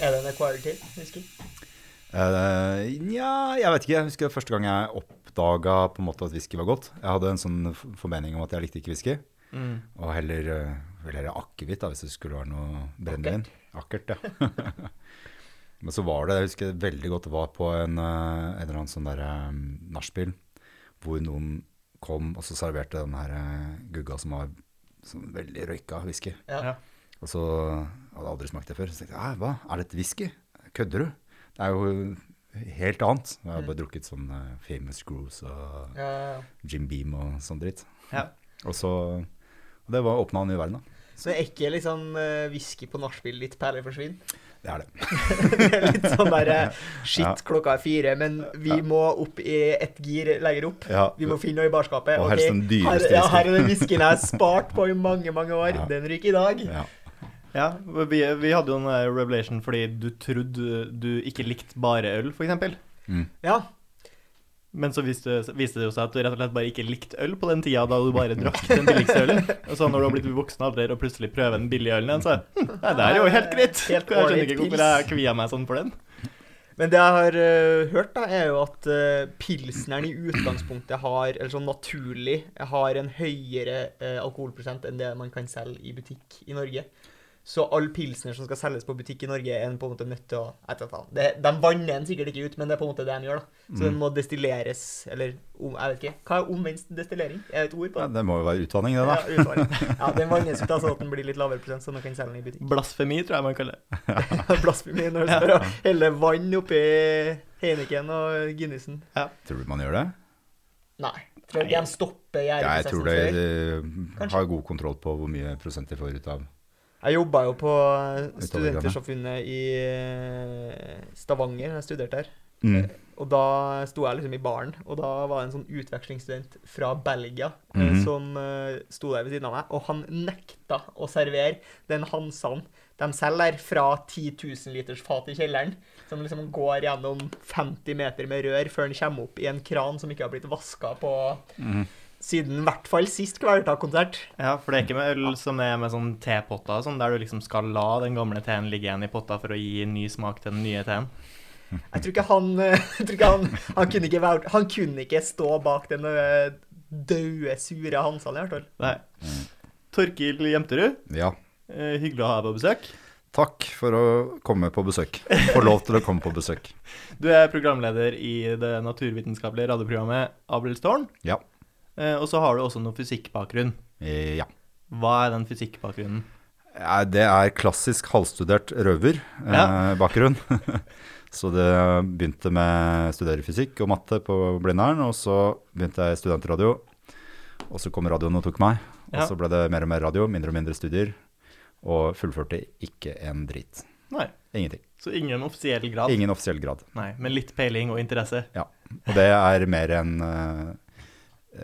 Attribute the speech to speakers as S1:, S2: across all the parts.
S1: Er det en equality? Whisky?
S2: Eh, Nja, jeg vet ikke. Jeg husker første gang jeg oppdaga på en måte at whisky var godt. Jeg hadde en sånn f- formening om at jeg likte ikke whisky. Og heller, eh, vel heller akevitt, da, hvis det skulle være noe brennevin. Akkert, ja. Men så var det, jeg husker veldig godt det var på en, eh, en eller annen sånn der eh, nachspiel, hvor noen kom og så serverte den her eh, gugga som var sånn veldig røyka whisky.
S1: Ja.
S3: Ja.
S2: Og så hadde jeg aldri smakt det før. Så tenkte jeg, «Hæ, hva, er dette whisky? Kødder du? Det er jo helt annet. Jeg har bare drukket sånn eh, Famous Grooves og
S1: Ja, ja, ja.
S2: Jim Beam og sånn dritt.
S3: Ja.
S2: Og så, og det var åpna en ny verden da.
S1: Så det er ikke liksom eh, whisky på nachspiel litt perler forsvinn?
S2: Det er det.
S1: Det er litt sånn derre Shit,
S2: Ja.
S1: klokka er fire, men vi
S2: Ja.
S1: må opp i ett gir lenger opp.
S2: Ja,
S1: Vi må finne noe i barskapet.
S2: Og
S1: Ok,
S2: helst den
S1: her,
S2: dyreste
S1: ja,
S2: whiskyen.
S1: her er den whiskyen jeg har spart på i mange, mange år.
S2: Ja.
S1: Den ryker i dag.
S2: ja.
S3: Ja, vi, vi hadde jo en eh, revelation fordi du trodde du ikke likte bare øl, f.eks.
S2: Mm.
S1: Ja.
S3: Men så viste, viste det jo seg at du rett og slett bare ikke likte øl på den tida da du bare drakk den billigste ølen. Og så når du har blitt voksen alder og plutselig prøver den billige ølen igjen, så hm, nei, det er jo helt greit.
S1: Helt
S3: jeg skjønner
S1: ålreit
S3: ikke
S1: pils.
S3: hvorfor jeg kvia meg sånn for den.
S1: Men det jeg har eh, hørt, da, er jo at eh, pilsneren i utgangspunktet har, eller sånn naturlig, har en høyere eh, alkoholprosent enn det man kan selge i butikk i Norge. Så all pilsner som skal selges på butikk i Norge, er en på en måte nødt til å jeg vet da faen. det, De vanner den sikkert ikke ut, men det er på en måte det de gjør. da. Så
S2: Mm.
S1: den må destilleres, eller om, jeg vet ikke. Hva er omvendt destillering? Er det et ord på
S2: Ja,
S1: det?
S2: Det må jo være utdanning, det, da.
S1: Ja, utvalg. ja, den vannes ut da, sånn at den blir litt lavere prosent, så man kan selge den i butikk.
S3: Blasfemi, tror jeg man kaller det.
S1: Blasfemi når du står og heller vann oppi Heineken og Guinnessen.
S2: Tror du man gjør det?
S1: Nei. Tror du de stopper
S2: Jeg tror det
S1: gjæreprosessen før?
S2: eh, har god kontroll på hvor mye prosent de får ut av
S1: Jeg jobba jo på
S2: Utover
S1: Studentersamfunnet i eh, Stavanger, jeg studerte der.
S2: mm.
S1: Og da sto jeg liksom i baren, og da var det en sånn utvekslingsstudent fra Belgia eh,
S2: Mhm.
S1: som eh, sto der ved siden av meg, og han nekta å servere den Hansan de selger fra 10 000 liters fat i kjelleren, som liksom går gjennom 50 meter med rør før den kommer opp i en kran som ikke har blitt vaska på
S2: Mm.
S1: siden i hvert fall sist Kvelertak-konsert.
S3: Ja, For det er ikke med øl som er med sånn tepotter og sånn, der du liksom skal la den gamle teen ligge igjen i potta for å gi ny smak til den nye teen.
S1: Jeg tror ikke han eh, jeg tror ikke han, han, kunne ikke være, han kunne ikke stå bak den eh, døde, sure Hansan, i hvert fall.
S3: Nei. Mm. Torkil Jemterud,
S2: Ja.
S3: eh, hyggelig å ha deg på besøk.
S2: Takk for å komme på besøk. Få lov til å komme på besøk.
S3: Du er programleder i det naturvitenskapelige radioprogrammet Abelstårn.
S2: Ja.
S3: Eh, Og så har du også noe fysikkbakgrunn.
S2: Eh, Ja.
S3: Hva er den fysikkbakgrunnen?
S2: Nei, Det er klassisk halvstudert røver-bakgrunn. så det begynte med å studere fysikk og matte på Blindern, og så begynte jeg i studentradio. Og så kom radioen og tok meg. Og
S3: Ja.
S2: så ble det mer og mer radio, mindre og mindre studier. Og fullførte ikke en drit.
S3: Nei,
S2: Ingenting.
S3: så ingen offisiell grad.
S2: Ingen offisiell grad.
S3: Nei, men litt peiling og interesse.
S2: Ja. Og det er mer enn eh,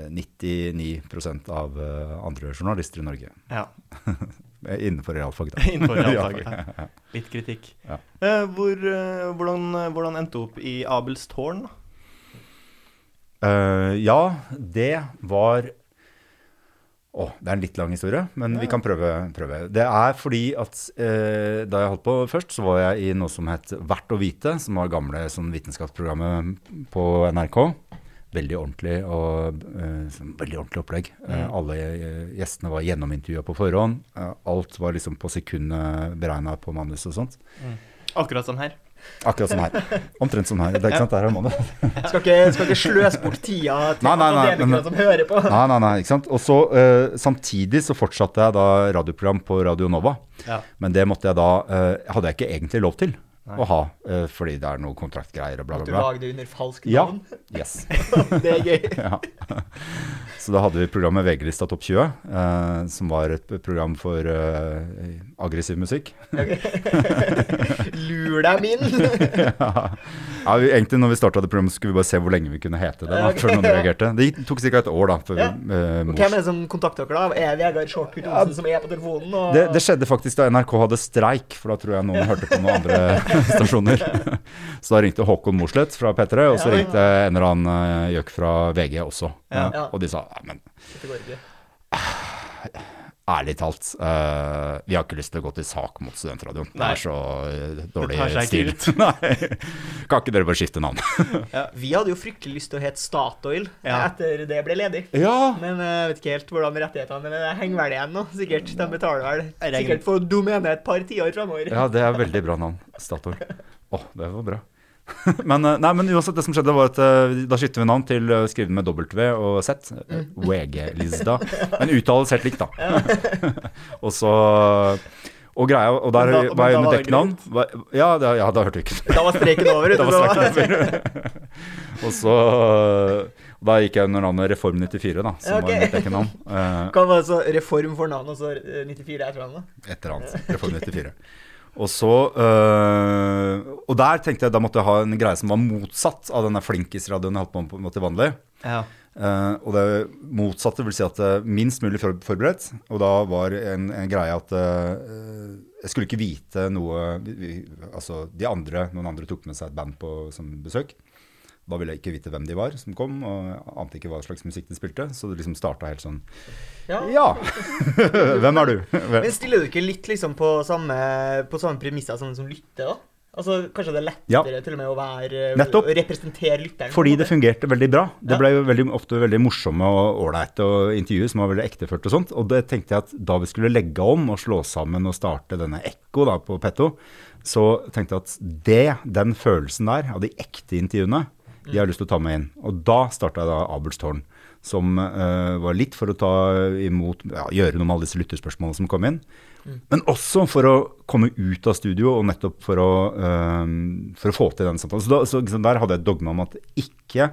S2: 99 av eh, andre journalister i Norge. eh,
S3: Ja,
S2: Innenfor realfag, da.
S3: innenfor realfaget.
S2: Realfag,
S3: Ja. Litt kritikk.
S2: Ja.
S3: Eh, Hvor, eh, hvordan, hvordan endte du opp i Abelstårn? da?
S2: Eh, ja, det var Å, det er en litt lang historie, men vi kan prøve. prøve. Det er fordi at eh, da jeg holdt på først, så var jeg i noe som het Verdt å vite, som var gamle sånn vitenskapsprogrammet på NRK. Veldig ordentlig og eh, sånn veldig ordentlig opplegg. Eh, alle eh, gjestene var gjennomintervjua på forhånd. Eh, alt var liksom på sekundet beregna på manus og sånt.
S3: Akkurat sånn her.
S2: Akkurat som her. Omtrent som her. Det er ikke sant, der er manus.
S1: Skal ikke, skal ikke sløse bort tida til
S2: Nei, nei, nei,
S1: akademikere
S2: men-
S1: som hører på.
S2: Nei, nei, nei, ikke sant? Og så eh, Samtidig så fortsatte jeg da radioprogram på Radio Nova.
S3: Ja.
S2: Men det måtte jeg da eh, hadde jeg ikke egentlig lov til
S3: Nei.
S2: å ha, eh, fordi det er noe kontraktgreier og bla,
S1: At du
S2: bla, bla.
S1: lager det under falskt
S2: Ja.
S1: navn.
S2: Yes.
S1: Det er gøy.
S2: ja. Så da hadde vi programmet VG-lista Topp 20, eh, som var et program for eh, aggressiv musikk.
S1: Lur dem inn.
S2: ja, vi, egentlig når vi starta det programmet, skulle vi bare se hvor lenge vi kunne hete det. Da,
S1: Ok,
S2: før noen
S1: ja.
S2: reagerte. Det gikk- tok ca. et år, da. Før
S1: Ja.
S2: vi, eh, mors-
S1: Hvem er det som kontakter dere, da? Er Vegard Shortcut Olsen som er på telefonen? Og...
S2: Det, det skjedde faktisk da NRK hadde streik, for da tror jeg noen hørte på noen andre stasjoner. Så da ringte Håkon Mosleth fra P3, og så
S1: Ja.
S2: ringte en eller annen eh, gjøk fra VG også.
S3: Ja.
S1: Ja.
S2: Og de sa "Nei, men
S1: Dette går ikke.
S2: Ærlig talt, eh, vi har ikke lyst til å gå til sak mot studentradioen. Det
S3: Nei.
S2: er så eh, dårlig
S3: tar seg
S2: stil.
S3: ikke
S2: Nei. Kan ikke dere bare skifte navn?
S1: Vi hadde jo fryktelig lyst til å hete Statoil
S3: Ja.
S1: etter det ble ledig.
S2: Ja!
S1: Men jeg vet ikke helt hvordan rettighetene men det henger vel igjen nå, sikkert. De betaler vel
S3: Jeg regner-
S1: sikkert for domene et par tiår framover.
S2: Ja, det er veldig bra navn. Statoil. Å, det var bra. men, eh, nei, men uansett, det som skjedde var at eh, da skifter vi navn til å skrive med W og Z. eh, WG-lista. Men uttales helt likt, da. og så Og greia, og der
S3: Men da- men
S2: var jeg
S3: da var
S2: under
S3: det
S2: dekknavn. Var- Ja, da, ja, da hørte vi ikke
S1: Da var streiken over. vet du,
S2: Det
S1: så-
S2: var snakket over. og så og Da gikk jeg under navnet Reform 94, da, som
S1: Ja, ok.
S2: var mitt ekkenavn. Eh,
S1: Hva var det så reform for navn, og så eh, 94 etter navnet?
S2: et eller annet. Reform 94. Og så øh, Og der tenkte jeg da måtte jeg ha en greie som var motsatt av denne flinkisradioen jeg holdt på med til vanlig.
S3: Ja.
S2: Eh, og det motsatte vil si at eh, minst mulig for forberedt. Og da var en, en greie at eh, jeg skulle ikke vite noe vi, vi, Altså de andre, noen andre tok med seg et band på, som besøk. Da ville jeg ikke vite hvem de var som kom, og jeg ante ikke hva slags musikk de spilte. Så det liksom starta helt sånn
S1: Ja.
S2: Ja! hvem er du?
S1: Men stiller du ikke litt liksom på samme, på samme premisser som den som lytter, da? Altså, Kanskje det er lettere til og med å være
S2: Nettopp.
S1: Å representere lytteren? på
S2: Fordi
S1: en
S2: det
S1: måte?
S2: fungerte veldig bra. Det
S1: Ja.
S2: ble jo veldig, ofte veldig morsomme og ålreite og intervjuer som var veldig ekteført og sånt. Og det tenkte jeg at da vi skulle legge om og slå sammen og starte denne Ekko da på Petto, så tenkte jeg at det, den følelsen der av de ekte intervjuene, de har jeg lyst til å ta med inn. Og da starta jeg da Abelstårn. Som eh, var litt for å ta imot, ja, gjøre noe med alle disse lytterspørsmålene som kom inn. Men også for å komme ut av studio, og nettopp for å, øhm, for å få til den samtalen. Så, da, så liksom, der hadde jeg et dogme om at jeg ikke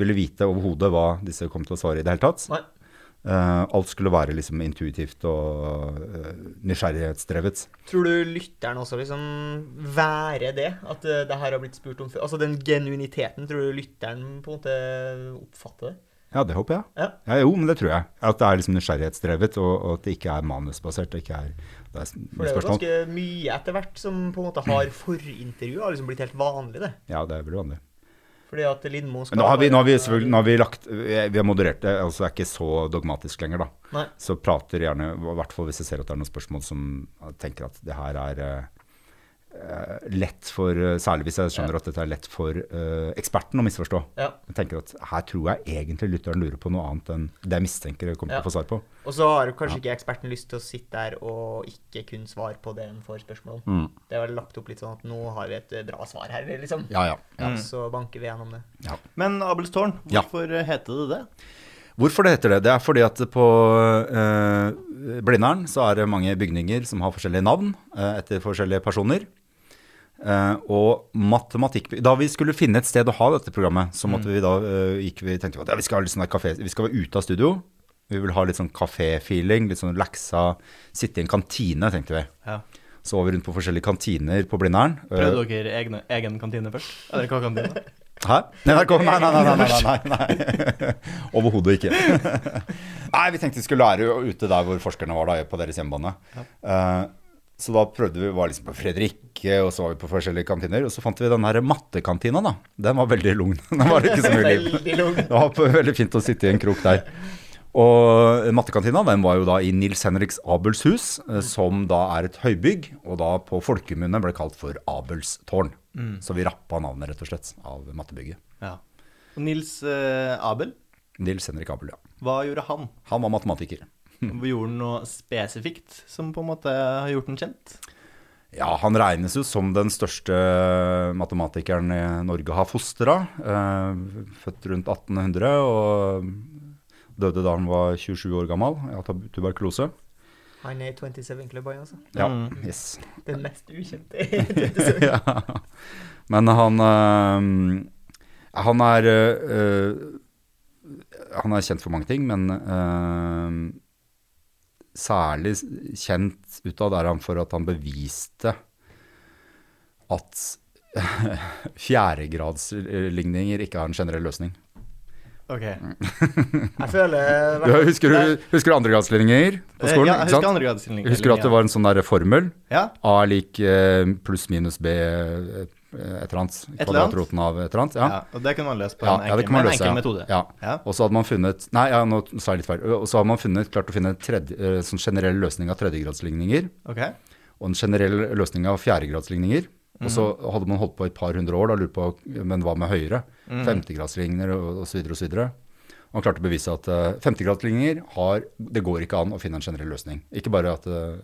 S2: ville vite overhodet hva disse kom til å svare i det hele tatt.
S1: Nei.
S2: Eh, alt skulle være liksom intuitivt og øh, nysgjerrighetsdrevet.
S1: Tror du lytteren også liksom være det? At eh, det her har blitt spurt om før? Altså den genuiniteten, tror du lytteren på en måte oppfatter det?
S2: Ja, det håper jeg.
S1: Ja.
S2: jo, men det tror jeg. At det er liksom nysgjerrighetsdrevet, og, og at det ikke er manusbasert. Det ikke er, det er s-
S1: For det er jo
S2: spørsmål. Mm.
S1: ganske mye etter hvert som på en måte har forintervju, har liksom blitt helt vanlig, det.
S2: Ja, det er veldig vanlig.
S1: Fordi at Lindmo skal
S2: Men nå har vi, nå har vi
S1: bare-
S2: selvfølgelig nå har vi lagt Vi har moderert det, altså det er ikke så dogmatisk lenger, da.
S1: Nei.
S2: så prater gjerne, i hvert fall hvis jeg ser at det er noen spørsmål som jeg tenker at det her er eh, eh, lett for, eh, særlig hvis jeg skjønner at dette er lett for eh, eksperten å misforstå.
S1: Ja.
S2: Jeg tenker at her tror jeg egentlig lytteren lurer på noe annet enn det jeg mistenker jeg kommer til å få svar på.
S1: Og så har jo kanskje ikke eksperten lyst til å sitte der og ikke kun svare på det en får spørsmål om.
S2: Mm.
S1: Det er vel lagt opp litt sånn at nå har vi et eh, bra svar her, liksom.
S2: Ja, ja.
S1: Ja, Så banker vi gjennom det.
S2: ja.
S3: Men Abelstårn,
S2: Ja.
S3: hvorfor eh, heter det det?
S2: Hvorfor det heter det? Det er fordi at på eh, Blindern så er det mange bygninger som har forskjellige navn eh, etter forskjellige personer. Eh, og matematikk Da vi skulle finne et sted å ha dette programmet, så måtte vi da eh, gikk vi, tenkte vi at ja, vi skal ha litt sånn der kafé, vi skal være ute av studio. Vi vil ha litt sånn kafé-feeling, litt sånn leksa, sitte i en kantine, tenkte vi.
S3: Ja.
S2: Så var vi rundt på forskjellige kantiner på Blindern. Eh,
S3: Prøvde dere egne, egen kantine først? Eller hva kantine?
S2: Hæ? NRK? Nei, nei, nei. nei, nei, nei, nei. Overhodet ikke. Nei, vi tenkte vi skulle være ute der hvor forskerne var, da, på deres hjemmebane. Eh, så da prøvde vi, var liksom på Fredrikke, og så var vi på forskjellige kantiner. Og så fant vi den her mattekantina, da. Den var veldig lugn. Den var det ikke så mye liv.
S1: Veldig lung.
S2: Det var på- veldig fint å sitte i en krok der. Og mattekantina den var jo da i Nils Henriks Abels hus, eh, som da er et høybygg, og da på folkemunne ble kalt for Abels tårn. Så vi rappa navnet, rett og slett, av mattebygget.
S3: Ja. Og Nils eh, Abel,
S2: Nils Henrik Abel, ja.
S3: hva gjorde han?
S2: Han var matematiker.
S3: Gjorde han noe spesifikt som på en måte har gjort han kjent?
S2: Ja, han regnes jo som den største matematikeren i Norge har fostra. Eh, født rundt 1800 og døde da han var 27 år gammel av tab- tuberkulose.
S1: Han er i 27 Club, han altså.
S2: Ja,
S3: Mm.
S2: yes.
S1: Den mest ukjente i 27.
S2: ja. Men han eh, Han er eh, eh, Han er kjent for mange ting, men eh, særlig kjent utad er han for at han beviste at fjerdegradsligninger ikke har en generell løsning.
S3: Ok.
S2: Mm.
S1: Jeg føler
S2: Du, husker du, husker du andregradsligninger på
S3: Eh,
S2: skolen?
S3: ja, jeg
S2: ikke
S3: husker
S2: sant?
S3: andregradslinjen.
S2: Husker du at det var en sånn der formel?
S3: Ja.
S2: A lik eh, pluss minus B eh, eh, et eller annet.
S3: eller annet?
S2: Kvadratroten av et eller annet. Ja.
S3: Ja, og det kunne man løst på
S2: Ja, ja,
S3: en
S2: det
S3: enkel,
S2: kan man
S3: med en
S2: løse,
S3: enkel
S2: ja.
S3: metode.
S2: Ja.
S3: Ja.
S2: Og så hadde man funnet Nei, ja, nå sa jeg litt feil. Og så hadde man funnet, klart å finne en tredje, eh, sånn generell løsning av tredjegradsligninger
S3: Ok.
S2: og en generell løsning av fjerdegradsligninger. Og så
S3: Mhm.
S2: hadde man holdt på i et par hundre år da, lurt på men hva med høyere?
S3: Mm.
S2: Femtegradsligninger og, og så videre og så videre. Og han klarte å bevise at uh, femtegradsligninger har Det går ikke an å finne en generell løsning. Ikke bare at, eh,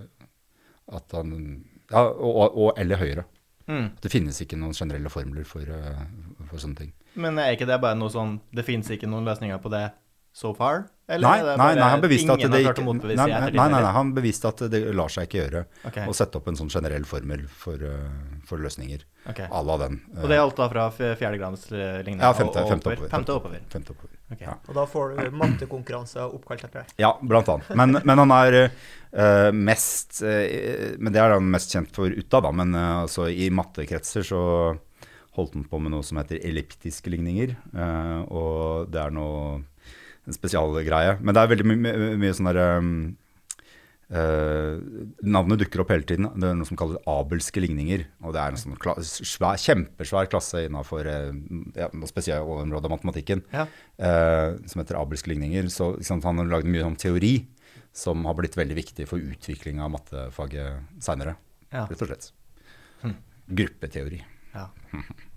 S2: at han Ja, og, og, og eller høyere.
S3: Mm.
S2: Det finnes ikke noen generelle formler for, eh, for sånne ting.
S3: Men er ikke det bare noe sånn Det fins ikke noen løsninger på det so far?
S2: Nei,
S3: er det
S2: nei,
S3: bare
S2: nei, han beviste at
S3: ingen
S2: det
S3: har klart
S2: ikke
S3: å
S2: nei,
S3: motbevise
S2: nei,
S3: i
S2: nei,
S3: ettertid,
S2: nei,
S3: eller?
S2: nei, han beviste at det lar seg ikke gjøre
S3: Ok.
S2: å sette opp en sånn generell formel for, eh, for løsninger.
S3: Ok.
S2: À la den. eh,
S3: Og det er alt da fra f- fjerdegradsligning
S2: Ja, femte,
S3: og, og
S2: femte
S3: oppover.
S2: oppover.
S3: Femte oppover.
S2: Femte oppover.
S3: Ok.
S2: Ja.
S1: Og da får du mattekonkurranser oppkalt etter deg.
S2: Ja, blant annet. Men, men han er eh, mest eh, Men det er han mest kjent for utad, da. Men eh, altså, i mattekretser så holdt han på med noe som heter elliptiske ligninger. eh, og det er noe en spesialgreie. Men det er veldig my my mye sånn derre eh, navnet dukker opp hele tiden. Det er noe som kalles abelske ligninger. Og det er en sånn kla svær, kjempesvær klasse innafor uh, ja, noe spesialområdet av matematikken
S3: Ja.
S2: eh, som heter Abelske ligninger. Så ikke sant, han har lagd mye om teori, som har blitt veldig viktig for utvikling av mattefaget seinere,
S3: Ja.
S2: rett og slett.
S1: Hm.
S2: Gruppeteori.
S3: ja.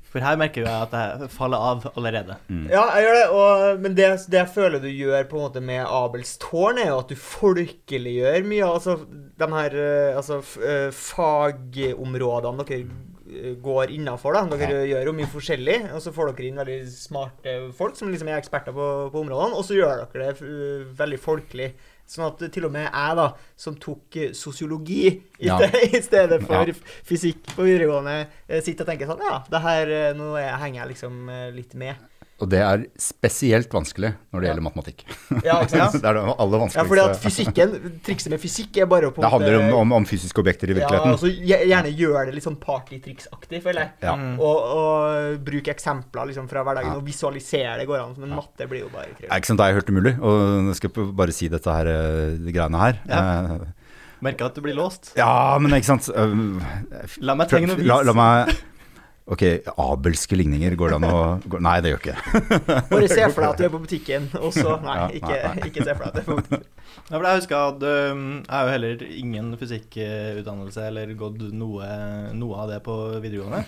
S3: For her merker jo jeg at jeg faller av allerede.
S2: Mm.
S1: Ja, jeg gjør det, og, men det, det jeg føler du gjør på en måte med Abels tårn, er jo at du folkeliggjør mye av altså, de her eh, altså, f- eh, fagområdene dere eh, går innafor. Dere gjør jo mye forskjellig, og så får dere inn veldig smarte folk som liksom er eksperter på, på områdene, og så gjør dere det eh, veldig folkelig. Sånn at til og med jeg, da, som tok eh, sosiologi i,
S2: Ja.
S1: sted- i stedet for
S2: Ja.
S1: fysikk på videregående, eh, sitter og tenker sånn Ja, det her, eh, nå er, henger jeg liksom eh, litt med.
S2: Og det er spesielt vanskelig når det
S1: Ja.
S2: gjelder matematikk.
S1: Ja, ikke sant?
S2: det er det aller
S1: Ja, fordi at
S2: vanskeligste.
S1: fysikken, trikset med fysikk er bare å på en
S2: det handler om,
S1: måte-
S2: om, om fysiske objekter
S1: Ja,
S2: i virkeligheten.
S1: altså, gje- gjerne gjør det litt sånn partytriksaktig, føler jeg.
S2: Ja.
S3: Mm.
S1: Og, og bruke eksempler liksom, fra hverdagen
S2: Ja.
S1: og visualisere det går an. Men matte blir jo bare
S2: Det er
S1: krevende.
S2: ikke sant, det er helt umulig. Og nå skal jeg bare si dette her, eh, de greiene her.
S3: Ja.
S2: Eh,
S3: Merker at du blir låst.
S2: Ja, men ikke sant um,
S3: La meg tegne og vise.
S2: La, la meg Ok, abelske ligninger, går det an å går, Nei, det gjør ikke det.
S1: Bare se for deg at du er på butikken, og så Nei,
S2: Ja,
S1: ikke,
S2: nei, nei.
S1: ikke se for deg at du er på butikken.
S3: Ja, for jeg husker jeg hadde um, Jeg har jo heller ingen fysikkutdannelse eller gått noe, noe av det på videregående.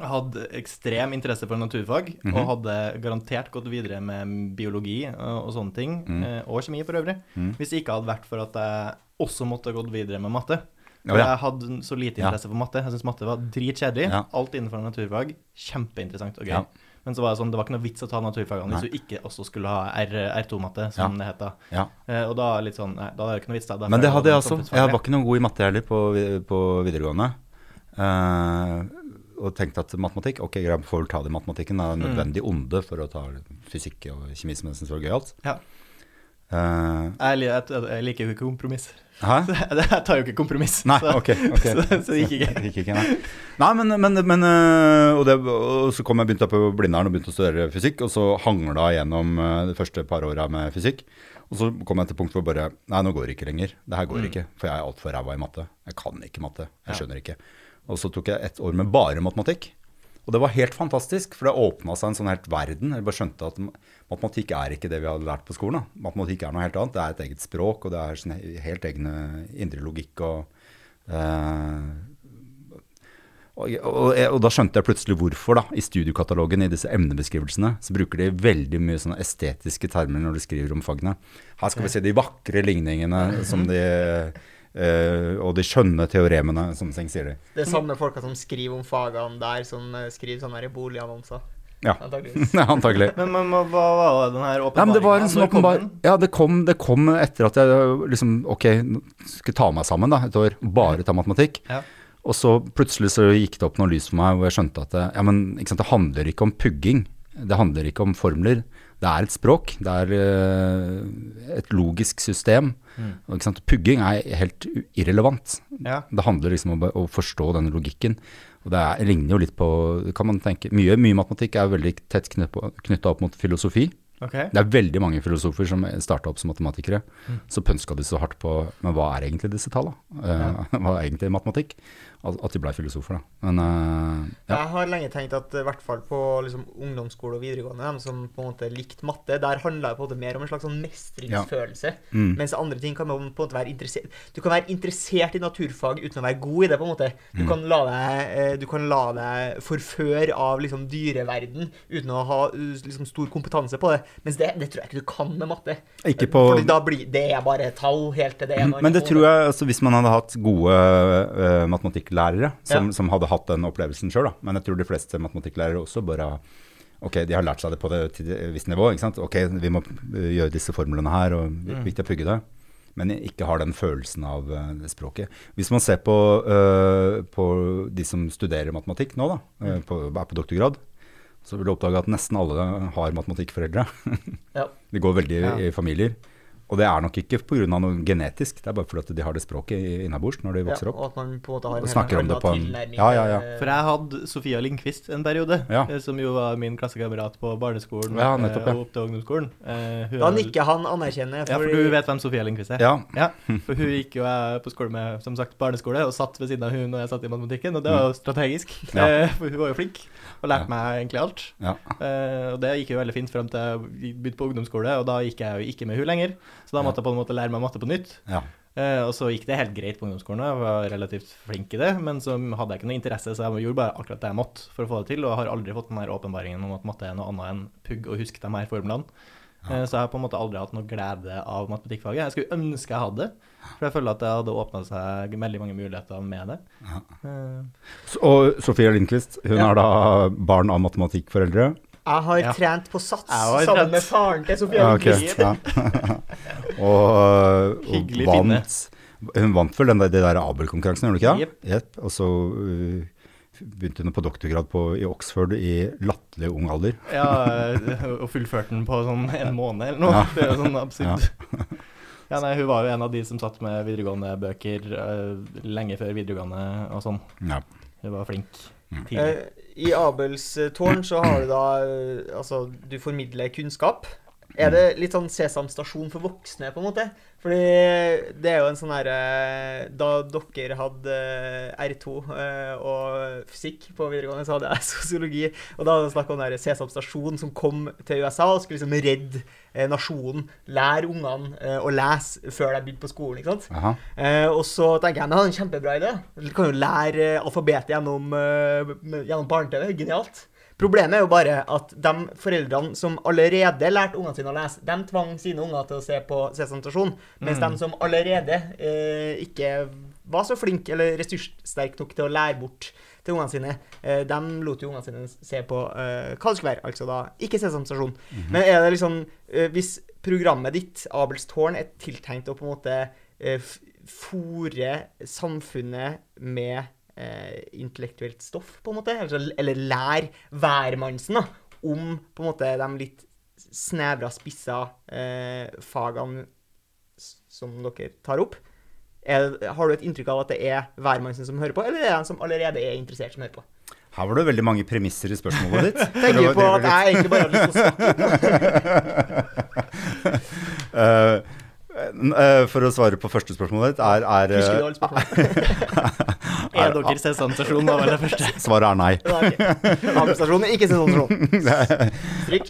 S3: Jeg hadde ekstrem interesse for naturfag
S2: Mhm.
S3: og hadde garantert gått videre med biologi og, og sånne ting,
S2: Mm.
S3: eh, og kjemi for øvrig,
S2: Mm.
S3: hvis det ikke hadde vært for at jeg også måtte gått videre med matte. For
S2: Å, ja.
S3: Jeg hadde så lite interesse for matte. Jeg syntes matte var dritkjedelig.
S2: Ja.
S3: Alt innenfor naturfag kjempeinteressant og gøy.
S2: Ja.
S3: Men så var det sånn, det var ikke noe vits å ta naturfagene
S2: Nei.
S3: hvis du ikke også skulle ha R, R2-matte, som det het da.
S2: Ja.
S3: Eh, Og da er det litt sånn, nei, da er det ikke noe vits da. da
S2: Men det
S3: får
S2: hadde jeg
S3: gå
S2: også.
S3: med
S2: Jeg var
S3: samfunnsfag.
S2: ikke noe god i matte heller på, vi- på videregående. Eh, og tenkte at matematikk Ok, greit, får vel ta det i matematikken. Det er en
S3: Mm.
S2: nødvendig onde for å ta fysikk og kjemi som jeg syns var gøyalt.
S3: Ja.
S2: Uh,
S3: Jeg, li- jeg, jeg liker jo ikke kompromiss.
S2: hæ?
S3: Jeg tar jo ikke kompromiss.
S2: Nei,
S3: så,
S2: ok. ok.
S3: så, så det gikk ikke.
S2: Gikk ikke, nei. nei, men, men, men øh, og, det, og så kom jeg begynte jeg på Blindern og begynte å studere fysikk, og så hangla jeg gjennom øh, de første par åra med fysikk. Og så kom jeg til punkt hvor bare Nei, nå går det ikke lenger. Det her går ikke. For jeg er altfor ræva i matte. Jeg kan ikke matte. Jeg skjønner ikke. Og så tok jeg ett år med bare matematikk. Og det var helt fantastisk, for det åpna seg en sånn helt verden. Jeg bare skjønte at ma- matematikk er ikke det vi hadde lært på skolen. Da. Matematikk er noe helt annet. Det er et eget språk, og det er sin he- helt egne indre logikk og eh, og, og, og da skjønte jeg plutselig hvorfor, da. I studiekatalogen, i disse emnebeskrivelsene, så bruker de veldig mye sånne estetiske termer når de skriver om fagene. Her skal vi se de vakre ligningene som de eh, Og de skjønne teoremene, sånne ting sier de.
S1: Det er samme folka som skriver om fagene der, som eh, skriver sånne her boligannonser.
S2: Ja,
S1: Antakeligvis.
S2: antagelig.
S3: Men, men hva hva var den her
S2: Nei,
S3: åpenbaringen?
S2: men det var en sånn
S3: Når kom
S2: åpenbar
S3: den?
S2: Ja, det kom, det kom etter at jeg liksom Ok, nå skal jeg ta meg sammen da, et år. Bare ta matematikk.
S3: Ja.
S2: Og så plutselig så gikk det opp noe lys for meg, hvor jeg skjønte at det, ja, men, ikke sant, det handler ikke om pugging. Det handler ikke om formler. Det er et språk. Det er eh, et logisk system. Og, Ikke sant? Pugging er helt u- irrelevant.
S3: Ja.
S2: Det handler liksom om å- å forstå den logikken. Og det er, ligner jo litt på kan man tenke, mye, mye matematikk er veldig tett knytta opp mot filosofi.
S3: Ok.
S2: Det er veldig mange filosofer som starta opp som matematikere.
S3: Mm.
S2: Så pønska de så hardt på Men hva er egentlig disse tallene? Eh, Hva er egentlig matematikk? At at de blei filosofer, da. Men eh, ja.
S1: Jeg har lenge tenkt at eh, i hvert fall på liksom, ungdomsskole og videregående, de som på en måte likte matte, der handla det på en måte mer om en slags sånn mestringsfølelse.
S2: Mm.
S1: Mens andre ting kan man på en måte være interessert Du kan være interessert i naturfag uten å være god i det, på en måte.
S2: Mm.
S1: Du, kan, la deg, eh, du kan la deg forføre av liksom, dyreverden uten å ha eh, liksom, stor kompetanse på det. Mens det, det tror jeg ikke du kan med matte.
S2: Ikke på- Mm.
S1: Fordi da blir det er bare tall helt til det er
S2: Men det tror jeg, altså hvis man hadde hatt gode eh, matematikklærere som,
S1: Ja.
S2: som hadde hatt den opplevelsen sjøl, da. Men jeg tror de fleste matematikklærere også bare Ok, de har lært seg det på det, til et visst nivå. ikke sant? Ok, vi må eh, gjøre disse formlene her, og vi-
S1: Mm.
S2: viktig å pugge det. Men ikke har den følelsen av eh, det språket. Hvis man ser på, eh, på de som studerer matematikk nå, da, eh,
S1: Mm.
S2: på, er på doktorgrad, så vil du oppdage at nesten alle har matematikkforeldre.
S1: Ja.
S2: Det går veldig
S3: Ja.
S2: i familier. Og det er nok ikke pga. noe genetisk, det er bare fordi at de har det språket innabords når de vokser
S1: Ja,
S2: opp.
S1: og at man på en måte har
S2: Og
S1: en
S2: snakker om
S1: helt
S2: det på en-
S1: annen tilnærming eh,
S2: Ja, ja, ja.
S1: til-
S3: For jeg hadde Sofia Lindqvist en periode,
S2: Ja.
S3: eh, som jo var min klassekamerat på barneskolen
S2: Ja, nettopp,
S3: eh,
S2: ja.
S3: og opp til ungdomsskolen. Eh, hun
S1: Da
S3: er-
S1: nikker han anerkjennende.
S3: Ja, for
S1: fordi-
S3: du vet hvem Sofia Lindqvist er?
S2: Ja,
S3: Ja,
S2: Mm.
S3: for hun gikk jo jeg på skole med, som sagt, barneskole, og satt ved siden av hun når jeg satt i matematikken, og det var jo strategisk,
S2: Mm. Ja.
S3: eh, for hun var jo flink, og
S2: Ja.
S3: lærte meg egentlig alt.
S2: ja.
S3: Eh, og det gikk jo veldig fint frem til jeg begynte på ungdomsskole, og da gikk jeg jo ikke med hun lenger, så da
S2: Ja.
S3: måtte jeg på en måte lære meg matte på nytt.
S2: ja.
S3: Eh, og så gikk det helt greit på ungdomsskolen, og jeg var relativt flink i det, men så hadde jeg ikke noe interesse, så jeg gjorde bare akkurat det jeg måtte for å få det til, og har aldri fått den her åpenbaringen om at matte er noe annet enn pugg og husk de her formlene. Eh, Så jeg har på en måte aldri hatt noe glede av matematikkfaget. Jeg skulle ønske jeg hadde, for jeg føler at det hadde åpna seg veldig mange muligheter med det. Eh,
S2: S- Og Sofia Lindqvist, hun
S3: Ja.
S2: er da barn av matematikkforeldre.
S1: Jeg har
S3: Ja.
S1: trent på sats
S3: Jeg har
S1: sammen
S3: trent.
S1: med faren til Sofia
S2: Ja, Ah, ok,
S1: Lindqvist.
S2: ja. og, og
S3: Hyggelig
S2: vant Hun vant vel den der, det der Abel-konkurransen, gjorde hun ikke
S3: Jepp.
S2: det? Jepp. Og så uh, begynte hun på doktorgrad på, i Oxford i latterlig ung alder.
S3: Ja, eh, og fullførte den på sånn en måned eller noe. Det er jo sånn absurd. Ja, nei, Hun var jo en av de som satt med videregående-bøker eh, lenge før videregående og sånn.
S2: Ja.
S3: Hun var flink
S2: Mm.
S3: tidlig.
S1: Eh, I Abels eh, tårn så har du da eh, Altså, du formidler kunnskap. Er det litt sånn Sesam stasjon for voksne, på en måte? Fordi det er jo en sånn herre Da dere hadde eh, R2 eh, og fysikk på videregående, så hadde jeg sosiologi. Og da var det snakk om den der Sesam stasjon som kom til USA og skulle liksom redde eh, nasjonen. Lære ungene eh, å lese før de begynte på skolen, ikke sant?
S2: Aha.
S1: Eh, og så tenker jeg men det er en kjempebra idé. Du kan jo lære eh, alfabetet gjennom, eh, med- gjennom barne-TV. Genialt. Problemet er jo bare at de foreldrene som allerede lærte ungene sine å lese, de tvang sine unger til å se på Sesam Stasjon. Mens de som allerede eh, ikke var så flinke eller ressurssterke nok til å lære bort til ungene sine, eh, de lot jo ungene sine se på eh, hva det skulle være. Altså da ikke Sesam Stasjon. Men er det liksom eh, Hvis programmet ditt, Abels tårn, er tiltenkt å på en måte eh, f- fòre samfunnet med eh, intellektuelt stoff, på en måte. Eller, eller lære hvermannsen da, om på en måte de litt snevra, spissa eh, fagene s- som dere tar opp. Er, har du et inntrykk av at det er hvermannsen som hører på, eller er det de som allerede er interessert, som hører på?
S2: Her var det veldig mange premisser i spørsmålet ditt.
S1: Tenker
S2: For å
S1: jo på
S2: drive
S1: at jeg egentlig bare har lyst til å snakke.
S2: Eh, eh, for å svare på første spørsmålet ditt, er, er eh,
S1: Husker du alle spørsmålene?
S3: Er dere sessamstasjon, var vel det første?
S2: Svaret er nei.
S1: Ja, ok. Abelstasjonen, ikke sesongsstasjonen. Stryk.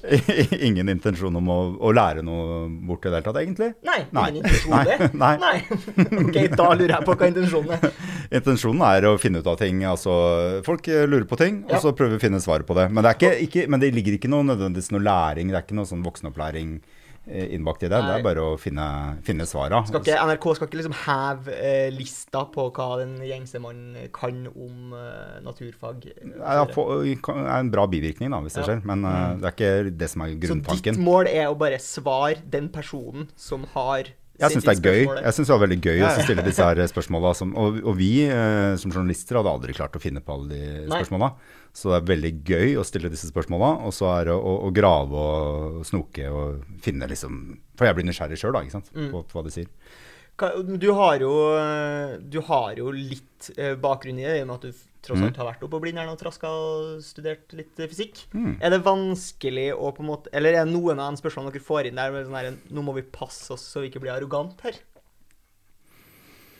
S2: Ingen intensjon om å, å lære noe bort i det hele tatt, egentlig.
S1: Nei,
S2: Nei.
S1: ingen intensjon i det?
S2: Nei.
S1: Ok, da lurer jeg på hva intensjonen er.
S2: Intensjonen er å finne ut av ting. Altså, folk eh, lurer på ting, og
S1: Ja.
S2: så prøver vi å finne svaret på det. Men det, er ikke, ikke, men det ligger ikke noe nødvendigvis noe læring, det er ikke noe sånn voksenopplæring eh, innbakt i det. Det
S1: Nei.
S2: er bare å finne, finne svara.
S1: Skal ikke, NRK skal ikke liksom heve eh, lista på hva den gjengse mannen kan om eh, naturfag.
S2: Det er- det er en bra bivirkning, da, hvis det
S1: Ja. Mm.
S2: skjer. Men eh, det er ikke det som er
S1: Så ditt
S2: grunntanken.
S1: mål er å bare svare den personen som har
S2: Jeg syns det er gøy.
S1: spørsmålet.
S2: Jeg synes det var veldig gøy
S3: Ja,
S2: å
S3: ja.
S2: stille disse her spørsmåla. Som, og, og vi eh, som journalister hadde aldri klart å finne på alle de
S1: Nei.
S2: spørsmåla. Så det er veldig gøy å stille disse spørsmåla, og så er det å, å grave og snoke og finne liksom For jeg blir nysgjerrig sjøl, da, ikke sant, på, på hva de sier.
S1: Hva- Du har jo, eh, du har jo litt eh, bakgrunn i det, i og med at du f- tross
S2: Mm.
S1: alt har vært oppe på Blindern og traska og studert litt eh, fysikk.
S2: Mm.
S1: Er det vanskelig å på en måte Eller er det noen av de spørsmålene dere får inn der med sånn her Nå må vi passe oss så vi ikke blir arrogant her?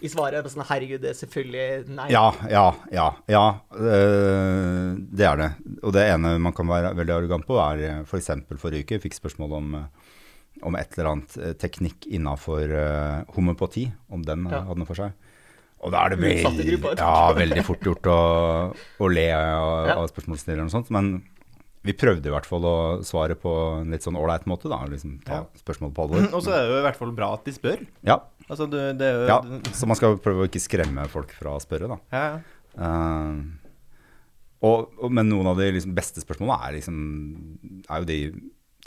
S1: I svaret er det sånn Herregud, det er selvfølgelig nei.
S2: Ja, ja, ja. ja eh, det er det. Og det ene man kan være veldig arrogant på, er f.eks. forrige uke jeg fikk spørsmål om, eh, om et eller annet eh, teknikk innafor homopati, om den eh,
S1: Ja.
S2: hadde noe for seg. Og da er det
S1: Utsatte
S2: veldig,
S1: grupper.
S2: ja, veldig fort gjort å, å le av,
S1: Ja.
S2: av spørsmålsstilleren og sånt, men vi prøvde i hvert fall å svare på en litt sånn ålreit måte, da. Liksom ta
S3: Ja.
S2: spørsmålet på alvor.
S3: Eh, Og så er det jo i hvert fall bra at de spør.
S2: Ja,
S3: Altså, du, det er jo
S2: ja, så man skal prøve å ikke skremme folk fra å spørre, da.
S3: ja, ja.
S2: Eh, og, og, men noen av de liksom beste spørsmålene er, liksom, er jo de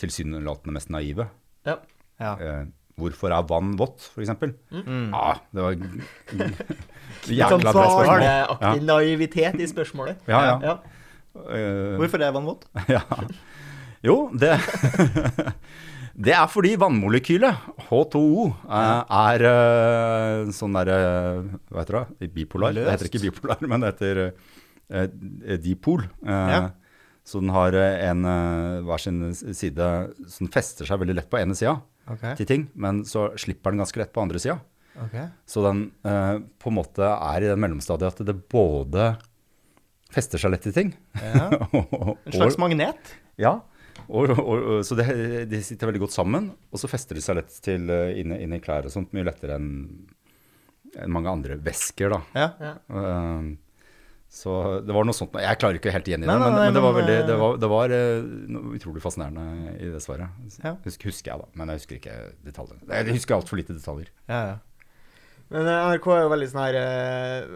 S2: tilsynelatende mest naive.
S1: Ja.
S3: Ja.
S2: Eh, hvorfor er vann vått, for eksempel?
S3: Mm.
S2: Ja, det var g- g-
S1: Litt sånn
S2: jækla bra spørsmål.
S1: barneaktig naivitet i spørsmålet.
S2: Ja, ja.
S1: Ja.
S2: Eh,
S3: Hvorfor er vann vått?
S2: ja. Jo, det Det er fordi vannmolekylet, H2O, eh, er eh, sånn derre Hva heter det? Bipolar? Det heter
S3: Løst.
S2: ikke bipolar, men det heter eh, eh, dipol. Eh,
S3: Ja.
S2: Så den har eh, en eh, hver sin side som fester seg veldig lett på ene sida
S3: Ok.
S2: til ting, men så slipper den ganske lett på andre sida.
S3: ok.
S2: Så den eh, på en måte er i den mellomstadiet at det både fester seg lett til ting
S3: Ja.
S2: og-
S3: En slags
S2: og-
S3: magnet?
S2: ja, og, og, og, så det, de sitter veldig godt sammen, og så fester de seg lett til eh, inne, inne i klær og sånt, mye lettere enn enn mange andre væsker, da.
S3: Ja.
S1: Ja.
S2: Eh, så det var noe sånt, jeg klarer ikke helt igjen i det,
S3: Nei, nei,
S2: men,
S3: nei,
S2: men det var,
S3: men,
S2: veldig, det
S3: eh,
S2: var, det var eh, noe utrolig fascinerende i det svaret.
S3: Ja.
S2: Husk, husker jeg da, men jeg husker ikke detaljene. Nei, Jeg husker altfor lite detaljer.
S3: ja, ja.
S1: Men eh, NRK er jo veldig sånn her eh,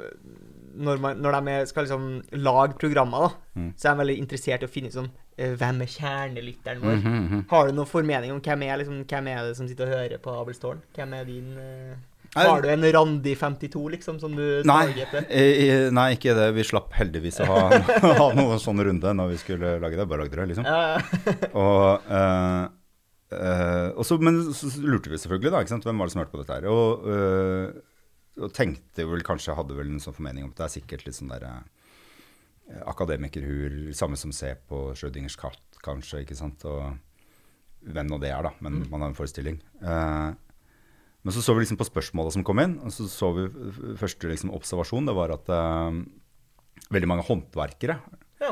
S1: Når, man, når de er- skal liksom lage programmer, da,
S2: Mm.
S1: så er de veldig interessert i å finne ut sånn eh, Hvem er kjernelytteren vår?
S2: Mhm, mhm.
S1: Har du noen formening om hvem er, liksom, hvem er det som sitter og hører på Abelstårn? Hvem er din eh,
S2: Nei.
S1: Har du en Randi 52, liksom, som du
S2: Nei,
S1: targeter?
S2: eh, nei, ikke det. Vi slapp heldigvis å ha, ha noen sånn runde når vi skulle lage det. Bare lagde det, liksom.
S1: Ja,
S2: Og, eh, eh, og så, men så så lurte vi selvfølgelig, da. Ikke sant? Hvem var det som hørte på dette her? Og, eh, og tenkte vel kanskje, hadde vel en sånn formening om at det er sikkert litt sånn derre eh, akademikerhuer, samme som ser på Schrødingers katt, kanskje, ikke sant. Og hvem nå det er, da. Men man har en forestilling. Eh, men så så vi liksom på spørsmåla som kom inn, og så så vi f- f- første liksom observasjon, det var at eh, veldig mange håndverkere
S1: ja.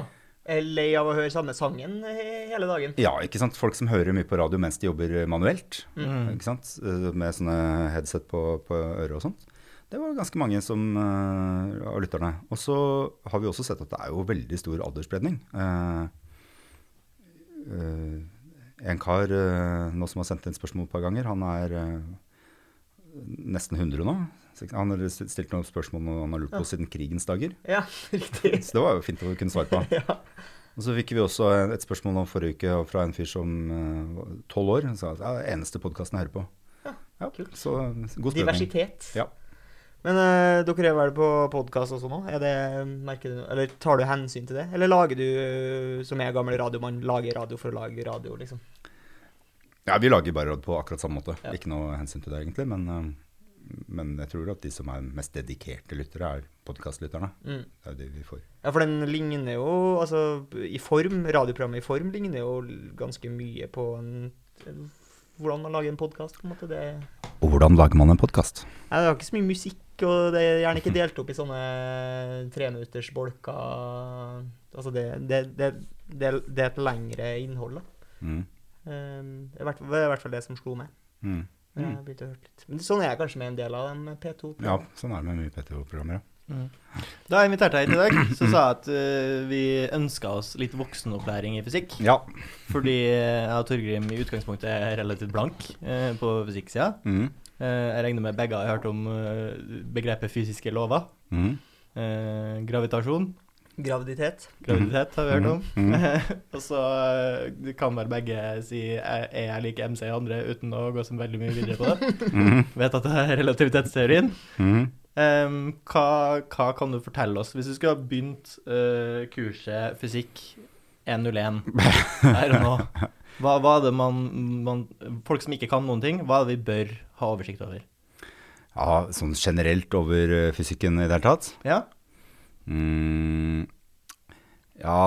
S1: Jeg er lei av å høre samme sangen he hele dagen.
S2: Ja, ikke sant. Folk som hører mye på radio mens de jobber manuelt.
S3: Mm.
S2: Ikke sant? Eh, Med sånne headset på, på øret og sånt. Det var ganske mange som, eh, av lytterne. Og så har vi også sett at det er jo veldig stor aldersspredning. Eh, eh, en kar eh, nå som har sendt inn spørsmål et par ganger, han er eh, nesten 100 nå. Så ikke sant, Han har stilt noen spørsmål han har lurt på siden krigens dager.
S1: Ja, riktig.
S2: Så det var jo fint å kunne svare på.
S1: Ja.
S2: Og så fikk vi også et spørsmål om forrige uke fra en fyr som eh, var tolv år. Han sa at det er den eneste podkasten jeg hører på.
S1: Ja, kult.
S2: Så god spredning.
S1: Diversitet.
S2: Ja.
S1: Men eh, dere er vel på podkast også nå? Er det, merker du, eller tar du hensyn til det? Eller lager du, eh, som jeg er gammel radiomann, lager radio for å lage radio, liksom?
S2: ja, vi lager bare råd på akkurat samme måte.
S1: Ja.
S2: Ikke noe hensyn til det egentlig, men, eh, men jeg tror at de som er mest dedikerte lyttere, er podkastlytterne.
S1: Mm.
S2: Det er jo de vi får.
S1: Ja, for den ligner jo, altså i form, radioprogrammet i form ligner jo ganske mye på en, hvordan man lager en podkast, på en måte. Det, nei,
S2: Og hvordan lager man en podkast?
S1: det har ikke så mye musikk, og det er gjerne ikke delt opp i sånne treminutters bolker. Altså det, det, det, det, det er et lengre innhold, da.
S2: Mm.
S1: Um, det er i hvert fall- det er i hvert fall det som slo meg.
S2: Mm.
S1: Jeg har begynt å høre litt. Men sånn er jeg kanskje med en del av dem eh, P2.
S2: Ja, sånn er det med mye PTO-programmer. ja.
S3: mm. Da jeg inviterte deg hit i dag, så sa jeg at eh, vi ønska oss litt voksenopplæring i fysikk.
S2: Ja.
S3: Fordi jeg og Torgrim i utgangspunktet er relativt blank eh, på fysikksida.
S2: Mm.
S3: Eh, jeg regner med begge har hørt om eh, begrepet fysiske lover.
S2: Mm.
S3: Eh, gravitasjon.
S1: Graviditet.
S3: Graviditet har vi hørt om.
S2: Mm.
S3: og så eh, kan vel begge si eh, er jeg lik MC andre uten å gå så veldig mye videre på det.
S2: Mm.
S3: Vet at det er relativitetsteorien.
S2: Mm.
S3: Ehm, hva, hva kan du fortelle oss hvis du skulle ha begynt eh, kurset fysikk 101 her og nå? Hva, hva er det man, man Folk som ikke kan noen ting, hva er det vi bør ha oversikt over?
S2: Ja, sånn generelt over eh, fysikken i det hele tatt?
S3: Ja?
S2: Mm, ja,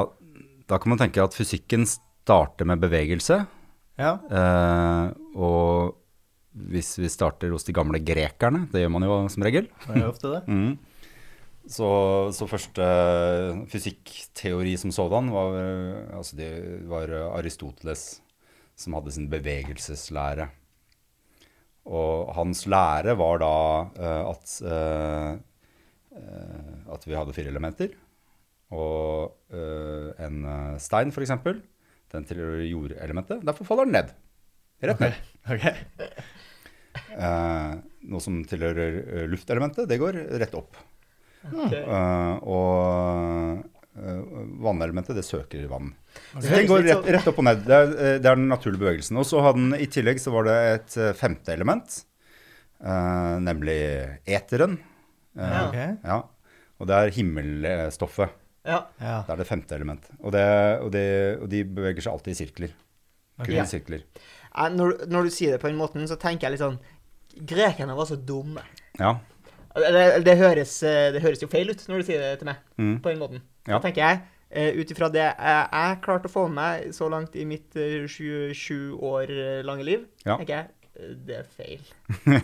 S2: da kan man tenke at fysikken starter med bevegelse.
S3: Ja?
S2: Eh, og hvis vi starter hos de gamle grekerne, det gjør man jo som regel,
S3: Det er jo ofte det.
S2: mm. så, så første fysikkteori som sådan var, eh, altså det var eh, Aristoteles som hadde sin bevegelseslære. Og hans lære var da eh, at, eh, eh, at vi hadde fire elementer. Og eh, en eh, stein, for eksempel, den tilhører jordelementet. Derfor faller den ned. Rett ned.
S3: Ok.
S2: Eh, noe som tilhører eh, luftelementet, det går rett opp.
S1: Ok.
S2: Eh, og eh, vannelementet, det søker vann. Så
S1: Det
S2: den
S1: høres
S2: går
S1: litt
S2: rett, rett opp og ned. Det er, eh, det er den naturlige bevegelsen. Og så hadde den, i tillegg så var det et eh, femte element, eh, nemlig eteren. Eh,
S1: Ja.
S3: Ok.
S2: ja. Og det er himmelstoffet.
S1: Ja.
S3: Ja.
S2: Det er det femte element. Og, det, og, det, og de beveger seg alltid i sirkler. Kun
S1: Ja.
S2: i sirkler.
S1: Nei, Når, du- når du sier det på den måten, så tenker jeg litt sånn Grekerne var så dumme.
S2: Ja.
S1: Det, det, høres, eh, det høres jo feil ut når du sier det til meg,
S2: Mm.
S1: på den måten.
S2: Ja.
S1: Da tenker jeg, eh, ut ifra det jeg, jeg klarte å få med meg så langt i mitt eh, 27 år eh, lange liv,
S2: Ja.
S1: tenker jeg eh, det er feil.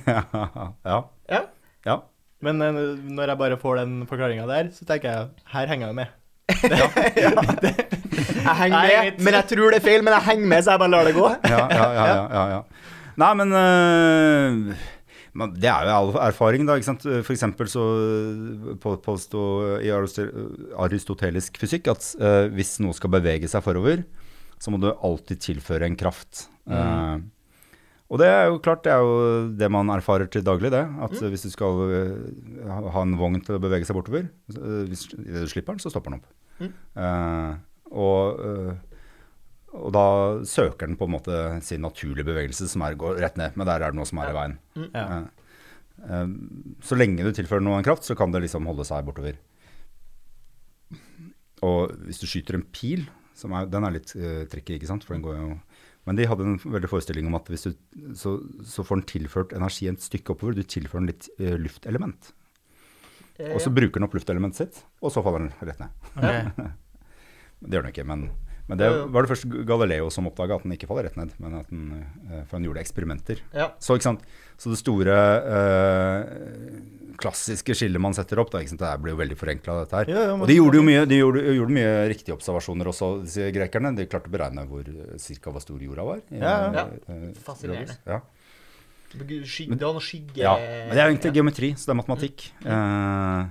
S2: ja.
S1: Ja.
S2: Ja.
S3: Men eh, når jeg bare får den forklaringa der, så tenker jeg her henger jeg jo med.
S1: Jeg henger
S3: Nei,
S1: med,
S3: litt.
S1: men jeg tror det er feil, men jeg henger med, så jeg bare lar det gå.
S2: ja, ja, ja, ja, ja, ja. Nei, men øh, man, det er jo all erfaring, da. ikke sant? For eksempel så eh, på- påstod i aristo- aristotelisk fysikk at øh, hvis noe skal bevege seg forover, så må du alltid tilføre en kraft. Eh, og det er jo klart, det er jo det man erfarer til daglig, det. At øh, hvis du skal øh, ha- ha en vogn til å bevege seg bortover, øh, hvis du slipper den, så stopper den opp. Eh, og øh, og da søker den på en måte sin naturlige bevegelse, som er går rett ned. Men der er det noe som er i veien.
S3: Mm. Ja.
S2: Eh, eh, Så lenge du tilfører noen kraft, så kan det liksom holde seg bortover. Og hvis du skyter en pil, som er, den er litt eh, tricky, ikke sant? For den går jo Men de hadde en veldig forestilling om at hvis du, så, så får den tilført energi et stykke oppover. Du tilfører den litt eh, luftelement.
S1: Eh,
S2: Og så bruker den opp luftelementet sitt, og så faller den rett ned.
S3: Ok.
S2: Det gjør den ikke, men, men det
S1: Ja, ja.
S2: var det først Galileo som oppdaga at den ikke faller rett ned, men at den, eh, for han gjorde eksperimenter.
S1: ja.
S2: Så, ikke sant? så det store eh, klassiske skillet man setter opp, da, ikke sant? det her blir jo veldig forenkla, dette her.
S3: Ja, ja, men-
S2: og de gjorde jo mye, de gjorde, gjorde mye riktige observasjoner også, disse grekerne. De klarte å beregne hvor eh, cirka hvor stor jorda var. i,
S3: Ja, ja.
S2: eh, eh,
S1: Fascinerende.
S2: radius. Ja.
S1: Skygge, det var noe skygge
S2: Ja, men det er jo egentlig geometri, så det er matematikk. Eh,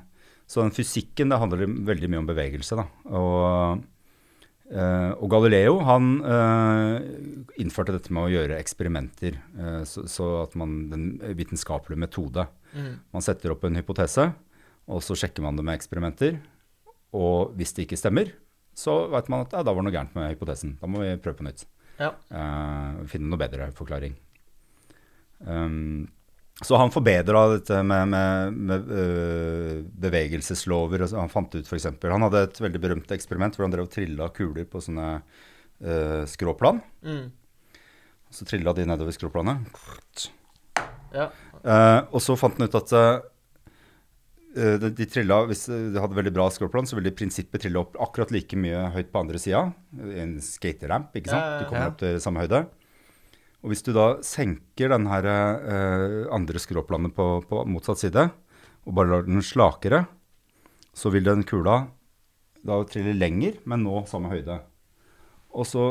S2: så den fysikken, det handler veldig mye om bevegelse, da. Og, eh, og Galileo, han eh, innførte dette med å gjøre eksperimenter, eh, så, så at man, den vitenskapelige metode.
S1: Mhm.
S2: Man setter opp en hypotese, og så sjekker man det med eksperimenter. Og hvis det ikke stemmer, så vet man at ja, da var det noe gærent med hypotesen. Da må vi prøve på nytt.
S1: Ja.
S2: Eh, finne noe bedre forklaring. Um, så han forbedra dette med, med, med øh, bevegelseslover. og så Han fant ut for eksempel, Han hadde et veldig berømt eksperiment hvor han drev og trilla kuler på sånne øh, skråplan.
S1: Mm.
S2: Så trilla de nedover skråplanet.
S1: ja.
S2: Eh, og så fant han ut at eh, de, de trilla, hvis de hadde veldig bra skråplan, så ville de i prinsippet trille opp akkurat like mye høyt på andre sida. En skateramp, ikke sant.
S1: Ja, ja,
S2: Du kommer
S3: ja.
S2: opp til samme høyde. Og hvis du da senker den her eh, andre skråplanet på, på motsatt side, og bare lar den slakere, så vil den kula da trille lenger, men nå samme høyde. Og så,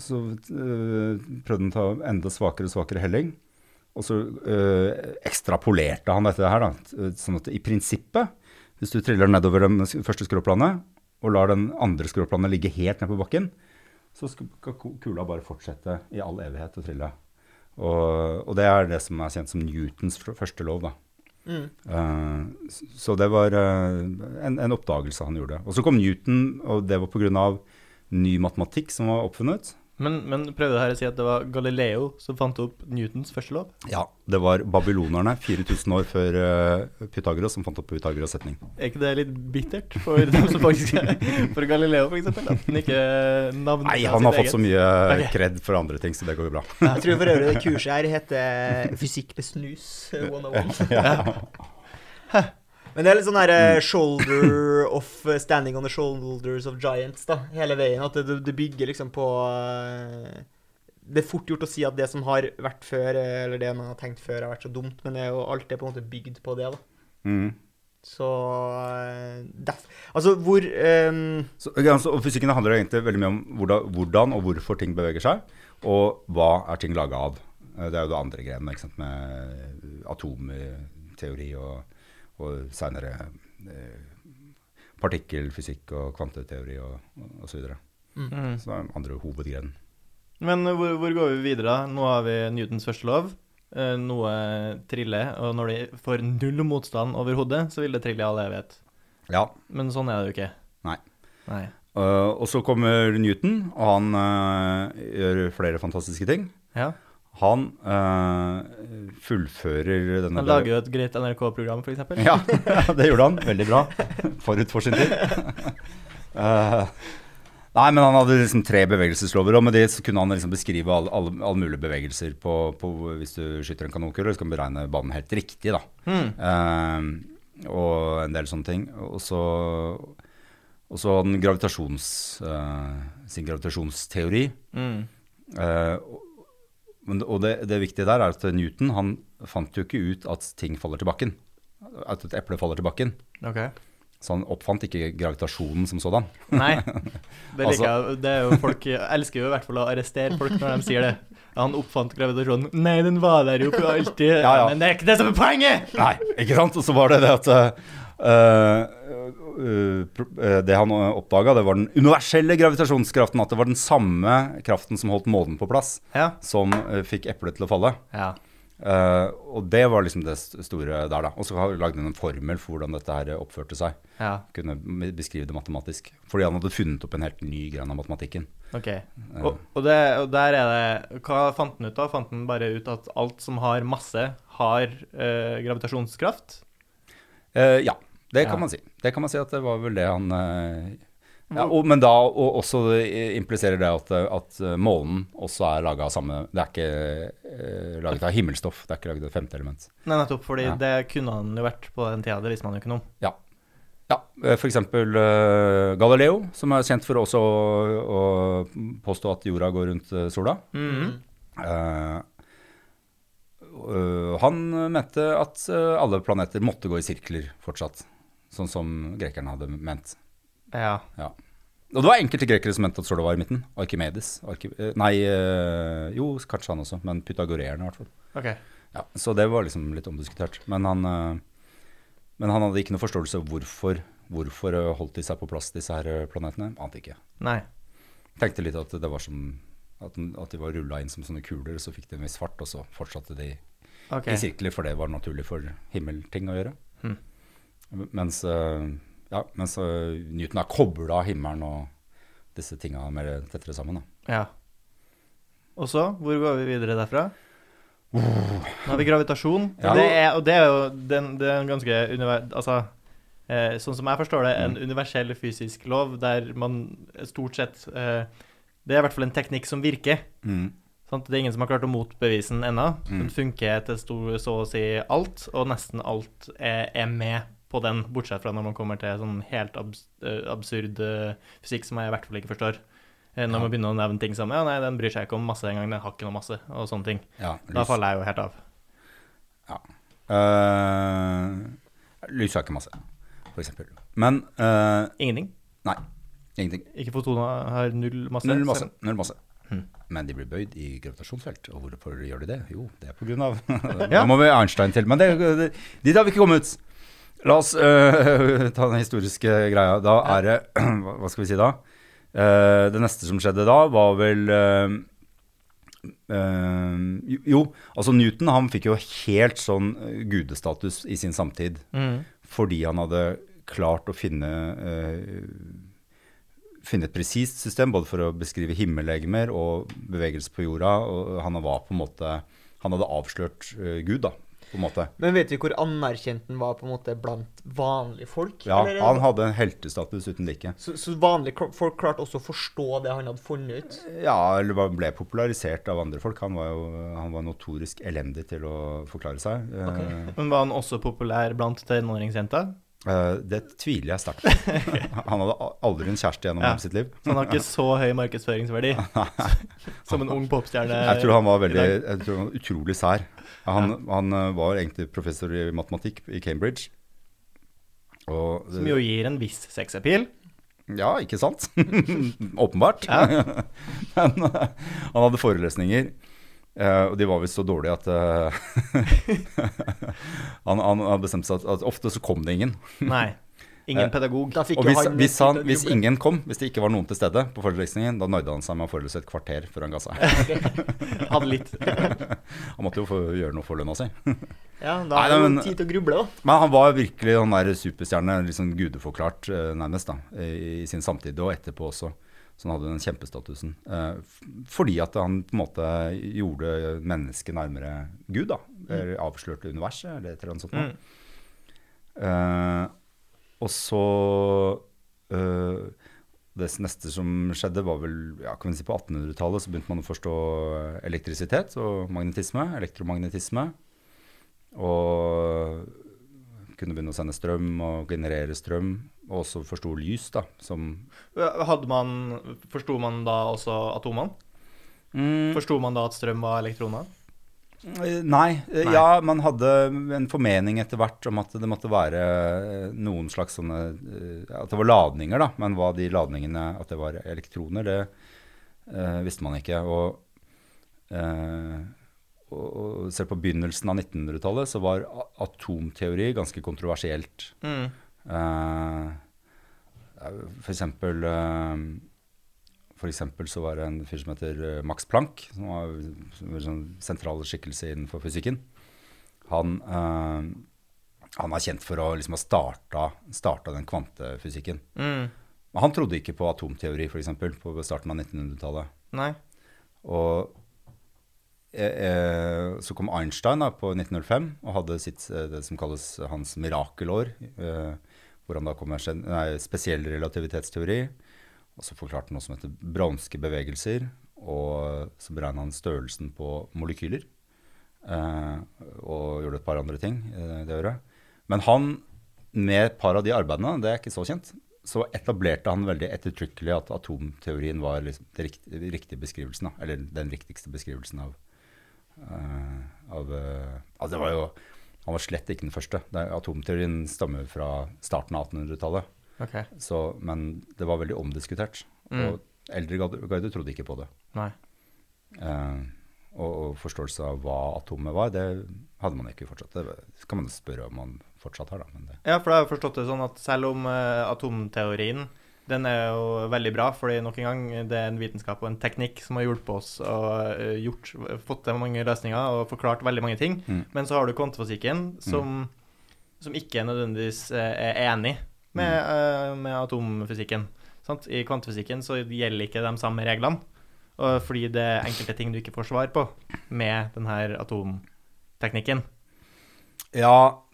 S2: så øh, prøvde han å ta enda svakere og svakere helling. Og så øh, ekstrapolerte han dette her, da. Sånn at i prinsippet, hvis du triller nedover det sk- første skråplanet, og lar den andre skråplanet ligge helt ned på bakken, så skal skal ku- kula bare fortsette i all evighet å trille. Og, og det er det som er kjent som Newtons fr- første lov, da.
S1: Mm.
S2: Eh, s- Så det var eh, en, en oppdagelse han gjorde. Og så kom Newton, og det var pga. ny matematikk som var oppfunnet.
S3: Men, men prøvde her å si at det var Galileo som fant opp Newtons første lov?
S2: Ja, det var babylonerne 4000 år før eh, Pythagoras som fant opp Pythagoras setning.
S3: Er ikke det litt bittert for dem som faktisk For Galileo, for eksempel? At han ikke navnet
S2: Nei, han har fått så mye eh,
S3: Ok.
S2: kred for andre ting, så det går jo bra.
S1: Jeg tror for øvrig det kurset her heter Fysikk med snus 101. Men det er litt sånn her eh, shoulder of eh, Standing on the shoulders of giants, da. Hele veien. At det- det, det bygger liksom på eh, Det er fort gjort å si at det som har vært før, eh, eller det man har tenkt før, har vært så dumt, men det er jo alt er på en måte bygd på det, da.
S2: Mm.
S1: Så eh, derf- Altså, hvor eh,
S2: Så, ok, altså, og fysikken handler egentlig veldig mye om hvordan, hvordan og hvorfor ting beveger seg, og hva er ting laga av. Eh, Det er jo det andre greiene, ikke sant, med eh, atomteori og, og seinere eh, partikkelfysikk og kvanteteori og, og så videre.
S3: Mm.
S2: Så det er den andre hovedgrenen.
S3: Men eh, hvor, hvor går vi videre? da? Nå har vi Newtons første lov. eh, Noe triller, og når de får null motstand over hodet, så vil det trille i all evighet.
S2: Ja.
S3: Men sånn er det jo ikke.
S2: Nei.
S3: Nei.
S2: Eh, og så kommer Newton, og han eh, gjør flere fantastiske ting.
S3: Ja.
S2: Han eh, fullfører denne
S3: Han lager jo et greit NRK-program, for eksempel.
S2: Sånn Ja, det gjorde han. Veldig bra. Forut for sin tid. Eh, nei, men han hadde liksom tre bevegelseslover, og med det så kunne han liksom beskrive alle alle- alle mulige bevegelser på, på Hvis du skyter en kanonkule, så kan du beregne banen helt riktig, da.
S3: Hmm.
S2: Eh, og en del sånne ting. Og så og så hadde han gravitasjons, eh, sin gravitasjonsteori.
S3: Mm.
S2: Eh, og- men, og det, det viktige der er at Newton han fant jo ikke ut at ting faller til bakken. At et eple faller til bakken.
S3: Ok.
S2: Så han oppfant ikke gravitasjonen som sådan.
S3: Nei. Det
S2: Altså-
S3: liker jeg. Det er jo folk elsker jo i hvert fall å arrestere folk når de sier det. Han oppfant gravitasjonen. Nei, den var der jo på alltid.
S2: Ja, ja.
S3: Men det er ikke det som er poenget!
S2: Nei, ikke sant? Og så var det det at eh, eh, pro- eh, Det han oppdaga, det var den universelle gravitasjonskraften. At det var den samme kraften som holdt månen på plass,
S3: Ja.
S2: som eh, fikk eplet til å falle.
S3: ja.
S2: Eh, og det var liksom det st- store der, da. Og så har- lagde han en formel for hvordan dette her oppførte seg.
S3: Ja.
S2: kunne m- beskrive det matematisk. Fordi han hadde funnet opp en helt ny gren av matematikken.
S3: OK.
S2: Eh,
S3: Og, og, det, og der er det Hva fant han ut, da? Fant han bare ut at alt som har masse, har eh, gravitasjonskraft?
S2: eh, ja, det kan
S3: Ja.
S2: man si. Det kan man si at det var vel det han eh, ja, og, Men da og også det eh, impliserer det at, at eh, månen også er laga av samme Det er ikke eh, laget av himmelstoff, det er ikke laget av femte element.
S3: Nei, nettopp, fordi
S2: Ja.
S3: det kunne han jo vært på den tida, det visste man jo ikke noe om.
S2: Ja. Ja, eh, F.eks. Uh, Galileo, som er kjent for også å, å påstå at jorda går rundt eh, sola. Eh, øh, han mente at eh, alle planeter måtte gå i sirkler fortsatt, sånn som grekerne hadde ment.
S3: Ja.
S2: Ja. Og det var enkelte grekere som mente at sola var i midten. Arkimedes. Arki eh, nei, eh, jo, kanskje han også, men pythagoreerne i hvert fall.
S3: OK.
S2: Ja, så det var liksom litt omdiskutert. Men han, eh, men han hadde ikke noe forståelse av hvorfor, hvorfor eh, holdt de seg på plass, disse her eh, planetene. Ante ikke.
S3: Nei.
S2: Tenkte litt at det var som at, den- at de var rulla inn som sånne kuler, så fikk de en viss fart, og så fortsatte de
S3: OK.
S2: i sirkler, for det var naturlig for himmelting å gjøre.
S3: Hmm.
S2: M- Mens, eh, ja, mens eh, Newton er kobla av himmelen og disse tinga mer tettere sammen. Da.
S3: Ja. Og så, hvor går vi videre derfra? Nå har vi gravitasjon.
S2: Ja.
S3: Det er, og det er jo den, det er en ganske univer... Altså, eh, sånn som jeg forstår det, en universell fysisk lov der man stort sett eh, Det er i hvert fall en teknikk som virker. Sant? Det er ingen som har klart å motbevise den ennå. Den
S2: Mm.
S3: funker til stor, så å si alt, og nesten alt er, er med på den, bortsett fra når man kommer til sånn helt abs eh, absurd eh, fysikk som jeg i hvert fall ikke forstår. Eh, Når man begynner å nevne ting som Ja, nei, den bryr seg ikke om masse engang, den har ikke noe masse, og sånne ting.
S2: Ja,
S3: Da
S2: lys,
S3: faller jeg jo helt av.
S2: Eh, lys har ikke masse, for eksempel. Men eh,
S3: Ingenting.
S2: nei, ingenting.
S3: Ikke fotoner har null masse.
S2: Null masse. Null masse.
S3: Hmm.
S2: Men de blir bøyd i gravitasjonsfelt. Og hvorfor gjør de det? Jo, det er på grunn av Da
S3: Ja.
S2: må vi Einstein til. Men det, det, dit har vi ikke kommet. La oss øh, ta den historiske greia. Da er det Hva hva skal vi si da? Eh, det neste som skjedde da, var vel eh, eh, jo- Jo, altså Newton han fikk jo helt sånn eh, gudestatus i sin samtid
S3: Mm.
S2: fordi han hadde klart å finne eh, finne et presist system både for å beskrive himmellegemer og bevegelse på jorda. og Han var på en måte, han hadde avslørt eh, Gud, da, på en måte.
S1: Men vet vi hvor anerkjent den var på en måte blant vanlige folk?
S2: Ja,
S1: eller?
S2: Han hadde en heltestatus uten like.
S1: så, så vanlige kro- folk klarte også å forstå det han hadde funnet ut?
S2: Ja, eller bare ble popularisert av andre folk. Han var jo han var notorisk elendig til å forklare seg. Eh,
S3: Men var han også populær blant tenåringsjenta?
S2: eh, det tviler jeg sterkt på. Han hadde a- aldri en kjæreste gjennom
S3: Ja.
S2: hele sitt liv.
S3: Så han har ikke så høy markedsføringsverdi som en ung popstjerne.
S2: Jeg tror han var
S3: i
S2: veldig,
S3: dag.
S2: jeg tror han var utrolig sær. Han, han eh, var egentlig professor i matematikk i Cambridge. Og,
S3: Som jo gir en viss sexappeal.
S2: Ja, ikke sant? Åpenbart. Men eh, han hadde forelesninger, eh, og de var visst så dårlige at eh, han, han hadde bestemt seg at, at ofte så kom det ingen.
S3: Nei. Ingen
S2: Eh,
S3: pedagog.
S1: Da fikk
S2: Og
S1: jo
S2: hvis,
S1: han
S2: hvis, han,
S1: sitte-
S2: hvis ingen kom, hvis det ikke var noen til stede på forelesningen, da nøyde han seg med å forelese et kvarter før han ga seg.
S3: Hadde litt
S2: Han måtte jo få gjøre noe for lønna si.
S1: Ja, da
S2: Nei,
S1: har
S2: nei,
S1: han
S2: men-
S1: tid til å gruble, da.
S2: Men han var virkelig han der superstjerne, liksom gudeforklart eh, nærmest, da, i i sin samtid og etterpå også. Så han hadde den kjempestatusen. eh, f- Fordi at han på en måte gjorde mennesket nærmere Gud, da. Eller avslørte universet, eller et eller annet sånt. noe.
S3: Mm.
S2: Eh, og så eh, Det neste som skjedde, var vel ja, kan vi si på 1800-tallet. Så begynte man å forstå elektrisitet og magnetisme. Elektromagnetisme. Og kunne begynne å sende strøm og generere strøm. Og også forsto lys, da, som
S3: Hadde man Forsto man da også atomene? Forsto man da at strøm var elektroner?
S2: Eh, Nei. eh,
S3: Nei.
S2: Ja, man hadde en formening etter hvert om at det måtte være eh, noen slags sånne eh, At det var ladninger, da. Men hva de ladningene At det var elektroner, det eh, visste man ikke. Og, eh, og, og selv på begynnelsen av 1900-tallet så var a- atomteori ganske kontroversielt.
S3: Mm.
S2: Eh, for eksempel eh, For eksempel så var det en fyr som heter eh, Max Planck, som var en sånn sentral skikkelse innenfor fysikken. Han, eh, han er kjent for å liksom ha starta, starta den kvantefysikken.
S3: Mm.
S2: Men han trodde ikke på atomteori, f.eks., på starten av 1900-tallet.
S3: Nei.
S2: Og eh, eh, så kom Einstein da, på 1905 og hadde sitt, eh, det som kalles hans mirakelår, eh, hvor han da kom med gen- nei, spesiell relativitetsteori, og så forklarte han noe som heter bronske bevegelser, og så beregna han størrelsen på molekyler, eh, og gjorde et par andre ting eh, det året. Men han, med et par av de arbeidene, det er ikke så kjent, så etablerte han veldig ettertrykkelig at atomteorien var liksom den riktige, riktige beskrivelsen, da, eller den riktigste beskrivelsen av, eh, av eh, Altså, det var jo Han var slett ikke den første. Det, er- atomteorien stammer fra starten av 1800-tallet,
S3: Ok.
S2: så- men det var veldig omdiskutert.
S3: Mm.
S2: Og eldre garde garde trodde ikke på det.
S3: Nei.
S2: Eh, og, og forståelse av hva atomet var, det hadde man ikke fortsatt. Det kan man spørre om man fortsatt har, da. Men det
S3: Ja, for da har jeg forstått det sånn at selv om eh, atomteorien den er jo veldig bra, fordi nok en gang det er en vitenskap og en teknikk som har hjulpet oss og eh, gjort, fått til mange løsninger og forklart veldig mange ting.
S2: Mm.
S3: Men så har du kvantefysikken som, som ikke nødvendigvis eh, er enig med, eh, med atomfysikken. Sant? I kvantefysikken så gjelder ikke de samme reglene, og fordi det er enkelte ting du ikke får svar på med denne atomteknikken.
S2: Ja,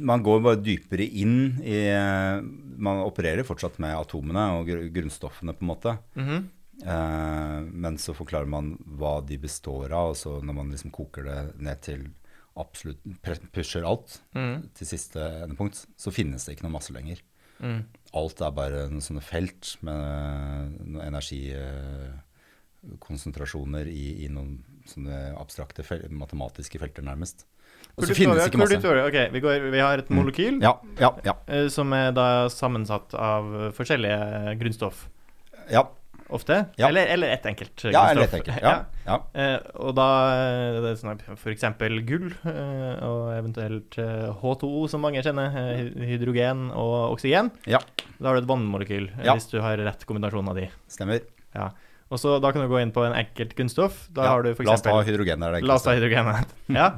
S2: man går bare dypere inn i eh, Man opererer fortsatt med atomene og gr- grunnstoffene, på en måte.
S3: Mhm.
S2: Eh, men så forklarer man hva de består av, og så når man liksom koker det ned til absolutt pre- Pusher alt
S3: Mhm.
S2: til siste endepunkt, så finnes det ikke noe masse lenger.
S3: Mm.
S2: Alt er bare noen sånne felt med eh, noen energikonsentrasjoner i, i noen sånne abstrakte fel matematiske felter, nærmest. Og så finnes det ikke masse.
S3: Produktorer, ok, vi, går, vi har et molekyl
S2: Ja, ja, ja.
S3: eh, som er da sammensatt av eh, forskjellige eh, grunnstoff,
S2: Ja,
S3: ofte.
S2: Ja.
S3: Eller, eller ett enkelt eh,
S2: ja jeg
S3: grunnstoff.
S2: leter ikke. Ja, ja.
S3: Eh, og da eh, det er sånn at for eksempel gull, eh, og eventuelt eh, H2O, som mange kjenner, eh, hy- hydrogen og oksygen.
S2: Ja.
S3: Da har du et vannmolekyl, eh,
S2: Ja.
S3: hvis du har rett kombinasjon av de.
S2: Stemmer.
S3: Og så Da kan du gå inn på en enkelt grunnstoff. Da
S2: Ja.
S3: har du for
S2: La oss ta
S3: eksempel,
S2: hydrogen der. det er
S3: La oss ta
S2: enkleste.
S3: hydrogenet. ja.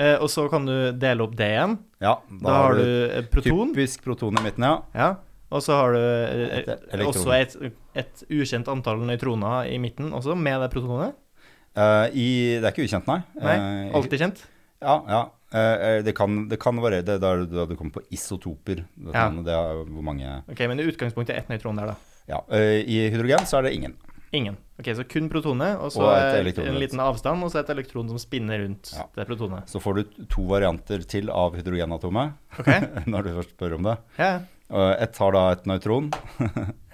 S3: Eh, og så kan du dele opp det igjen.
S2: Ja,
S3: Da, har du eh, proton.
S2: Typisk proton i midten, ja.
S3: Ja, Og så har du eh,
S2: Et elektron.
S3: også et, et ukjent antall nøytroner i midten, også med det protonet.
S2: Eh, i, det er ikke ukjent, nei.
S3: Nei,
S2: Eh,
S3: alltid kjent.
S2: Ja, ja. Eh, det, kan, det kan variere. Det er da du- da du kommer på isotoper. Det,
S3: Ja.
S2: det er hvor mange
S3: Ok, Men i utgangspunktet ett nøytron der, da.
S2: Ja. eh, I hydrogen så er det ingen.
S3: Ingen. Ok, Så kun protonet, og så
S2: Og et
S3: eh,
S2: elektron
S3: en
S2: rundt.
S3: liten avstand, og så et elektron som spinner rundt
S2: Ja.
S3: det protonet.
S2: Så får du to varianter til av hydrogenatomet,
S3: Ok,
S2: når du først spør om det.
S3: ja,
S2: Eh, Ett har da et nøytron.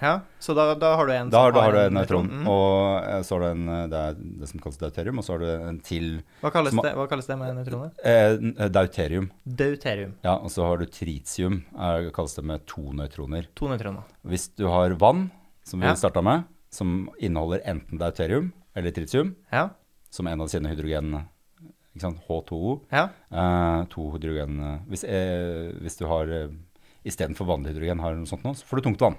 S3: ja. Så da, da har du en
S2: Da har, da har du
S3: en
S2: et nøytron.
S3: Mhm.
S2: Og eh, så har du en eh, Det er det som kalles deuterium, og så har du en til
S3: Hva kalles,
S2: Sma-
S3: det, hva kalles det med nøytronet?
S2: eh, Deuterium.
S3: Deuterium.
S2: Ja, og så har du tritium, er, kalles det med to nøytroner.
S3: To nøytroner.
S2: Hvis du har vann, som vi
S3: Ja.
S2: starta med, som inneholder enten deuterium eller tritium,
S3: Ja.
S2: som en av sine hydrogen ikke sant, H2O.
S3: ja.
S2: Eh, to hydrogen eh, Hvis, eh, hvis du har eh, istedenfor vanlig hydrogen har noe sånt nå, så får du tungt vann.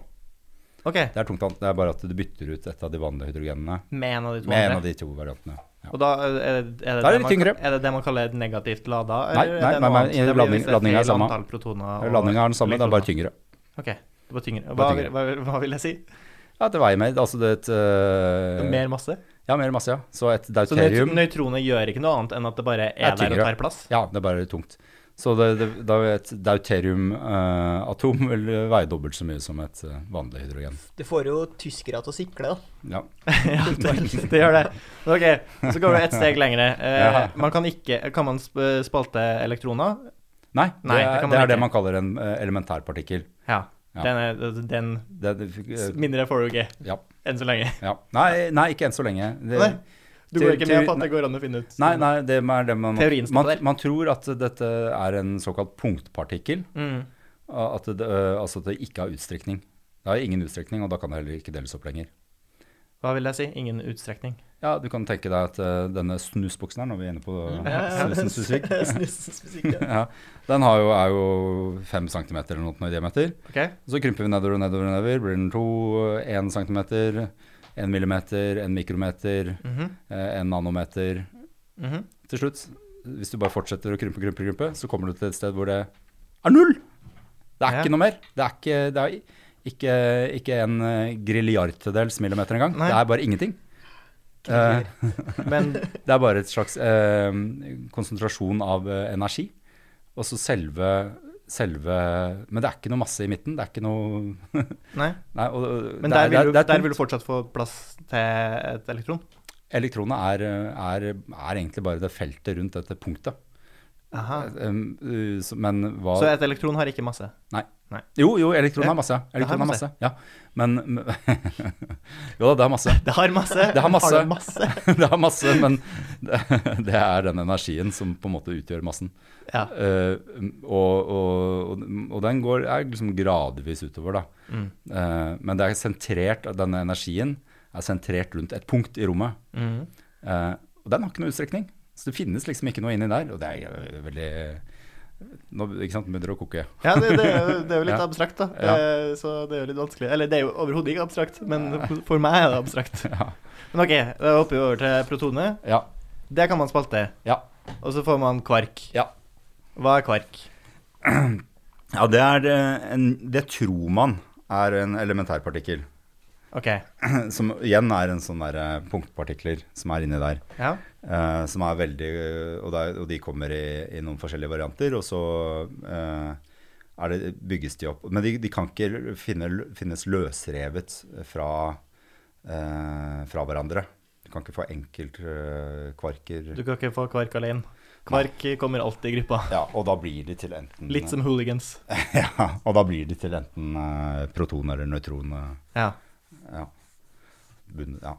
S3: Ok,
S2: Det er tungt vann, det er bare at du bytter ut et av de vanlige hydrogenene
S3: med en av de to
S2: med en
S3: andre.
S2: av de to variantene. Ja.
S3: Og da eh, er det, er det,
S2: Da er det
S3: man,
S2: tyngre.
S3: er det det man kaller negativt lada?
S2: Nei, nei,
S3: eller er det
S2: nei,
S3: noe
S2: nei,
S3: annet?
S2: i
S3: Det blir
S2: ladning-
S3: visst et
S2: ladninga er
S3: feil
S2: samme.
S3: antall protoner og
S2: Landinga er den samme, det er bare tyngre.
S3: elektroner. Ok, det var tyngre. Hva,
S2: Bare tyngre.
S3: Hva, hva, vil jeg si?
S2: Ja, det veier mer. Altså det er et eh,
S3: Mer masse?
S2: Ja, mer masse, ja. Så et
S3: Så nøyt-
S2: deuterium
S3: nøytroner gjør ikke noe annet enn at det bare er,
S2: Det er
S3: der og
S2: tyngre.
S3: tar plass?
S2: Ja, det er bare tungt. Så det, det, da vil et deuterium-atom vil veie dobbelt så mye som et eh, vanlig hydrogen.
S1: Det får jo tyskere til å sikle, da.
S2: Ja.
S3: ja, det gjør det. Ok, så går du ett steg lengre. Eh,
S2: Ja.
S3: man kan ikke Kan man sp- spalte elektroner?
S2: Nei,
S3: Nei,
S2: det
S3: det
S2: er det,
S3: kan man
S2: er det
S3: ikke.
S2: man kaller en eh, elementærpartikkel.
S3: Ja.
S2: Ja.
S3: Den, er, den
S2: Det, det, fikk, eh,
S3: mindre får du ikke
S2: ja,
S3: enn så lenge.
S2: ja. Nei, nei, ikke enn så lenge. Det,
S3: Nei. Du går
S2: Teori-
S3: ikke med på
S2: teori-
S3: at det går an å finne ut
S2: nei, nei, det er det man
S3: Teorien står
S2: man,
S3: der.
S2: man tror at dette er en såkalt punktpartikkel.
S3: Mm.
S2: At det, eh, altså at det ikke har utstrekning. Det har ingen utstrekning, og da kan det heller ikke deles opp lenger.
S3: Hva vil jeg si? Ingen utstrekning.
S2: Ja, du kan tenke deg at eh, denne snusboksen her, når vi er inne på
S1: Ja, ja.
S2: snusen Susvik,
S1: Snusmusikk, ja.
S2: ja, den har jo, er jo fem centimeter eller noe i diameter.
S3: Ok?
S2: Så krymper vi nedover og nedover og nedover. Blir den to, én centimeter, én millimeter, én mikrometer,
S3: Mhm,
S2: eh, en nanometer.
S3: mhm.
S2: Til slutt, hvis du bare fortsetter å krympe, krympe, krympe, så kommer du til et sted hvor det er null! Det er
S3: Ja.
S2: ikke noe mer. Det er ikke, det er i- ikke, ikke en eh, grilliardtedels millimeter engang.
S3: Nei.
S2: Det er bare ingenting. Eh,
S3: Men
S2: det er bare et slags eh, konsentrasjon av eh, energi. Og så selve, selve Men det er ikke noe masse i midten. Det er ikke noe
S3: Nei.
S2: Nei, og,
S3: Men
S2: det er-
S3: der vil, du,
S2: det er- det er
S3: der
S2: tungt.
S3: vil du fortsatt få plass til et elektron?
S2: Elektronene er, er, er egentlig bare det feltet rundt dette punktet.
S3: Aha.
S2: Um, uh, så- Men hva
S3: Så et elektron har ikke masse?
S2: Jo, jo, elektronen
S3: Ja,
S2: har masse. ja.
S3: det har
S2: Elektronen har masse. Ja. Men Jo da, det har masse.
S3: Det har masse!
S2: Det har masse.
S3: Har det masse?
S2: Det har masse, men det, det er den energien som på en måte utgjør massen.
S3: Ja.
S2: Eh, og, og, og den går er liksom gradvis utover, da.
S3: Mm.
S2: Eh, men det er sentrert, denne energien er sentrert rundt et punkt i rommet.
S3: Mm.
S2: Eh, og den har ikke noe utstrekning. Så det finnes liksom ikke noe inni der. Og det er jo veldig Nå ikke sant, begynner det å koke.
S3: Ja, det, det, er jo- det er jo litt
S2: Ja.
S3: abstrakt, da.
S2: Ja.
S3: Eh, Så det er jo litt vanskelig. Eller det er jo overhodet ikke abstrakt, men for meg er det abstrakt.
S2: Ja.
S3: Men ok, da hopper vi over til protonet.
S2: Ja.
S3: Det kan man spalte.
S2: Ja.
S3: Og så får man kvark.
S2: Ja.
S3: Hva er kvark?
S2: Ja, det, er eh, en, det tror man er en elementærpartikkel.
S3: Ok.
S2: Som igjen er en sånn der eh, punktpartikler som er inni der.
S3: Ja.
S2: eh, som er veldig eh, og, det er- og de kommer i, i noen forskjellige varianter, og så eh, er det, bygges de opp. Men de, de kan ikke finne, finnes løsrevet fra, eh, fra hverandre. Du kan ikke få eh, enkeltkvarker
S3: Du kan ikke få kvark alene. Kvark kommer alltid i gruppa.
S2: ja, og da blir de til enten
S3: Litt som hooligans.
S2: ja, Og da blir de til enten eh, proton eller nøytron. eh,
S3: Ja.
S2: Ja. Bunn- ja.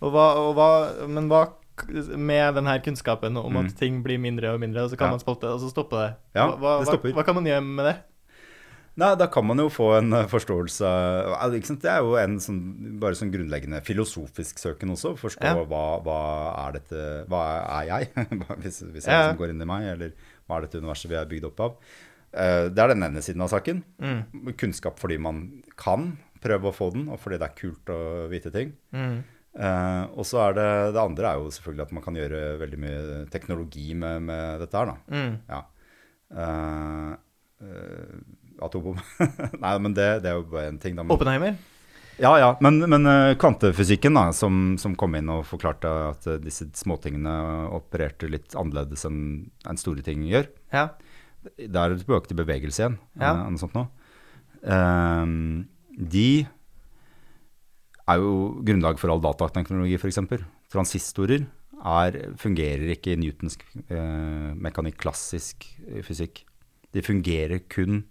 S3: Og hva, og hva, men hva k- med den her kunnskapen om at
S2: Mm.
S3: ting blir mindre og mindre, og så kan
S2: Ja.
S3: man spolte det, og så stopper det?
S2: Ja,
S3: hva, hva-
S2: det stopper.
S3: Hva, hva kan man gjøre med det?
S2: Nei, da kan man jo få en eh, forståelse av- eh, ikke sant? Det er jo en sånn, bare sånn grunnleggende filosofisk søken også. Forstå
S3: Ja.
S2: hva, hva er dette Hva er jeg? Hva- hvis, hvis det er
S3: Ja.
S2: noe som går inn i meg, eller hva er dette universet vi er bygd opp av? Eh, Det er den ene siden av saken. Mm. Kunnskap fordi man kan prøve å få den, og fordi det er kult å vite ting. Eh, og så er det det andre er jo selvfølgelig at man kan gjøre veldig mye Mm. teknologi med, med dette her, da. Ja. Eh, eh, Atombom. Nei, men det, det er jo bare en ting. Da. Men,
S3: Oppenheimer?
S2: ja, ja, men, men eh, kvantefysikken da, som, som kom inn og forklarte at eh, disse småtingene opererte litt annerledes enn enn store ting gjør,
S3: Ja.
S2: det er tilbake til bevegelse igjen,
S3: Ja.
S2: eller noe sånt nå. Ehm, de er jo grunnlag for all datateknologi, f.eks. Transistorer er, fungerer ikke i newtonsk eh, mekanikk, klassisk eh, fysikk. De fungerer kun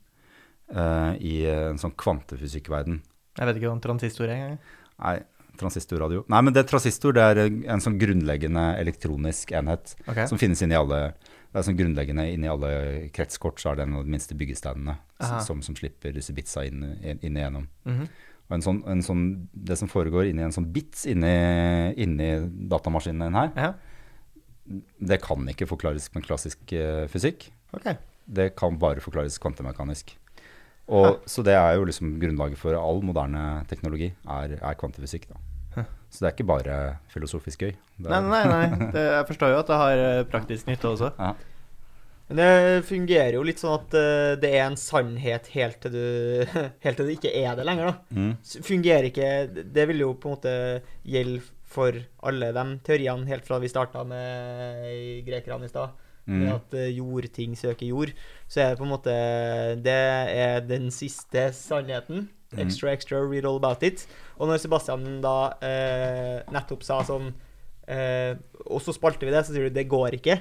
S2: eh, i en sånn kvantefysikkverden.
S3: Jeg vet ikke om transistor er engang.
S2: Nei, transistorradio Nei, men det transistor det er en sånn grunnleggende elektronisk enhet
S3: Ok.
S2: som finnes inni alle det er sånn grunnleggende inni alle kretskort, så er det en av de minste byggesteinene s-
S3: Aha.
S2: som, som slipper disse bitsa inn, inn, inn igjennom.
S3: Mhm.
S2: Og en sånn, en sånn, det som foregår inni en sånn bits inni, inni datamaskinen din her,
S3: Ja,
S2: det kan ikke forklares med klassisk eh, fysikk.
S3: ok.
S2: Det kan bare forklares kvantemekanisk. Og, så det er jo liksom grunnlaget for all moderne teknologi, er, er kvantefysikk. Da.
S3: Hæ.
S2: Så det er ikke bare filosofisk gøy. Det
S3: Nei,
S2: er,
S3: nei, nei. Det, jeg forstår jo at det har eh, praktisk nytte også.
S2: Ja.
S1: Men det fungerer jo litt sånn at eh, det er en sannhet helt til, du, helt til det ikke er det lenger, da.
S2: Mm.
S1: S- Fungerer ikke Det vil jo på en måte gjelde for alle de teoriene helt fra vi starta med grekerne i stad.
S2: Mm.
S1: Med at eh, jordting søker jord. Så er det på en måte Det er den siste sannheten.
S2: Mhm.
S1: Extra, extra, read all about it. Og når Sebastian da eh, nettopp sa sånn eh, Og så spalte vi det, så sier du det går ikke.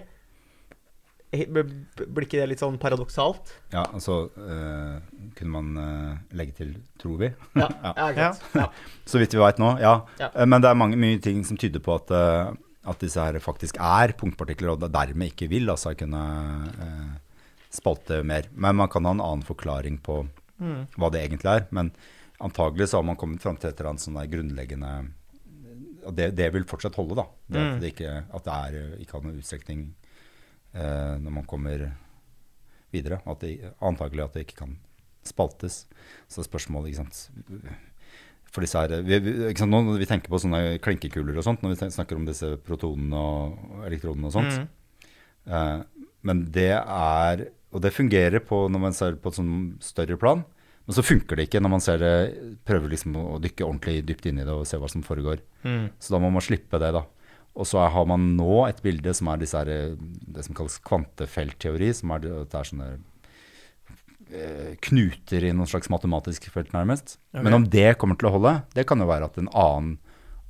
S1: Eh, b- b- Blir ikke det litt sånn paradoksalt?
S2: Ja, altså eh, kunne man eh, legge til 'tror vi'.
S1: Ja,
S2: Ja.
S1: ja. ikke sant? Ja.
S2: Så vidt vi veit nå, ja.
S1: Ja.
S2: Eh, men det er mange, mye ting som tyder på at, eh, at disse her faktisk er punktpartikler, og dermed ikke vil altså kunne eh, spalte mer. Men man kan ha en annen forklaring på
S3: Mm.
S2: hva det egentlig er. Men antagelig så har man kommet fram til et eller annet sånn der grunnleggende Og det, det vil fortsatt holde, da. Det at
S3: Mm.
S2: det ikke, at det er, ikke har noen utstrekning eh, når man kommer videre. At det, antagelig at det ikke kan spaltes. Så er spørsmålet, ikke sant for disse her, vi, vi, ikke sant, nå Når vi tenker på sånne klinkekuler og sånt, når vi ten- snakker om disse protonene og og elektronene og sånt,
S3: Mm.
S2: Eh, men det er Og det fungerer på, når man ser på et sånn større plan. Men så funker det ikke når man ser det, prøver liksom å dykke ordentlig dypt inn i det og se hva som foregår.
S3: Mm.
S2: Så da må man slippe det, da. Og så har man nå et bilde som er disse her, eh, det som kalles kvantefeltteori, som er det at det er sånne eh, knuter i noen slags matematisk felt, nærmest.
S3: Ok.
S2: Men om det kommer til å holde, det kan jo være at en annen,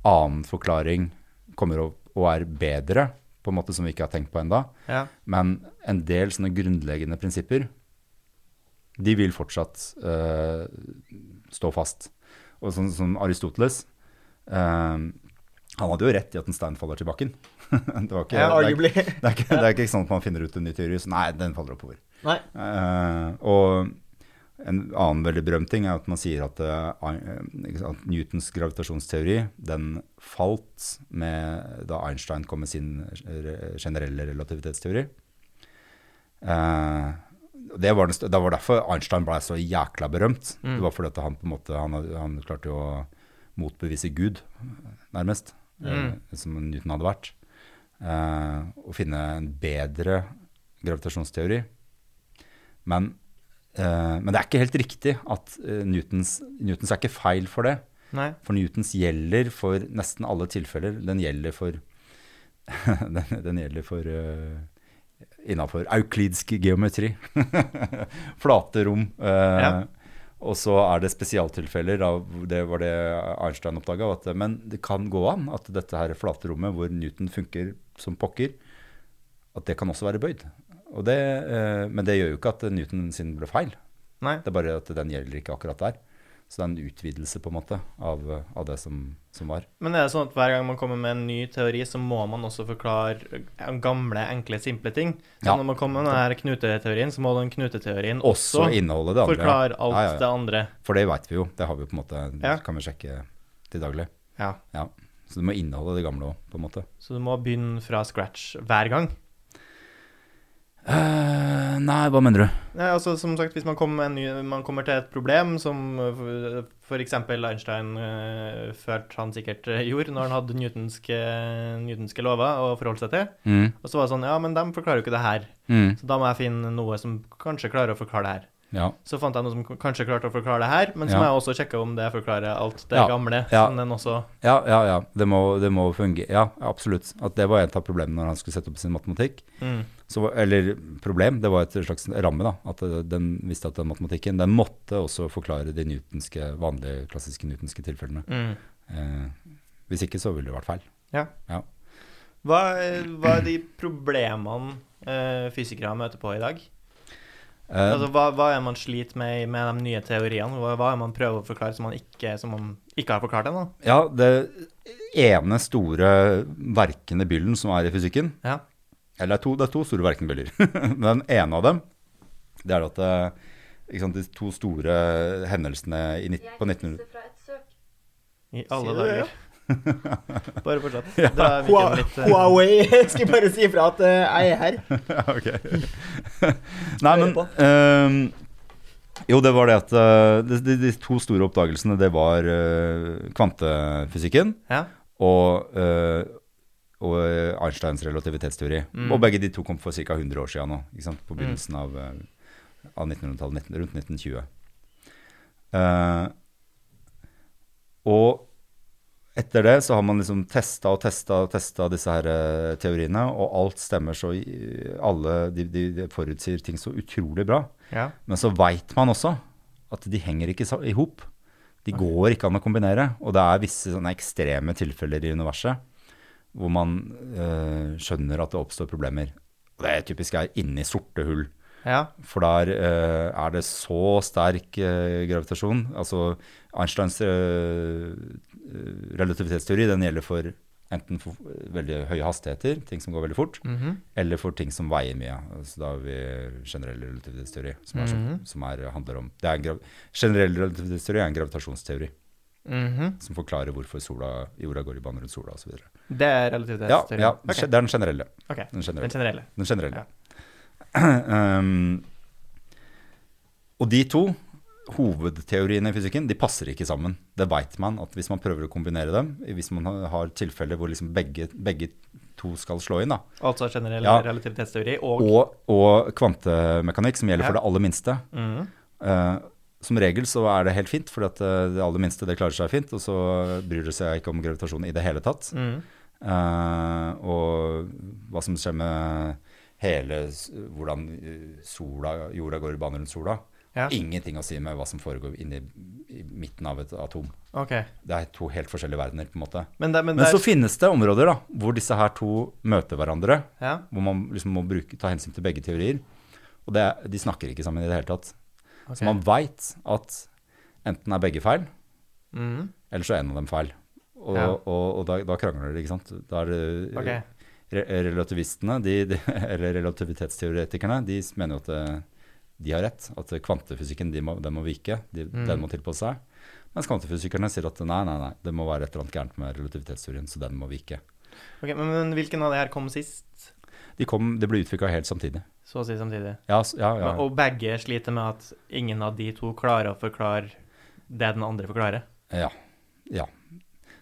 S2: annen forklaring kommer opp og er bedre, på en måte som vi ikke har tenkt på enda.
S3: Ja.
S2: Men en del sånne grunnleggende prinsipper, de vil fortsatt eh, stå fast. Og sånn som Aristoteles eh, Han hadde jo rett i at en stein faller til bakken. det, var ikke,
S1: Ja,
S2: det, er,
S1: arguably.
S2: det, er ikke, det er ikke sånn at man finner ut en ny teori. Så nei, den faller oppover.
S1: Nei.
S2: Eh, og en annen veldig berømt ting er at man sier at, eh, Ein- ikke sant, at Newtons gravitasjonsteori den falt med da Einstein kom med sin eh, generelle relativitetsteori. Eh, og det, var den, stø- det var derfor Einstein ble så jækla berømt.
S3: Mm.
S2: Det var fordi at han på en måte han, had- han klarte jo å motbevise Gud, nærmest,
S3: Mm.
S2: eh, som Newton hadde vært. Eh, å finne en bedre gravitasjonsteori. Men, eh, men det er ikke helt riktig at eh, Newtons, Newtons er ikke feil for det.
S3: Nei.
S2: For Newtons gjelder for nesten alle tilfeller. Den gjelder for den, den gjelder for uh, innafor euklidsk geometri. Flate rom. eh,
S3: Ja.
S2: Og så er det spesialtilfeller, av, det var det Einstein oppdaga. Men det kan gå an at dette her flate rommet hvor Newton funker som pokker, at det kan også være bøyd. Og det, eh, men det gjør jo ikke at Newton sin ble feil.
S3: Nei.
S2: Det er bare at den gjelder ikke akkurat der. Så det er en utvidelse på en måte av, av det som, som var.
S3: Men er det sånn at hver gang man kommer med en ny teori, så må man også forklare eh, gamle, enkle, simple ting? Så
S2: Ja.
S3: når man kommer med denne knuteteorien, så må den knuteteorien
S2: Også
S3: også
S2: inneholdet det andre.
S3: forklare alt
S2: Ja, ja, ja.
S3: det andre.
S2: For det veit vi jo. Det har vi jo på en måte,
S3: Ja.
S2: kan vi sjekke til daglig.
S3: Ja.
S2: Ja. Så du må inneholde det gamle òg, på en måte.
S3: Så du må begynne fra scratch hver gang.
S2: Eh, nei, hva mener du?
S3: Nei, altså som sagt, Hvis man kommer, med en ny, man kommer til et problem som eh, f.eks. Einstein øh, følte han sikkert øh, gjorde når han hadde newtonske, newtonske lover å forholde seg til,
S2: Mm.
S3: og så var det sånn Ja, men de forklarer jo ikke det her.
S2: Mm.
S3: Så da må jeg finne noe som kanskje klarer å forklare det her.
S2: Ja.
S3: Så fant jeg noe som k- kanskje klarte å forklare det her, men så
S2: Ja.
S3: må jeg også sjekke om det forklarer alt det
S2: Ja.
S3: gamle.
S2: Ja.
S3: Som den også
S2: Ja, ja, ja. Det må, det må fungere. Ja, absolutt. At det var et av problemene når han skulle sette opp sin matematikk.
S3: mm,
S2: Så, var- eller problem, det var et slags ramme, da. At eh, den visste at den matematikken den måtte også forklare de newtonske, vanlige, klassiske newtonske tilfellene.
S3: mm.
S2: Eh, hvis ikke så ville det vært feil.
S3: Hva, hva er de problemene eh, fysikere møter på i dag?
S2: Eh,
S3: Altså, hva, hva er man sliter med med de nye teoriene? Hva, hva er man prøver å forklare som man ikke, som man ikke har forklart ennå?
S2: ja, det ene store verkende byllen som er i fysikken,
S3: Ja.
S2: Eller det er to, det er to store verkenbøller. Men den ene av dem, det er at eh, ikke sant, de to store hendelsene i, nitt- på 1900
S4: fra et søk.
S3: I
S1: Sier
S3: alle
S1: du det,
S3: dager. Bare fortsett.
S2: Ja.
S3: Da er vi ikke litt eh,
S1: Huawei jeg skal bare si ifra at eh, jeg er her.
S2: Ok. Nei, men ehm, Jo, det var det at eh, de, de, de to store oppdagelsene, det var eh, kvantefysikken
S3: Ja.
S2: og, eh, og eh, Einsteins relativitetsteori.
S3: Mm.
S2: Og begge de to kom for ca. 100 år siden nå, ikke sant? på begynnelsen av, eh, av 1900-tallet, 19, rundt 1920. Eh, og etter det så har man liksom testa og testa og testa disse her eh, teoriene, og alt stemmer så i- Alle de, de, de forutsier ting så utrolig bra.
S3: ja.
S2: Men så veit man også at de henger ikke i hop. De går ikke an å kombinere. Og det er visse sånne ekstreme tilfeller i universet hvor man eh, skjønner at det oppstår problemer. Og Det er typisk er inni sorte hull.
S3: ja.
S2: For der eh, er det så sterk eh, gravitasjon. Altså Einsteins eh, eh, relativitetsteori den gjelder for enten for eh, veldig høye hastigheter, ting som går veldig fort,
S3: Mhm.
S2: eller for ting som veier mye. Så da har vi generell relativitetsteori, som, er, sånn-
S3: Mhm.
S2: som er, handler om det er en grav, Generell relativitetsteori er en gravitasjonsteori
S3: Mhm.
S2: som forklarer hvorfor sola, jorda går i bane rundt sola osv.
S3: Det er relativitetsteorien.
S2: Ja, ja,
S3: Ok,
S2: det er den generelle.
S3: ok.
S2: Den generelle.
S3: Den generelle.
S2: Den generelle. um, og de to hovedteoriene i fysikken de passer ikke sammen. Det veit man at hvis man prøver å kombinere dem, hvis man har- har tilfeller hvor liksom begge, begge to skal slå inn, da,
S3: Altså generell
S2: Ja.
S3: relativitetsteori og,
S2: og, og kvantemekanikk, som gjelder
S3: Ja.
S2: for det aller minste
S3: Mhm.
S2: eh, Som regel så er det helt fint, for at eh, det aller minste det klarer seg fint, og så bryr det seg ikke om gravitasjon i det hele tatt.
S3: Mhm.
S2: Eh, og hva som skjer med hele s- hvordan eh, sola, jorda går i bane rundt sola.
S3: Ja.
S2: Ingenting å si med hva som foregår inni i midten av et atom.
S3: Ok.
S2: Det er to helt forskjellige verdener, på en måte.
S3: Men, der, men,
S2: Men
S3: der,
S2: så finnes det områder da, hvor disse her to møter hverandre,
S3: ja.
S2: hvor man liksom må bruke, ta hensyn til begge teorier. Og det, er- de snakker ikke sammen i det hele tatt.
S3: ok.
S2: Så man veit at enten er begge feil,
S3: Mhm.
S2: eller så er en av dem feil. Og,
S3: Ja.
S2: og, og da, da krangler de, ikke sant. Da er det
S3: Ok.
S2: re- relativistene, de, de, eller relativitetsteoretikerne, de mener jo at eh, de har rett. At kvantefysikken de må, den må vike, de,
S3: Mm.
S2: den må tilpasse seg. Mens kvantefysikerne sier at nei, nei, nei, det må være et eller annet gærent med relativitetsteorien, så den må vike.
S3: Ok, men, men hvilken av de her kom sist?
S2: De kom, det ble utvikla helt samtidig.
S3: Så å si samtidig.
S2: Ja, s- ja, ja.
S3: Men- Og begge sliter med at ingen av de to klarer å forklare det den andre forklarer.
S2: ja, ja.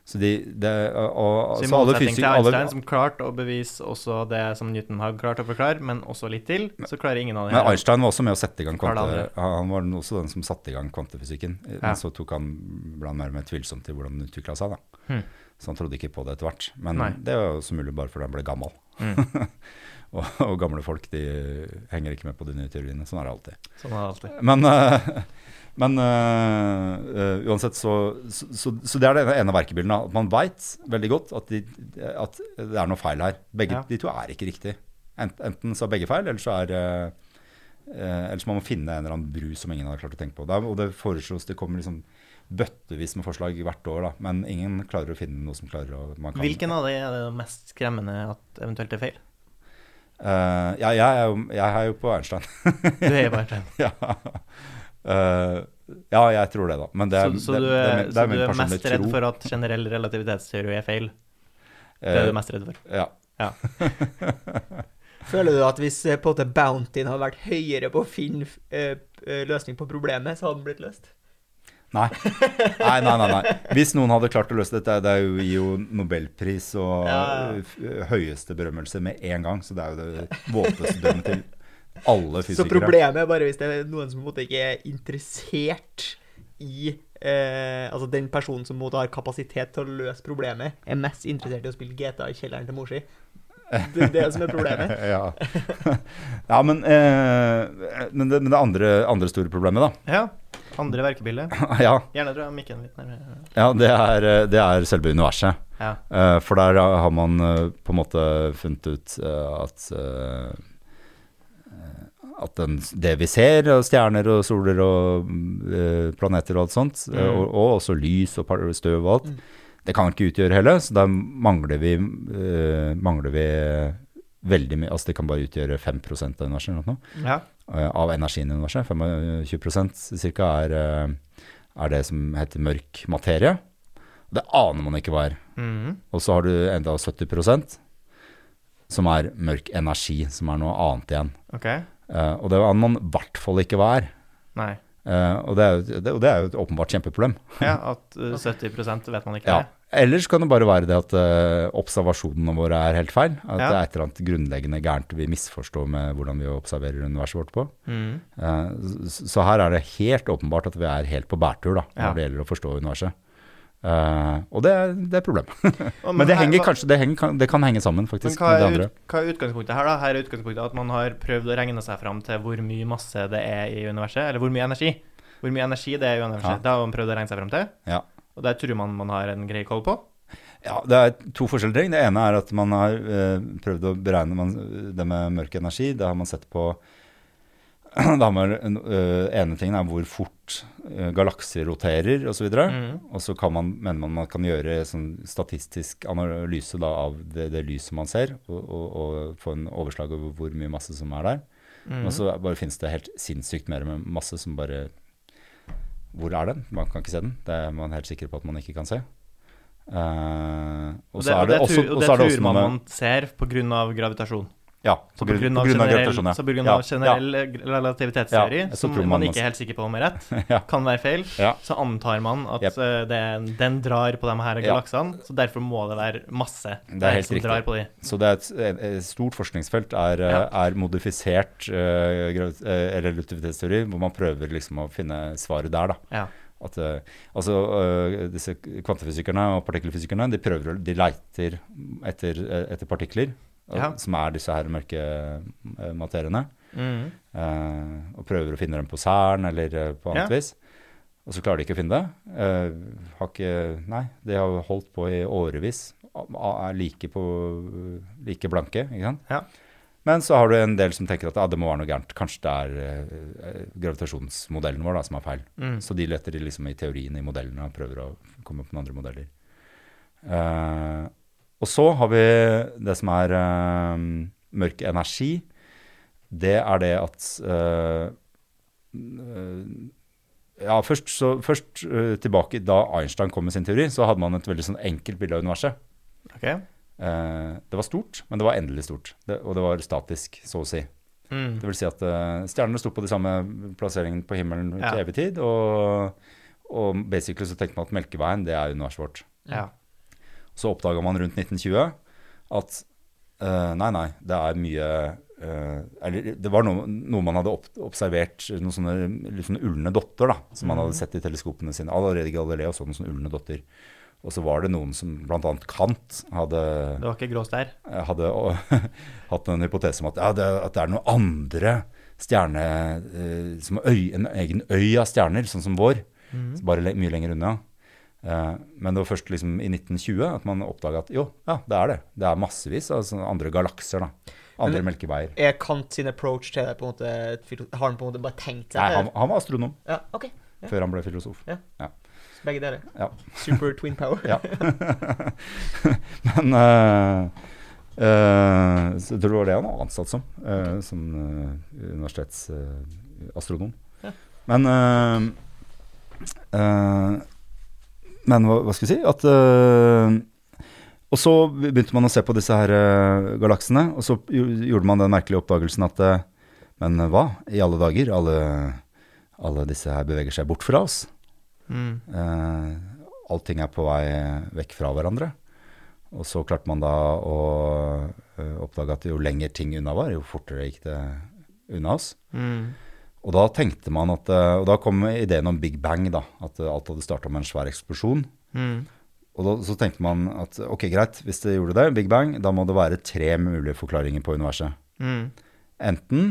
S2: Så de det, og, og,
S3: Så i
S2: så alle
S3: motsetning til
S2: fysikere
S3: Einstein,
S2: alle,
S3: som klarte å bevise også det som Newton har klart å forklare, men også litt til, så klarer ingen av de
S2: Men
S3: her.
S2: Einstein var også med å sette i gang kvante,
S3: Karl Andre.
S2: Han var den- også den som satte i gang kvantefysikken. eh, Men
S3: Ja.
S2: så tok han ble han mer og mer tvilsom til hvordan den utvikla seg. Da.
S3: Hmm.
S2: Så han trodde ikke på det etter hvert. Men
S3: Nei.
S2: det var jo som mulig bare fordi han ble gammel.
S3: Mm.
S2: og, og gamle folk de henger ikke med på de nye teoriene. Sånn er det alltid.
S3: Sånn er det alltid.
S2: Men, eh, men eh, eh, uansett, så, så, så, så det er det ene verkebilden. da. At man veit veldig godt at, de, at det er noe feil her. Begge,
S3: Ja.
S2: De to er ikke riktig. Ent, enten så er begge feil, eller så er eh, eh, Eller så må man finne en eller annen bru som ingen har klart å tenke på. Det er, og det foreslås det kommer liksom bøttevis med forslag hvert år, da. Men ingen klarer å finne noe som klarer å man kan-
S3: Hvilken av de er det mest skremmende at eventuelt er feil?
S2: Eh, ja, jeg, er jo, jeg er jo på Einstein.
S3: Du er bare slem.
S2: ja. Eh, ja, jeg tror det, da. Men det er,
S3: Så, så
S2: det,
S3: du
S2: det
S3: er,
S2: min- det
S3: så du
S2: min
S3: er
S2: personlige
S3: mest redd
S2: tro.
S3: for at generell relativitetsteori er feil? Det
S2: Eh,
S3: er du mest redd for?
S2: Ja.
S3: Ja.
S1: Føler du at hvis eh, på en måte bountyen hadde vært høyere på å finne eh, eh, løsning på problemet, så hadde den blitt løst?
S2: Nei. Nei, nei, nei, nei. Hvis noen hadde klart å løse dette, det er jo, gir jo nobelpris og
S1: Ja, ja.
S2: f- høyeste berømmelse med en gang, så det er jo det våteste dømmet til alle
S1: Så
S2: fysikere.
S1: problemet er bare hvis det er noen som på en måte ikke er interessert i eh, Altså den personen som på en måte har kapasitet til å løse problemet, er mest interessert i å spille GTA i kjelleren til mor si. Det er det som er problemet.
S2: ja. ja, men, eh, men det, men det andre, andre store problemet, da.
S3: Ja. Andre verkebilde.
S2: ja,
S3: Gjerne dra mikken litt nærmere.
S2: ja det, er, eh, det er selve universet.
S3: Ja.
S2: Eh, for der har man eh, på en måte funnet ut eh, at eh, at den, det vi ser, og stjerner og soler og mm, eh, planeter og alt sånt, eh,
S3: Mm.
S2: og, og også lys og par- støv og alt,
S1: Mm.
S2: det kan ikke utgjøre hele, så der mangler vi, eh, mangler vi veldig mye, altså det kan bare utgjøre 5 av universet eller noe,
S3: ja.
S2: eh, av energien i universet, 25 cirka er, eh, er det som heter mørk materie. Det aner man ikke hva er.
S3: Mhm.
S2: Og så har du enda 70 som er mørk energi, som er noe annet igjen.
S3: Ok.
S2: Eh, og det aner man i hvert fall ikke hva er.
S3: Nei.
S2: Eh, og, det er jo, det, og det er jo et åpenbart kjempeproblem.
S3: Ja, at eh, 70 vet man ikke.
S2: Ja. Ellers kan det bare være det at eh, observasjonene våre er helt feil. At
S3: Ja.
S2: det er et eller annet grunnleggende gærent vi misforstår med hvordan vi observerer universet vårt på.
S3: Mhm.
S2: Eh, s- så her er det helt åpenbart at vi er helt på bærtur da, når
S3: Ja.
S2: det gjelder å forstå universet. Eh, og det, er- det er et problem.
S3: Og-
S2: Men det,
S3: her-
S2: henger
S3: hva-
S2: kanskje, det, henger, kan- det kan henge sammen,
S3: Men
S2: faktisk.
S3: hva
S2: med det
S3: er,
S2: andre.
S3: ut, hva er utgangspunktet her, da? Her er utgangspunktet at man har prøvd å regne seg fram til hvor mye masse det er i universet, eller hvor mye energi. Hvor mye energi det er i universet.
S2: Ja.
S3: Det har man prøvd å regne seg fram til,
S2: Ja.
S3: og der tror man man har en grei koll på.
S2: Ja, Det er to forskjellige ting. Det ene er at man har eh, prøvd å beregne man, det med mørk energi. Det har man sett på da har man, eh, ene tingen er hvor fort eh, galakser roterer osv.
S3: Mhm.
S2: Og så kan man, mener man man kan gjøre sånn statistisk analyse da, av det, det lyset man ser, og, og, og få en overslag over hvor mye masse som er der.
S3: Mhm.
S2: Og så bare finnes det helt sinnssykt mer med masse som bare Hvor er den? Man kan ikke se den. Det er man helt sikker på at man ikke kan se. Eh, og så er det
S3: tru-
S2: også,
S3: og
S2: og
S3: det
S2: så er det
S3: tror
S2: også noe
S3: man
S2: med
S3: man ser pga. gravitasjon.
S2: Ja,
S3: Så
S2: på
S3: på
S2: grunn,
S3: grunn
S2: på
S3: av
S2: grunn av gravitasjon, ja.
S3: generell, så på grunn
S2: Ja,
S3: av generell eh, relativitetsteori,
S2: Ja, så
S3: som
S2: tror
S3: man,
S2: man
S3: ikke er helt sikker på om er rett,
S2: Ja.
S3: kan være feil,
S2: Ja.
S3: så antar man at
S2: Jep.
S3: eh, det, er- den drar på de her
S2: Ja.
S3: galaksene, så derfor må det være masse
S2: er
S3: der
S2: helt
S3: som
S2: riktig.
S3: drar på de.
S2: Så det er et, et- et stort forskningsfelt er, eh,
S3: Ja.
S2: er modifisert eh, gravi- eh, relativitetsteori, hvor man prøver liksom å finne svaret der. da.
S3: Ja.
S2: At, eh, altså, eh, disse kvantefysikerne og partikkelfysikerne de prøver, å- de leiter etter, etter partikler, eh,
S3: Ja.
S2: som er disse her mørke eh, materiene,
S3: Mhm.
S2: eh, og prøver å finne dem på CERN eller eh, på annet
S3: Ja.
S2: vis. Og så klarer de ikke å finne det. Eh, har ikke, nei, de har holdt på i årevis. a- a- Er like, på, like blanke, ikke sant?
S3: Ja.
S2: Men så har du en del som tenker at ah, det må være noe gærent. Kanskje det er eh, eh, gravitasjonsmodellen vår da, som er feil.
S3: Mhm.
S2: Så de leter i liksom i teorien i modellene og prøver å komme opp med andre modeller. Eh, og så har vi det som er eh, mørk energi. Det er det at eh, eh, Ja, først, så, først eh, tilbake da Einstein kom med sin teori, så hadde man et veldig sånn enkelt bilde av universet.
S3: Ok.
S2: Eh, det var stort, men det var endelig stort. Det, og det var statisk, så å si.
S3: Mhm.
S2: Det vil si at eh, stjernene sto på de samme plasseringene på himmelen til
S3: Ja.
S2: evig tid, og, og basically så tenkte man at Melkeveien, det er universet vårt.
S3: Ja.
S2: Så oppdaga man rundt 1920 at eh, nei, nei, det er mye eh, Eller det var noe, noe man hadde opp, observert, noen sånne litt sånne ulne dotter da, som man hadde sett i teleskopene sine. Allerede i Galileo så man sånne ulne dotter. Og så var det noen som bl.a. Kant hadde
S3: Det var ikke grå stær.
S2: jeg hadde å, hatt en hypotese om at, ja, det, at det er noen andre stjerne, eh, som har øy, en egen øy av stjerner, sånn som vår,
S1: Mhm.
S2: så bare le, mye lenger unna. Eh, men det var først liksom i 1920 at man oppdaga at jo, ja, det er det. Det er massevis av sånne andre galakser, da. Andre
S1: Men-
S2: melkeveier.
S1: Er Kant sin approach til det på en måte et filo- Har han på en måte bare tenkt seg
S2: Nei,
S1: det?
S2: han, han var astronom
S1: Ja, OK. Ja.
S2: før han ble filosof.
S1: Begge deler.
S2: Ja.
S1: Super twin power.
S2: Ja. Men eh, eh, så jeg tror det var det han var ansatt som, eh, som universitetsastronom.
S1: Ja.
S2: Men eh, eh, Men hva, hva skal vi si? At eh, og så begynte man å se på disse her eh, galaksene, og så gjo- gjorde man den merkelige oppdagelsen at eh, Men hva i alle dager? Alle, alle disse her beveger seg bort fra oss.
S3: Mhm.
S2: Eh, allting er på vei vekk fra hverandre. Og så klarte man da å eh, oppdage at jo lenger ting unna var, jo fortere gikk det unna oss.
S3: Mm.
S2: Og da tenkte man at, eh, og da kom ideen om Big Bang, da, at eh, alt hadde starta med en svær eksplosjon.
S3: Mm.
S2: Og da, så tenkte man at ok, greit, hvis det gjorde det, Big Bang, da må det være tre mulige forklaringer på universet.
S3: Mm.
S2: Enten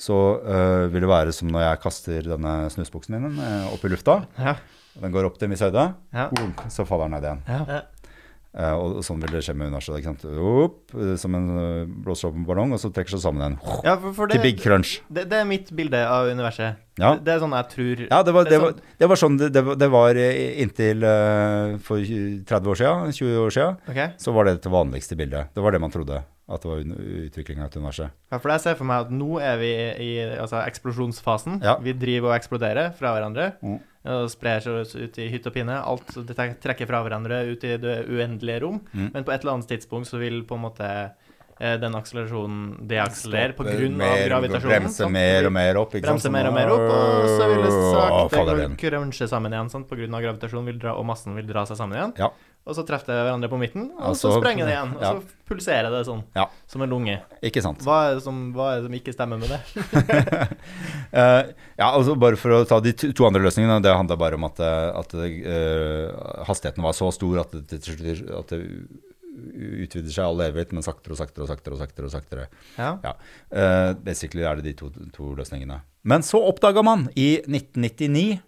S2: så eh, vil det være som når jeg kaster denne snusbuksen min eh, opp i lufta,
S3: Ja.
S2: og den går opp til en viss høyde,
S3: Ja.
S2: boom, så faller den ned igjen.
S3: Ja.
S1: Ja.
S2: Eh, og, og sånn vil det skje med universet. Ikke sant? Opp, eh, som en eh, blåser opp en ballong, og så trekker seg sammen igjen.
S3: ja, for, for det,
S2: Til Big Crunch.
S3: det, det er mitt bilde av universet.
S2: Ja.
S3: Det, det er sånn jeg tror
S2: Ja, det var,
S3: Det
S2: det
S3: er
S2: var, det var sånn det, det var- det var eh, inntil eh, for 20 30 år siden, 20 år siden,
S3: Ok?
S2: så var det det vanligste bildet. Det var det man trodde, at det var utviklinga av et universet.
S3: Ja, for jeg ser for meg at nå er vi i altså, eksplosjonsfasen.
S2: Ja.
S3: Vi driver og eksploderer fra hverandre.
S2: Mm.
S3: Og sprer seg ut i hytt og pinne. Alt det tre- trekker fra hverandre ut i det uendelige rom.
S2: Mm.
S3: Men på et eller annet tidspunkt så vil på en måte eh, den akselerasjonen deakselerere pga.
S2: Mer-
S3: gravitasjonen.
S2: Bremse
S3: sant?
S2: mer og mer opp. Ikke
S3: Bremse
S2: sant?
S3: mer og mer opp, og så vil det
S2: Å,
S3: sakte
S2: faller igjen.
S3: krønsje sammen igjen. Sant? På grunn av gravitasjonen vil dra, og massen vil dra seg sammen igjen.
S2: Ja.
S3: Og så treffer det hverandre på midten, og
S2: Ja,
S3: så,
S2: så-
S3: sprenger det igjen. Og
S2: ja.
S3: så pulserer det sånn,
S2: Ja.
S3: som en lunge.
S2: Ikke sant.
S3: Hva er, det som, hva er det som ikke stemmer med det?
S2: Eh, ja, altså bare for å ta de to to andre løsningene, det handla bare om at, eh, at eh, hastigheten var så stor at det, til slutt- at det utvider seg all evighet, men saktere og saktere og saktere. og saktere og saktere.
S3: Ja.
S2: Ja, eh, basically er det de to, to løsningene. Men så oppdaga man i 1999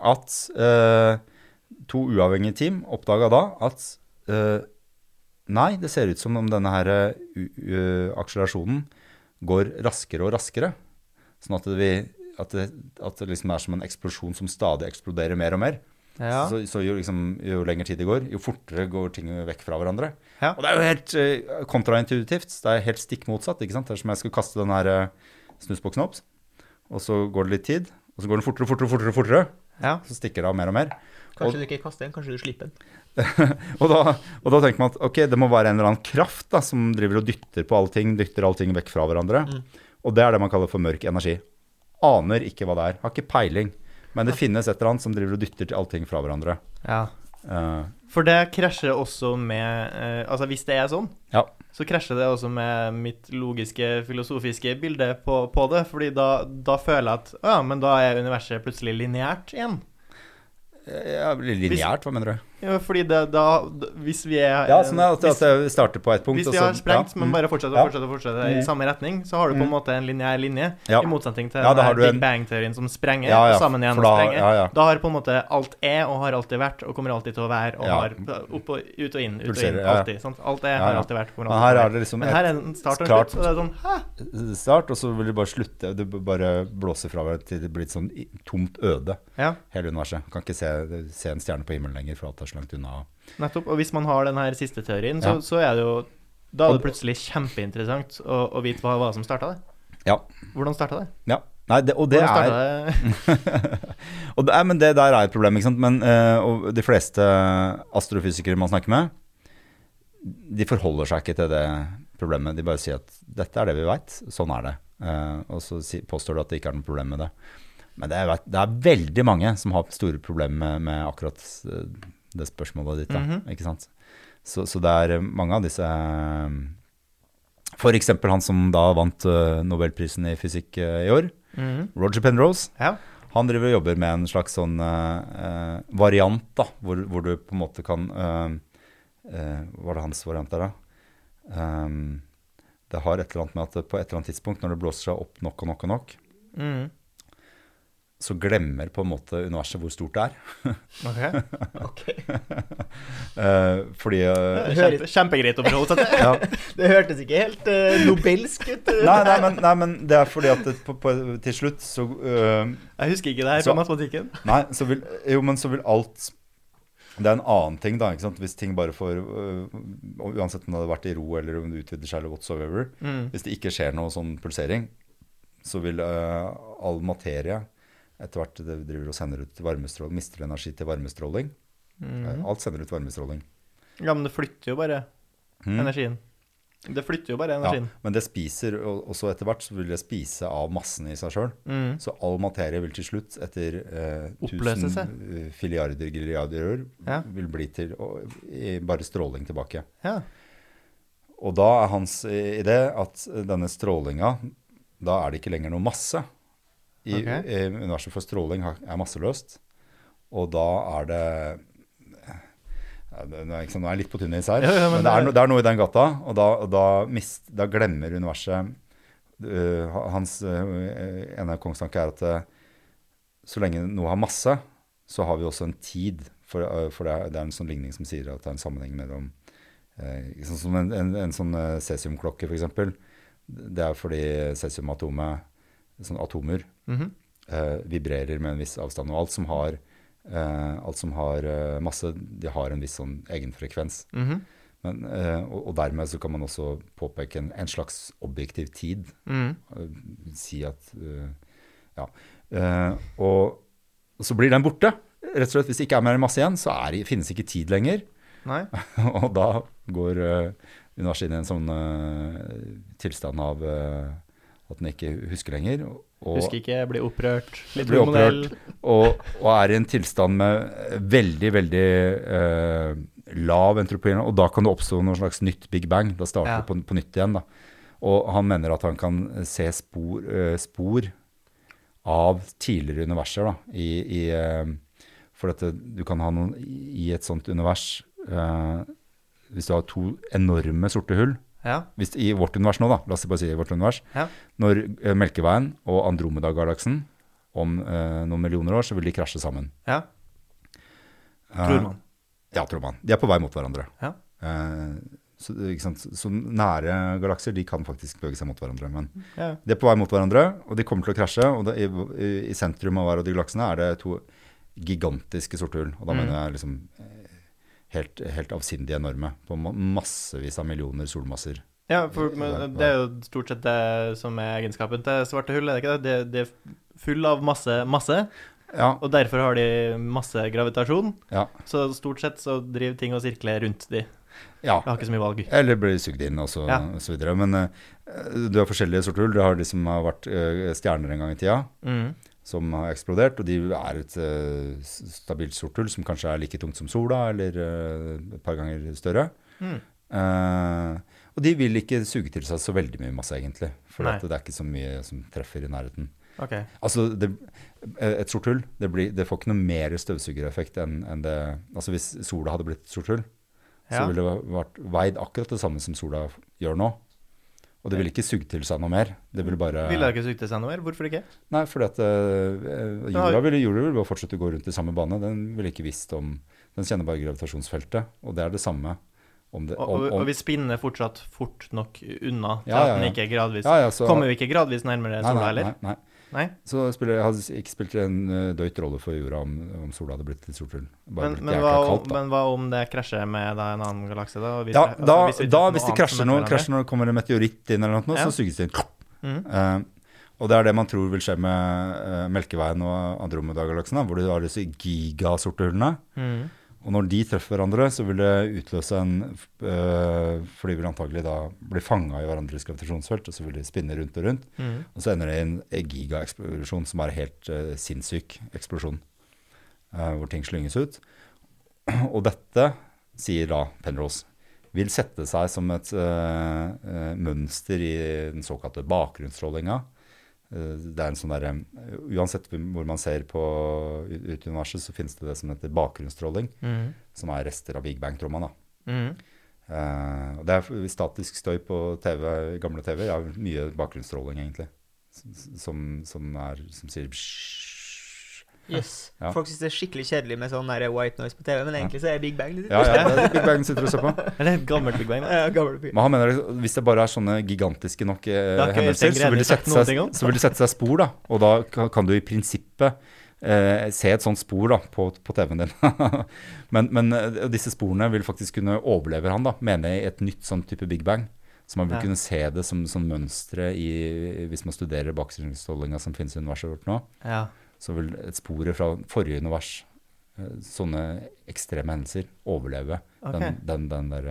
S2: at eh, to uavhengige team oppdaga da at eh, nei, det ser ut som om denne her eh, u- u- akselerasjonen går raskere og raskere. Sånn at det, vi, at det, at det liksom er som en eksplosjon som stadig eksploderer mer og mer.
S3: Ja.
S2: Så, så jo, liksom, jo lenger tid det går, jo fortere går ting vekk fra hverandre.
S3: Ja.
S2: Og det er jo helt eh, kontraintuitivt. Det er helt stikk motsatt. ikke sant? Det er som om jeg skulle kaste den her eh, snusboksen opp, og så går det litt tid, og så går den fortere og fortere, og fortere, og fortere.
S3: Ja.
S2: Så stikker det av mer og mer. Og-
S1: Kanskje du ikke kaster den, kanskje du slipper den.
S2: Og da, og da tenker man at ok, det må være en eller annen kraft da, som driver og dytter på allting, dytter allting vekk fra hverandre.
S3: Mm.
S2: Og det er det man kaller for mørk energi. Aner ikke hva det er, har ikke peiling. Men det finnes et eller annet som driver og dytter til allting fra hverandre.
S3: ja.
S2: Eh,
S3: For det krasjer også med eh, Altså, hvis det er sånn,
S2: ja.
S3: så krasjer det også med mitt logiske, filosofiske bilde på, på det. Fordi da, da føler jeg at Å ja, men da er universet plutselig lineært igjen.
S2: Ja, Lineært, hva mener du?
S3: Ja, fordi det, da d- Hvis vi er
S2: Ja, sånn at,
S3: hvis,
S2: at jeg starter på ett punkt.
S3: hvis
S2: og
S3: vi
S2: så-
S3: har sprengt,
S2: ja,
S3: men
S2: mm.
S3: bare fortsetter
S2: Ja.
S3: og fortsetter, og fortsetter i
S2: Mm.
S3: samme retning, så har du på en
S2: Mm.
S3: måte en lineær linje,
S2: Ja.
S3: i motsetning til
S2: Ja, da
S3: den
S2: har
S3: her
S2: du
S3: Big
S2: en-
S3: Bang-teorien som sprenger,
S2: Ja, ja,
S3: og sammen igjen
S2: for da-
S3: sprenger.
S2: ja, ja.
S3: Da har på en måte alt er, og har alltid vært, og kommer alltid til å være, og
S2: Ja.
S3: har opp og ut og inn, ut og
S2: Pulserer,
S3: inn,
S2: ja, ja.
S3: alltid. Sant? Alt er,
S2: Ja,
S3: har
S2: ja.
S3: alltid vært, kommer
S2: Men
S3: alltid
S2: her
S3: til å
S2: er
S3: være.
S2: det liksom
S3: Men
S2: et
S3: her er en start og en
S2: klart-
S3: slutt, og det er sånn Hæ?
S2: start, og så vil det bare slutte. Det b- bare blåser fra hverandre til det blir et sånn i- tomt øde,
S3: Ja,
S2: hele universet. Kan ikke se, se en stjerne på himmelen lenger, for alt er så langt unna.
S3: nettopp. Og hvis man har den her siste teorien,
S2: Ja.
S3: så, så er det jo Da er
S2: Og-
S3: det plutselig kjempeinteressant å, å vite hva, hva som starta det.
S2: Ja.
S3: Hvordan starta det?
S2: ja. Nei, det, og det
S3: Hvordan
S2: er
S3: startet det?
S2: og det, er- men det der er et problem, ikke sant? Men eh, og de fleste astrofysikere man snakker med, de forholder seg ikke til det problemet. De bare sier at dette er det vi veit, sånn er det. Eh, og så si, påstår de at det ikke er noe problem med det. Men det er, det er veldig mange som har store problemer med, med akkurat eh, det spørsmålet ditt. Da,
S3: Mhm.
S2: ikke sant? Så, så det er mange av disse eh, For eksempel han som da vant eh, Nobelprisen i fysikk eh, i år,
S3: Mhm.
S2: Roger Penrose.
S3: Ja.
S2: Han driver og jobber med en slags sånn eh, eh, variant, da, hvor, hvor du på en måte kan eh, eh, Hva er det hans variant er, da? Ehm, det har et eller annet med at det på et eller annet tidspunkt, når det blåser seg opp nok og nok og nok,
S3: Mhm.
S2: så glemmer på en måte universet hvor stort det er.
S3: Ok.
S1: Ok.
S2: Eh, fordi eh,
S3: Det er Kjempe, kjempegreit å forholde seg til.
S2: ja.
S1: Det hørtes ikke helt eh, nobelsk ut. eh,
S2: nei, nei, men, nei, men det er fordi at det, på, på, til slutt så eh,
S3: Jeg husker ikke det her
S2: Så-
S3: fra matematikken.
S2: Nei, så vil, jo, men så vil alt Det er en annen ting, da. ikke sant? Hvis ting bare får øh, og Uansett om det hadde vært i ro, eller om det utvider seg, eller whatsoever.
S3: Mm.
S2: Hvis det ikke skjer noe sånn pulsering, så vil øh, all materie etter hvert det driver og sender ut varmestråling, mister energi til varmestråling.
S3: Mhm.
S2: Eh, Alt sender ut varmestråling.
S3: Ja, men det flytter jo bare
S2: Mm.
S3: energien. Det flytter jo bare
S2: Ja,
S3: energien.
S2: men det spiser, og og så etter hvert så vil det spise av massen i seg sjøl.
S3: Mm.
S2: Så all materie vil til slutt, etter eh,
S3: Oppløse
S2: tusen
S3: seg.
S2: eh, filiarder grilliarder år,
S3: Ja.
S2: vil bli til å- i bare stråling tilbake.
S3: Ja.
S2: Og da er hans eh, idé at denne strålinga da er det ikke lenger noe masse. I,
S3: Ok.
S2: i universet for stråling har- er masseløst, og da er det ja, det- det er ikke sant, Nå er jeg litt på tynn is her,
S3: Ja, ja,
S2: men,
S3: men
S2: det,
S3: det-
S2: er no, det er noe i den gata. Og da, og da, mist, da glemmer universet øh, Hans øh, ene kongstanke er at øh, så lenge noe har masse, så har vi også en tid. For, øh, for det, er, det er en sånn ligning som sier at det er en sammenheng mellom eh, ikke sant, Som en, en, en sånn eh, cesiumklokke, f.eks. Det er fordi cesiumatomet, sånn atomer,
S3: Mhm.
S2: eh, vibrerer med en viss avstand. Og alt som har, eh, alt som har eh, masse, de har en viss sånn egen frekvens.
S3: Mhm.
S2: Men, eh, og, og dermed så kan man også påpeke en, en slags objektiv tid.
S3: Mhm.
S2: Eh, si at eh, Ja. Eh, og, og så blir den borte. Rett og slett, Hvis det ikke er mer masse igjen, så er, det- finnes ikke tid lenger.
S3: Nei.
S2: og da går eh, universet inn i en sånn eh, tilstand av eh, at den ikke husker lenger. og- Og,
S3: Husker ikke, blir opprørt. Litt
S2: Blir
S3: hormonell.
S2: og, og er i en tilstand med veldig, veldig eh, lav entropi. Og da kan det oppstå noe slags nytt big bang. Da starter
S3: Ja.
S2: det på, på nytt igjen. Da. Og han mener at han kan se spor, eh, spor av tidligere universer. Da, i, i, eh, for dette, du kan ha noen i i et sånt univers eh, Hvis du har to enorme sorte hull
S3: Ja.
S2: hvis, I vårt univers nå, da. La oss bare si i vårt univers.
S3: ja.
S2: Når eh, Melkeveien og Andromeda-galaksen om eh, noen millioner år, så vil de krasje sammen.
S3: Ja.
S2: Eh,
S3: Tror man.
S2: Ja, tror man. De er på vei mot hverandre.
S3: Ja.
S2: Eh, så, ikke sant? så nære galakser de kan faktisk bevege seg mot hverandre. Men
S3: Ja.
S2: de er på vei mot hverandre, og de kommer til å krasje. Og det, i, I sentrum av hver av de galaksene er det to gigantiske sorte hull. Og da
S3: Mm.
S2: mener jeg liksom eh, helt, helt avsindig enorme. På ma- massevis av millioner solmasser.
S3: Ja, for men, det er jo stort sett det som er egenskapen til svarte hull, er det ikke det? Det, det er full av masse, masse,
S2: Ja,
S3: og derfor har de masse gravitasjon.
S2: ja,
S3: Så stort sett så driver ting og sirkler rundt de. Jeg
S2: ja.
S3: har ikke så mye valg.
S2: Eller blir sugd inn, og så,
S3: Ja.
S2: og så videre. Men eh, du har forskjellige sorter hull. Du har de som har vært eh, stjerner en gang i tida,
S3: Mm.
S2: som har eksplodert. Og de er et eh, s- stabilt sort hull som kanskje er like tungt som sola, eller eh, et par ganger større.
S3: Mm.
S2: Eh, og de vil ikke suge til seg så veldig mye masse, egentlig. For
S3: Nei.
S2: at det er ikke så mye som treffer i nærheten.
S3: Ok.
S2: Altså, det, eh, et sort hull det, blir, det får ikke noe mer støvsugereffekt enn enn det Altså, hvis sola hadde blitt et sort hull, så
S3: Ja.
S2: ville det vært veid akkurat det samme som sola f- gjør nå. Og det ville ikke sugd til seg noe mer. Det ville bare
S3: Ville dere ikke sugt til seg noe mer? Hvorfor ikke?
S2: Nei, fordi at eh,
S3: Den har-
S2: jorda ville, jorda ville bare fortsette å gå rundt i samme bane. Den ville ikke visst om Den kjenner bare gravitasjonsfeltet, og det er det samme om det
S3: Og,
S2: om,
S3: og,
S2: om,
S3: og vi spinner fortsatt fort nok unna til
S2: Ja, ja,
S3: at
S2: ja.
S3: den ikke gradvis
S2: Ja, ja, så-
S3: Kommer vi ikke gradvis nærmere
S2: Nei,
S3: sola
S2: nei,
S3: heller?
S2: nei, nei.
S3: Nei.
S2: Så det spiller, hadde ikke spilt en eh, døyt rolle for jorda om, om sola hadde blitt et sort hull. Bare
S3: Men,
S2: blitt
S3: men,
S2: jækla
S3: hva,
S2: kaldt, da.
S3: men hva om det krasjer med da, en annen galakse, da? og vi
S2: Ja,
S3: tre- altså,
S2: da, da hvis
S3: vi treffer noe
S2: det
S3: annet
S2: krasjer
S3: som
S2: noe,
S3: møter
S2: krasjer når det kommer en meteoritt inn eller noe,
S3: Ja.
S2: så suges det inn.
S3: hverandre. Mm.
S2: Eh, og det er det man tror vil skje med eh, Melkeveien og Andromeda-galaksen, da, hvor du har disse gigasorte hullene.
S3: Mm.
S2: Og når de treffer hverandre, så vil det utløse en eh, For de vil antagelig da bli fanga i hverandres gravitasjonsfelt, og så vil de spinne rundt og rundt.
S3: Mm.
S2: Og så ender det i en gigaeksplosjon som er helt eh, sinnssyk eksplosjon, eh, hvor ting slynges ut. Og dette, sier da Penrose, vil sette seg som et eh, eh, mønster i den såkalte bakgrunnsstrålinga. Eh, det er en sånn der, eh, Uansett hvor man ser på ut ut i universet, så finnes det det som heter bakgrunnsstråling,
S3: Mm.
S2: som er rester av Big Bang-tromma. da.
S3: Mm.
S2: Eh, og det er f- statisk støy på TV, gamle TV. Ja, mye bakgrunnsstråling, egentlig. S- Som, som, er, som sier bsj.
S1: Yes.
S2: Ja.
S1: Folk syns det er skikkelig kjedelig med sånn der white noise på TV, men egentlig så er Big Bang litt
S2: Ja, ja, det er Big Bang sitter og ser på.
S3: Eller et gammelt Big Bang, da.
S1: Eh, gammel fyr.
S2: Men han mener at hvis det bare er sånne gigantiske nok eh,
S3: Det har ikke
S2: hendelser,
S3: Øystein
S2: så vil,
S3: Greni
S2: det sette
S3: sagt noen
S2: seg,
S3: ting om.
S2: så vil det sette seg spor, da. Og da ka- kan du i prinsippet eh, se et sånt spor da, på, på TV-en din. men, men eh, disse sporene vil faktisk kunne overleve han, da, mener jeg, i et nytt sånn type Big Bang. Så man vil
S3: Ja.
S2: kunne se det som sånn mønstre i, hvis man studerer bakgrunnsstrålinga som finnes i universet vårt nå.
S3: Ja.
S2: Så vil et sporet fra forrige univers, eh, sånne ekstreme hendelser, overleve
S3: Ok.
S2: den, den, den der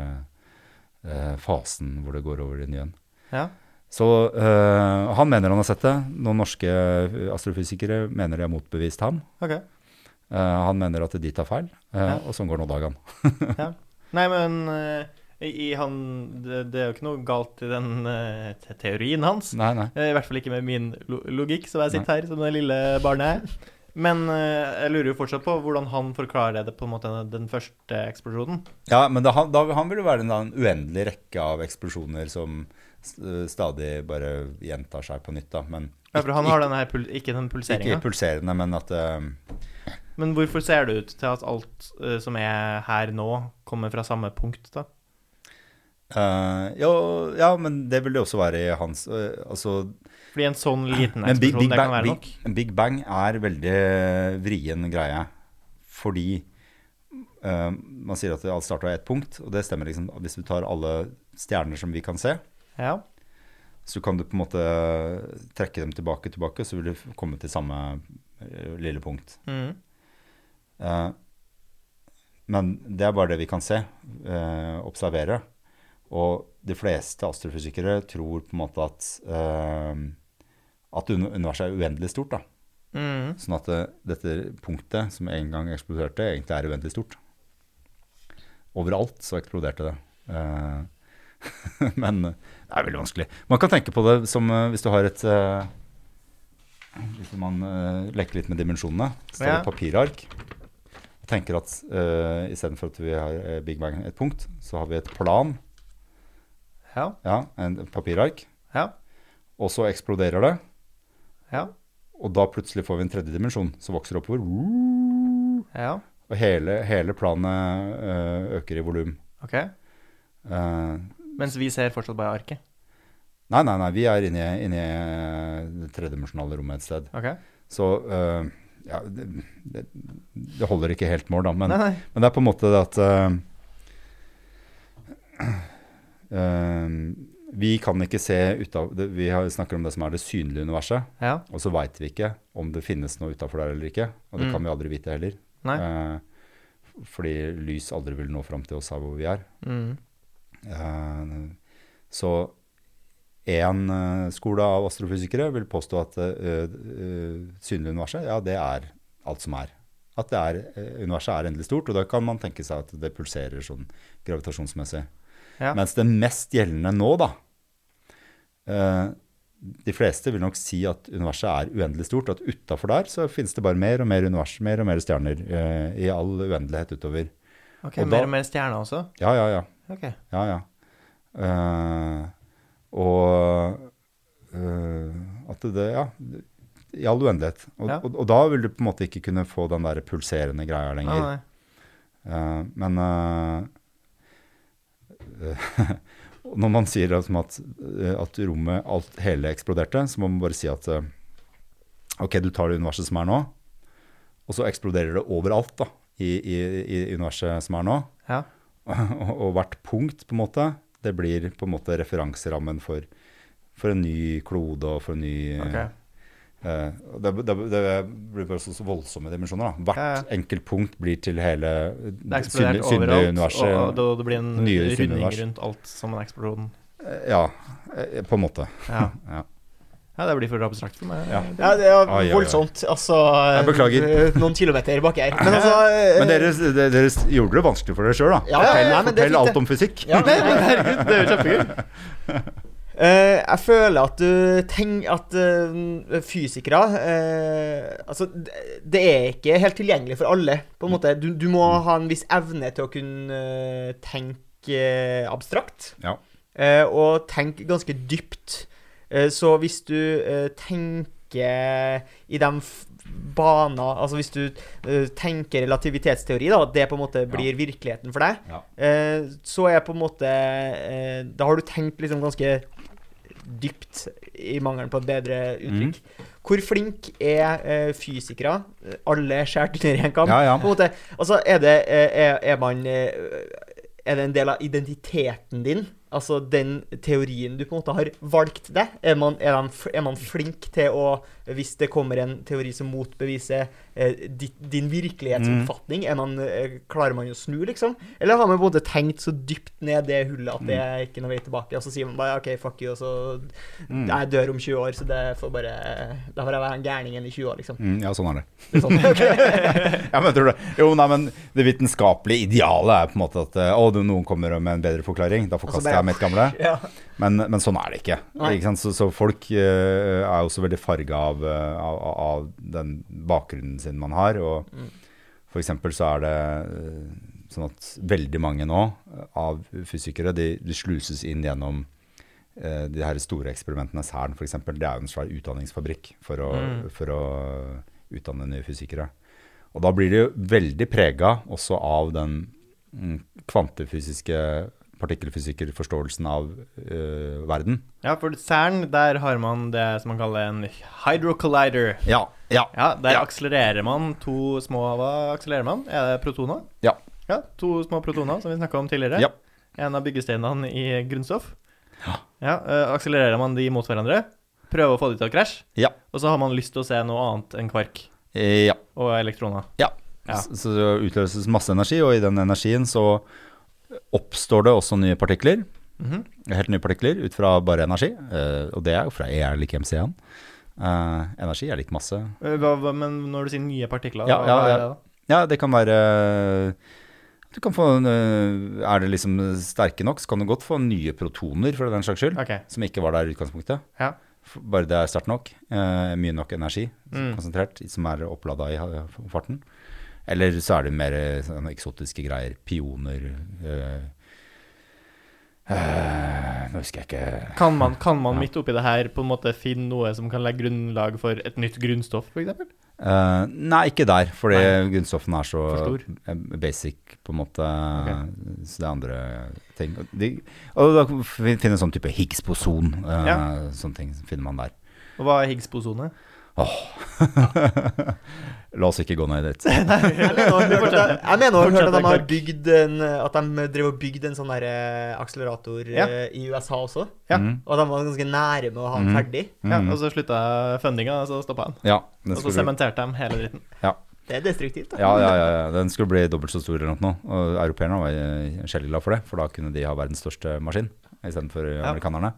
S2: eh, fasen hvor det går over i nye igjen.
S3: ja.
S2: Så eh, han mener han har sett det. Noen norske eh, astrofysikere mener de har motbevist ham.
S3: Ok.
S2: Eh, han mener at de tar feil, eh,
S3: Ja.
S2: og sånn går nå dagene.
S3: Nei, men eh, i, i han, det, det er jo ikke noe galt i den eh, te teorien hans.
S2: Nei, nei.
S3: Eh, I hvert fall ikke med min lo logikk, som jeg sitter her som det lille barnet er. Men eh, jeg lurer jo fortsatt på hvordan han forklarer det på en måte den første eksplosjonen.
S2: Ja, men da, han, da, han vil jo være en, da, en uendelig rekke av eksplosjoner som eh, stadig bare gjentar seg på nytt, da. Men
S3: Ja, for han har denne her pul ikke den
S2: ikke, ikke
S3: pulseringa.
S2: pulserende, men at eh,
S3: Men hvorfor ser det ut til at alt eh, som er her nå, kommer fra samme punkt, da?
S2: eh, jo, Ja, men det vil det også være i hans eh, Altså
S3: Fordi en sånn liten
S2: Men Big,
S3: eksplosjon,
S2: Big,
S3: det kan
S2: Bang,
S3: være nok.
S2: Big, Big Bang er veldig vrien greie. Fordi eh, man sier at alt starter av ett punkt, og det stemmer. liksom. Hvis du tar alle stjerner som vi kan se,
S3: Ja.
S2: så kan du på en måte trekke dem tilbake og tilbake, så vil du komme til samme eh, lille punkt.
S3: Mm.
S2: Eh, men det er bare det vi kan se, eh, observere. Og de fleste astrofysikere tror på en måte at, eh, at uni- universet er uendelig stort. da.
S3: Mm.
S2: Sånn at eh, dette punktet som en gang eksploderte, egentlig er uendelig stort. Overalt så eksploderte det. Eh, Men eh, det er veldig vanskelig. Man kan tenke på det som eh, hvis du har et eh, Hvis man eh, leker litt med dimensjonene, så tar du
S3: Ja.
S2: et papirark og tenker at uh, istedenfor at vi har eh, Big Bang et punkt, så har vi et plan,
S3: Ja.
S2: ja, en et papirark,
S3: Ja.
S2: og så eksploderer det,
S3: Ja.
S2: og da plutselig får vi en tredje dimensjon som vokser oppover.
S3: Ja.
S2: Og hele, hele planet øh, øker i volum.
S3: OK.
S2: Eh,
S3: Mens vi ser fortsatt bare arket.
S2: nei, nei, nei, vi er inne i, inne i eh, det tredimensjonale rommet et sted.
S3: OK?
S2: Så øh, ja, det, det, det holder ikke helt mål, da. Men,
S3: nei, nei.
S2: men det er på en måte det at eh, eh, Vi kan ikke se utav det- Vi har- snakker om det som er det synlige universet.
S3: Ja.
S2: Og så veit vi ikke om det finnes noe utafor der eller ikke. Og det
S3: Mm.
S2: kan vi aldri vite heller.
S3: Nei.
S2: Eh, fordi lys aldri vil nå fram til oss her hvor vi er.
S3: Mm.
S2: Eh, Så én eh, skole av astrofysikere vil påstå at eh, eh, synlig universet, ja, det er alt som er. At det er, eh, universet er endelig stort, og da kan man tenke seg at det pulserer sånn gravitasjonsmessig.
S3: Ja.
S2: Mens det mest gjeldende nå, da eh, De fleste vil nok si at universet er uendelig stort, at utafor der så finnes det bare mer og mer univers, mer og mer stjerner eh, i all uendelighet utover.
S3: OK,
S2: Og da-
S3: mer og mer stjerner også?
S2: Ja, ja, ja.
S3: OK.
S2: Ja, ja. Eh, og eh, at det, ja, i all uendelighet. Og,
S3: Ja.
S2: og, og da vil du på en måte ikke kunne få den der pulserende greia
S3: Nei,
S2: lenger.
S3: nei.
S2: Eh, men eh, eh, når man sier liksom at, eh, at rommet alt hele eksploderte, så må man bare si at eh, ok, du tar det universet som er nå, og så eksploderer det overalt da, i, i, i universet som er nå.
S3: Ja.
S2: Og, og hvert punkt, på en måte, det blir på en måte referanserammen for, for en ny klode og for en ny
S3: OK.
S2: eh, og det, det, det blir bare så, så voldsomme dimensjoner. Da. Hvert
S3: Ja, ja.
S2: enkelt punkt blir til hele
S3: Det er
S2: det
S3: eksplodert
S2: synlige, synlige
S3: overalt, og,
S2: universet.
S3: og det, det blir en
S2: Nye
S3: runding
S2: synunivers.
S3: rundt alt som en eksplosjon.
S2: Ja, eh, på en måte.
S3: Ja.
S2: Ja.
S3: ja, det blir for abstrakt for meg.
S2: Ja.
S1: Ja, det er
S2: Ai, ai, ai.
S1: voldsomt. Altså
S2: Jeg beklager.
S1: eh, Noen kilometer baki her. Men altså eh,
S2: Men dere, dere, gjorde det vanskelig for dere sjøl, da.
S1: Ja, ja, ja,
S2: fortell
S1: nei, men det er
S2: fortell
S1: fint, det.
S2: alt om fysikk.
S1: ja,
S3: Nei, men herregud, det er jo kjempegøy.
S1: Eh, jeg føler at du tenker at eh, fysikere eh, Altså, d- det er ikke helt tilgjengelig for alle, på en måte. Du, du må ha en viss evne til å kunne eh, tenke eh, abstrakt.
S2: Ja.
S1: Eh, og tenke ganske dypt. Eh, så hvis du eh, tenker i de f- baner Altså hvis du eh, tenker relativitetsteori, da, at det på en måte blir virkeligheten for deg,
S2: Ja.
S1: Eh, så er på en måte eh, Da har du tenkt liksom ganske dypt, i mangelen på et bedre uttrykk.
S2: Mm.
S1: Hvor flink er eh, fysikere? Eh, Alle er skjært under én kam.
S2: Ja, ja.
S1: På en måte, altså, er det, eh, er, er man eh, Er det en del av identiteten din? Altså den teorien du på en måte har valgt deg? Er man, er den f- er man flink til å Hvis det kommer en teori som motbeviser eh, eh, ditt, din virkelighetsoppfatning enn han eh, klarer man å snu, liksom? Eller har man på en måte tenkt så dypt ned det hullet at det er ikke noe vei tilbake, og så sier man bare OK, fuck you, og så
S2: Mm.
S1: Jeg dør om 20 år, så det får bare Da får jeg være han gærningen i 20 år, liksom.
S2: Mm, ja, sånn er det.
S1: Det er Sånn.
S2: Ja, men jeg tror det. Jo, nei, men det vitenskapelige idealet er på en måte at eh, å, det- noen kommer med en bedre forklaring, da forkaster
S1: bare-
S2: jeg mitt gamle.
S1: ja.
S2: Men, men sånn er det ikke.
S1: Nei.
S2: ikke sant? Så, så folk eh, er også veldig farga av, eh, av, av den bakgrunnen sin man har. Og for eksempel så er det eh, sånn at veldig mange nå eh, av fysikere, de, de sluses inn gjennom eh, de her store eksperimentene. CERN f.eks. Det er jo en svær utdanningsfabrikk for å, for å utdanne nye fysikere. Og da blir det jo veldig prega også av den mm, kvantefysiske partikkelfysikerforståelsen av eh, verden.
S3: Ja, for CERN, der har man det som man kaller en hydrocollider.
S2: Ja, ja,
S3: Ja, der
S2: Ja.
S3: akselererer man to små Hva akselererer man? Er det protoner?
S2: ja,
S3: Ja, to små protoner, som vi snakka om tidligere.
S2: ja.
S3: En av byggesteinene i grunnstoff. Ja, eh, Akselererer man de mot hverandre, prøver å få de til å krasje,
S2: Ja.
S3: og så har man lyst til å se noe annet enn kvark
S2: eh, ja.
S3: og elektroner.
S2: Ja.
S3: Ja.
S2: Så, så det utløses masse energi, og i den energien så oppstår det også nye partikler.
S3: Mhm.
S2: Helt nye partikler ut fra bare energi. eh, og det er jo fra E er lik MC1. Eh, energi er lik masse.
S3: Eh, Hva, hva, men når du sier nye partikler,
S2: Ja,
S3: hva
S2: ja,
S3: er
S2: ja.
S3: det da?
S2: Ja, det kan være eh, du kan få, en, eh, Er det liksom sterke nok, så kan du godt få nye protoner, for den saks skyld,
S3: Ok.
S2: som ikke var der i utgangspunktet.
S3: Ja.
S2: F- Bare det er sterkt nok, eh, mye nok energi
S3: Mm.
S2: konsentrert, som er opplada i ha- farten. Eller så er det mer eh, sånne eksotiske greier. Pioner eh, eh, Nå husker jeg ikke
S3: Kan man, kan man midt oppi det her på en måte finne noe som kan legge grunnlag for et nytt grunnstoff, f.eks.?
S2: Eh, Nei, ikke der, fordi grunnstoffene er så
S3: For stor.
S2: eh, basic, på en måte. Så det er andre ting. Og, de, og da fin- finner en sånn type Higgs-poson. eh,
S3: Ja.
S2: Sånne ting finner man der.
S3: Og hva er Higgs-bosone?
S2: La oss ikke gå ned dit.
S1: Jeg mener å ha hørt at de- jeg mener å ha hørt at de har
S3: Fortsett,
S1: bygd en At de drev og bygde en sånn der eh, akselerator eh,
S3: Ja.
S1: i USA også.
S3: Ja.
S2: Mm.
S1: Og de var ganske nære med å ha den ferdig.
S3: Ja,
S2: Mm.
S3: og så slutta fundinga, og så stoppa han.
S2: Ja, den
S3: Og så
S2: skulle,
S3: sementerte de hele dritten.
S1: Det er destruktivt. da.
S2: ja, ja, ja, ja, den skulle bli dobbelt så stor eller noe. Og europeerne var eh, skjelleglade for det, for da kunne de ha verdens største maskin istedenfor eh, amerikanerne.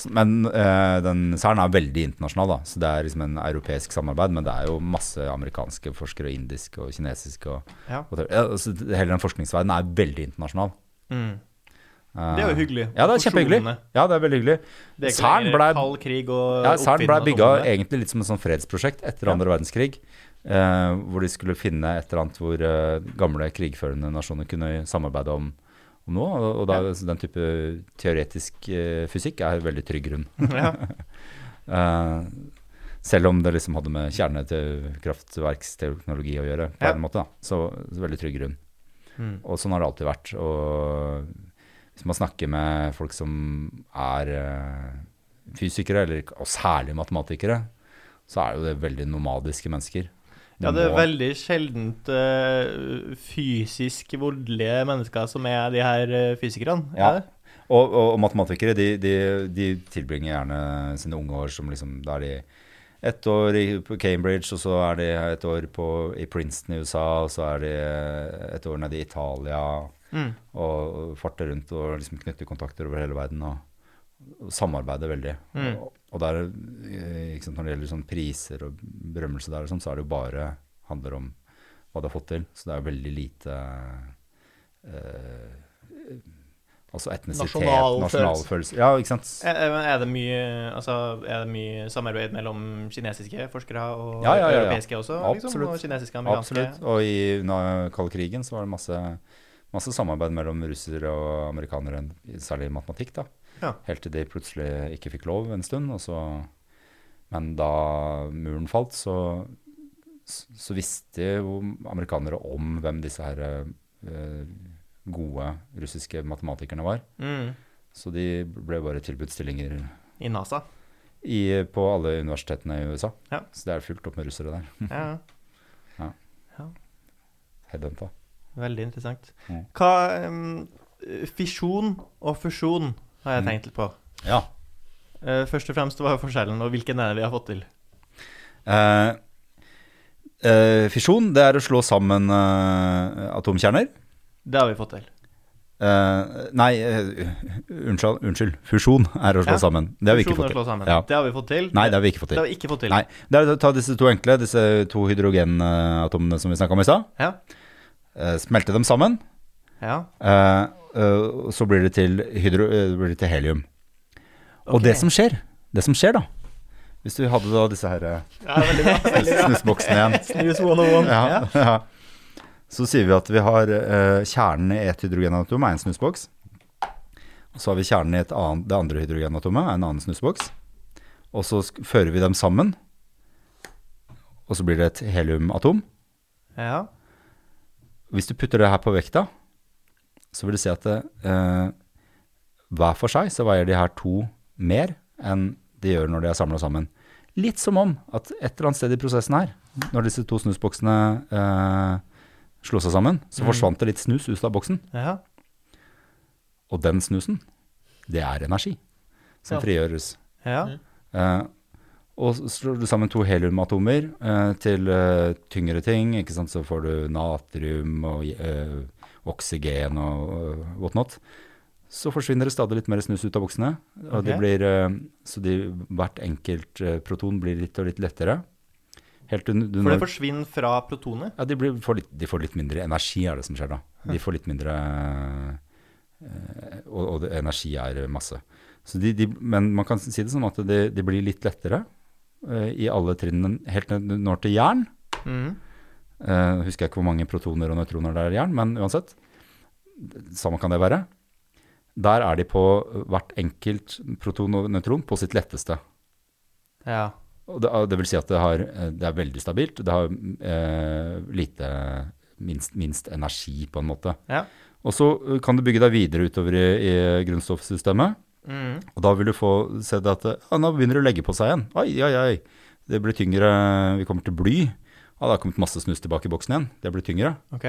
S2: Så- Men eh, den CERN er veldig internasjonal, da, så det er liksom en europeisk samarbeid. Men det er jo masse amerikanske forskere, og indiske og kinesiske og
S3: Ja.
S2: og- ja, altså, Hele den forskningsverdenen er veldig internasjonal.
S3: Mm.
S2: Eh,
S3: Det er jo hyggelig.
S2: Ja, det er
S3: Forsonende.
S2: kjempehyggelig. Ja, det er veldig hyggelig.
S3: Det er ikke
S2: CERN
S3: lenger
S2: ble-
S3: kald krig og
S2: Ja, CERN ble
S3: oppfinnende
S2: bygga
S3: og sånt der.
S2: egentlig litt som et sånn fredsprosjekt etter
S3: Ja.
S2: andre verdenskrig. Eh, hvor de skulle finne et eller annet hvor eh, gamle krigførende nasjoner kunne samarbeide om, om noe. Og, og da, så den type teoretisk eh, fysikk er veldig trygg grunn.
S3: Ja.
S2: Eh, selv om det liksom hadde med kjernekraftverksteknologi å gjøre, på
S3: Ja.
S2: en måte. da, så, så veldig trygg grunn.
S3: Mm.
S2: Og sånn har det alltid vært. Og hvis man snakker med folk som er eh, fysikere, eller, og særlig matematikere, så er jo det veldig nomadiske mennesker. Du
S3: ja, det er
S2: må-
S3: veldig sjeldent eh, fysisk voldelige mennesker som er de her eh, fysikerne. er
S2: Ja.
S3: det?
S2: Og, og, og matematikere, de, de, de tilbringer gjerne sine unge år som liksom Da er de ett år i på Cambridge, og så er de et år på, i Princeton i USA, og så er de et år nede i Italia,
S3: Mm.
S2: og farter rundt og liksom knytter kontakter over hele verden og, og samarbeider veldig.
S3: Mm.
S2: Og, og der, eh, ikke sant, når det gjelder sånn priser og berømmelse der, og sånn, så er det jo bare handler om hva de har fått til. Så det er jo veldig lite eh, Altså etnisitet,
S1: Nasjonal
S2: nasjonalfølelse. Ja, ikke sant.
S3: Er, er- er, det mye, altså, er det mye samarbeid mellom kinesiske forskere og
S2: Ja, ja, ja, ja.
S3: europeiske også? Liksom,
S2: Absolutt.
S3: og kinesiske og amerikanske?
S2: Absolutt. Og i, under kalde krigen så var det masse, masse samarbeid mellom russere og amerikanere, særlig i matematikk, da.
S3: Ja.
S2: Helt til de plutselig ikke fikk lov en stund. Og så, men da muren falt, så, så visste jo amerikanere om hvem disse her eh, gode russiske matematikerne var.
S3: Mm.
S2: Så de ble bare tilbudt stillinger
S3: I NASA.
S2: i, på alle universitetene i USA.
S3: Ja.
S2: Så det er fullt opp med russere der.
S3: Ja, ja.
S2: Headhunta.
S3: Veldig interessant.
S2: Mm.
S3: Hva em, Fisjon og fusjon har
S2: Mm.
S3: jeg tenkt litt på.
S2: Ja.
S3: Eh, først og fremst hva er forskjellen, og hvilken er det vi har fått til?
S2: Eh, Eh, fisjon, det er å slå sammen eh, atomkjerner.
S3: Det har vi fått til.
S2: Eh, nei, eh, unnskyld, unnskyld. Fusjon er å slå
S3: Ja.
S2: sammen. Det har vi ikke
S3: Fusjon
S2: fått
S3: og slå
S2: til.
S3: sammen.
S2: Ja.
S3: Det har vi fått til.
S2: Nei, det har vi ikke fått
S3: Det
S2: til.
S3: har vi ikke fått til.
S2: Nei, det er å ta disse to enkle, disse to hydrogenatomene som vi snakka om i stad.
S3: Ja.
S2: eh, smelte dem sammen,
S3: ja.
S2: eh, eh, og så blir det til, hydro, eh, blir det til helium. Og
S3: Ok.
S2: det som skjer, det som skjer da Hvis du hadde da disse her eh,
S1: Ja, veldig bra. veldig bra.
S2: snusboksene igjen
S1: Snus 101.
S2: ja, ja. Så sier vi at vi har eh, kjernen i et hydrogenatom er en snusboks. Og så har vi kjernen i et annet, det andre hydrogenatomet er en annen snusboks. Og så sk fører vi dem sammen, og så blir det et heliumatom.
S3: ja.
S2: Hvis du putter det her på vekta, så vil du si at eh, hver for seg så veier de her to mer enn de gjør når de er samla sammen. Litt som om at et eller annet sted i prosessen her, når disse to snusboksene eh, slo seg sammen, så forsvant det litt snus ut av boksen.
S3: ja.
S2: Og den snusen, det er energi som
S1: Ja.
S2: frigjøres.
S3: ja.
S2: Eh, og så slår du sammen to heliumatomer eh, til eh, tyngre ting, ikke sant? så får du natrium og eh, oksygen og eh, whatnot. Så forsvinner det stadig litt mer snus ut av boksene. Og de
S3: Ok.
S2: blir, eh, så de, hvert enkelt eh, proton blir litt og litt lettere. Helt un, du
S3: For det
S2: når-
S3: forsvinner fra protonet.
S2: ja, de, blir, får litt, de får litt mindre energi, er det som skjer da. De får litt mindre eh, Og, og det, energi er masse. Så de, de, men man kan si det sånn at de, de blir litt lettere eh, i alle trinnene, helt ned du når til jern.
S3: Mhm.
S2: Eh, husker jeg ikke hvor mange protoner og nøytroner det er i jern, men uansett. Samme kan det være. Der er de på hvert enkelt proton og nøytron på sitt letteste.
S3: Ja.
S2: Og det, det vil si at det, har, eh, det er veldig stabilt. Det har eh, lite minst, minst energi, på en måte.
S3: Ja.
S2: Og så eh, kan du bygge deg videre utover i, i grunnstoffsystemet.
S3: Mhm.
S2: Og da vil du få se det at eh, ja, nå begynner det å legge på seg igjen. Oi, oi, oi. Det blir tyngre. Vi kommer til bly. Ja, det har kommet masse snus tilbake i boksen igjen. Det blir tyngre.
S3: Ok.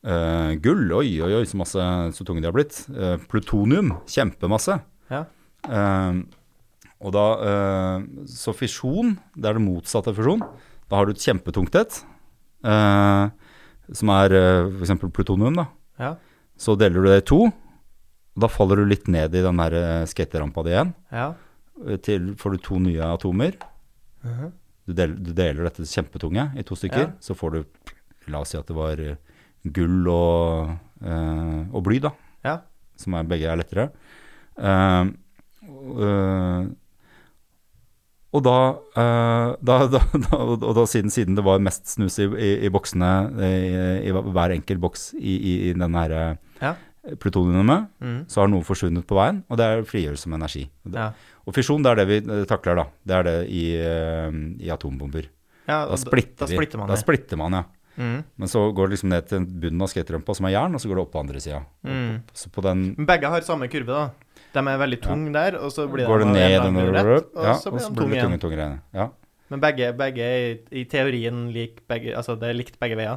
S2: Eh, gull. Oi, oi, oi, så, masse, så tunge de har blitt. Eh, plutonium. Kjempemasse.
S3: Ja.
S2: Eh, og da, eh, så fisjon, det er det motsatte av fisjon. Da har du et kjempetungt et, eh, som er eh, for eksempel plutonium. Da.
S3: Ja.
S2: Så deler du det i to, og da faller du litt ned i den her eh, skaterampa di igjen.
S3: Ja.
S2: Eh, Til får du to nye atomer.
S3: Mhm.
S2: Du deler, du deler dette kjempetunge i to stykker,
S3: Ja.
S2: så får du, la oss si at det var eh, gull og, eh, og bly, da
S3: Ja.
S2: som er, begge er lettere. Eh, og, eh, og da, eh, da, da, da, og da siden, siden det var mest snus i, i, i boksene, eh, i, i hver enkelt boks i, i, i den her
S3: Ja.
S2: eh, plutoniumet,
S3: Mhm.
S2: så har noe forsvunnet på veien, og det er frigjøres som energi.
S3: Ja.
S2: Og fisjon, det er det vi eh, takler, da. Det er det i, eh, i atombomber.
S3: ja.
S2: Da splitter,
S3: da
S2: vi.
S3: splitter man
S2: da
S3: det.
S2: splitter man, ja.
S3: Mhm.
S2: Men så går det liksom ned til bunnen av skaterømpa, som er jern, og så går det opp på andre sida.
S3: Mhm.
S2: Så på den
S3: Men Begge har samme kurve, da. De er veldig tung der, og så blir
S2: går det
S3: de
S2: ned
S3: en
S2: denne
S3: lang
S2: rett,
S3: kurvrett,
S2: ja,
S3: og så blir de tung
S2: det
S3: igjen.
S2: tunge, tunge greiene. Ja.
S3: Men begge, begge er i, i teorien lik begge, altså det er likt begge veier.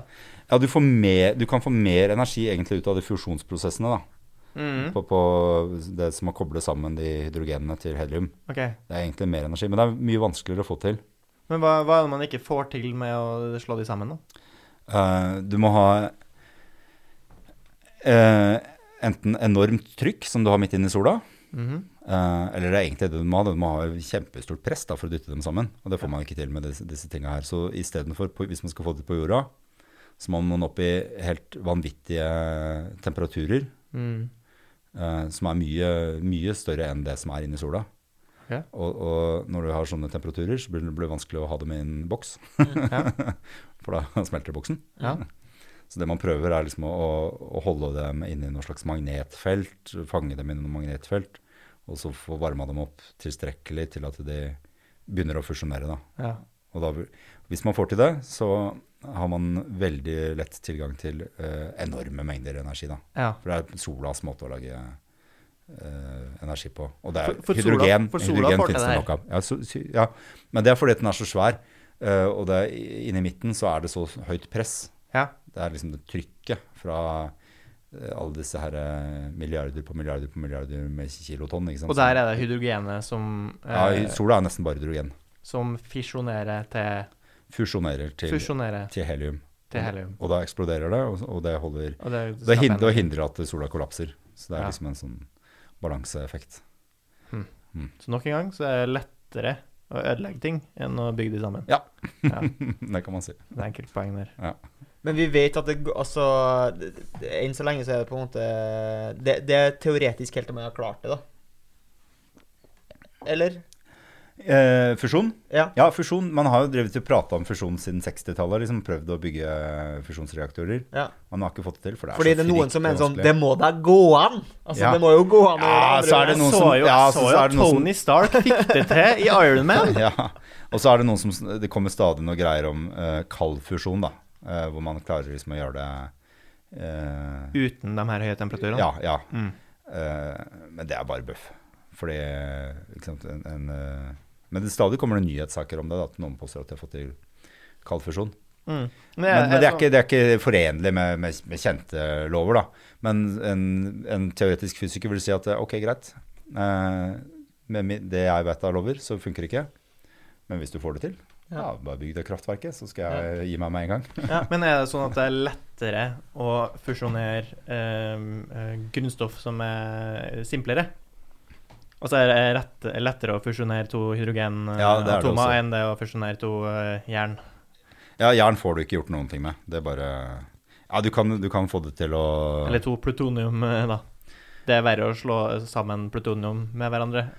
S2: ja, du, får mer, du kan få mer energi egentlig ut av de fusjonsprosessene, da.
S3: Mhm.
S2: På, på det som å koble sammen de hydrogenene til helium.
S3: Ok.
S2: Det er egentlig mer energi, men det er mye vanskeligere å få til.
S3: Men hva, hva er det man ikke får til med å slå de sammen, da?
S2: Eh, du må ha eh, enten enormt trykk, som du har midt inne i sola,
S3: Mhm.
S2: Eh, eller det er egentlig det du må ha. Du må ha kjempestort press da, for å dytte dem sammen. Og det får man ikke til med disse, disse tinga her. Så istedenfor, på- hvis man skal få det på jorda, så må man opp i helt vanvittige temperaturer.
S3: Mhm.
S2: eh, som er mye, mye større enn det som er inni sola.
S3: Ok.
S2: Og, og når du har sånne temperaturer, så blir det blir det vanskelig å ha dem i en boks. for da smelter boksen.
S3: Ja.
S2: Så det man prøver, er liksom å, å holde dem inne i noe slags magnetfelt, fange dem inn i noe magnetfelt, og så få varma dem opp tilstrekkelig til at de begynner å fusjonere. Da.
S3: ja.
S2: Og da, vil- hvis man får til det, så har man veldig lett tilgang til eh, enorme mengder energi. Da.
S3: ja.
S2: For det er solas måte å lage eh, energi på. Og det er
S3: For- for sola-
S2: hydrogen.
S3: for sola
S2: hydrogen
S3: får til
S2: finnes det
S3: det her.
S2: nok av. Ja, så, sy- ja. Men det er fordi at den er så svær, eh, og det, er i- inni midten så er det så høyt press.
S3: Ja.
S2: Det er liksom det trykket fra eh, alle disse her eh, milliarder på milliarder på milliarder med kilotonn. ikke sant?
S3: Og der er det hydrogenet som,
S2: Ja,
S3: eh,
S2: i- sola er nesten bare hydrogen.
S3: som fisjonerer til
S2: fusjonerer til,
S4: Fusjonere
S2: til helium.
S4: til helium.
S2: Og da eksploderer det, og, og det holder
S4: Og det,
S2: Det,
S4: skaper
S2: hin det
S4: en-
S2: hindrer at sola kollapser. Så det er
S4: Ja.
S2: liksom en sånn balanseeffekt.
S3: Så nok en gang så er det lettere å ødelegge ting enn å bygge de sammen.
S2: Ja.
S4: Ja.
S2: det kan man si.
S4: Det er enkelt poeng der.
S1: Men vi vet at det g- Altså, det- det- enn så lenge så er det på en måte Det, det er teoretisk helt til man har klart det, da. Eller?
S2: Eh, fusjon?
S1: Ja.
S2: Ja, fusjon. Man har jo drevet og prata om fusjon siden 60-tallet. Liksom prøvd å bygge eh, fusjonsreaktorer.
S1: ja.
S2: Man har ikke fått det til. For det er
S1: Fordi
S2: så
S1: det er noen som mener
S2: fryktelig
S1: sånn
S2: vanskelig.
S1: Det må da gå an! Altså,
S2: Ja.
S1: det må jo gå an å
S2: Ja, altså.
S1: gjøre det andre
S2: så er det
S1: veien.
S2: noen
S3: så
S2: som-
S3: jo,
S2: ja,
S3: så
S2: så-
S3: jo
S2: så er
S3: at
S2: det noen som-
S3: Tony Stark fikk det til i Iron Man.
S2: ja. Og så er det noen som sn- Det kommer stadig noe greier om eh, kald fusjon, da. Eh, hvor man klarer liksom å gjøre det eh,
S3: Uten de her høye temperaturene.
S2: Ja, ja.
S3: Mm.
S2: Eh, men det er bare bøff. Fordi ikke sant, en, en, eh, Men det stadig kommer det nyhetssaker om det, da, at noen påstår at de har fått til kald fusjon.
S3: Mm. Men,
S2: Men, men det, er
S3: så-
S2: ikke, det er ikke forenlig med, med, med kjente lover, da. Men en, en teoretisk fysiker vil si at eh, ok, greit. Eh, med mi- det jeg vet av lover, så funker det ikke. Men hvis du får det til, ja,
S1: Ja.
S2: bare bygg det kraftverket, så skal jeg gi meg med en gang.
S3: Men er det sånn at det er lettere å fusjonere ehm, eh, grunnstoff som er simplere? Altså er det rett, lettere å fusjonere to
S2: Ja, det er det
S3: hydrogenatomer
S2: også.
S3: enn det å fusjonere to eh, jern?
S2: Ja, jern får du ikke gjort noen ting med. Det er bare Ja, du kan, du kan få det til å
S3: Eller to plutonium, eh, da. Det er verre å slå sammen plutonium med hverandre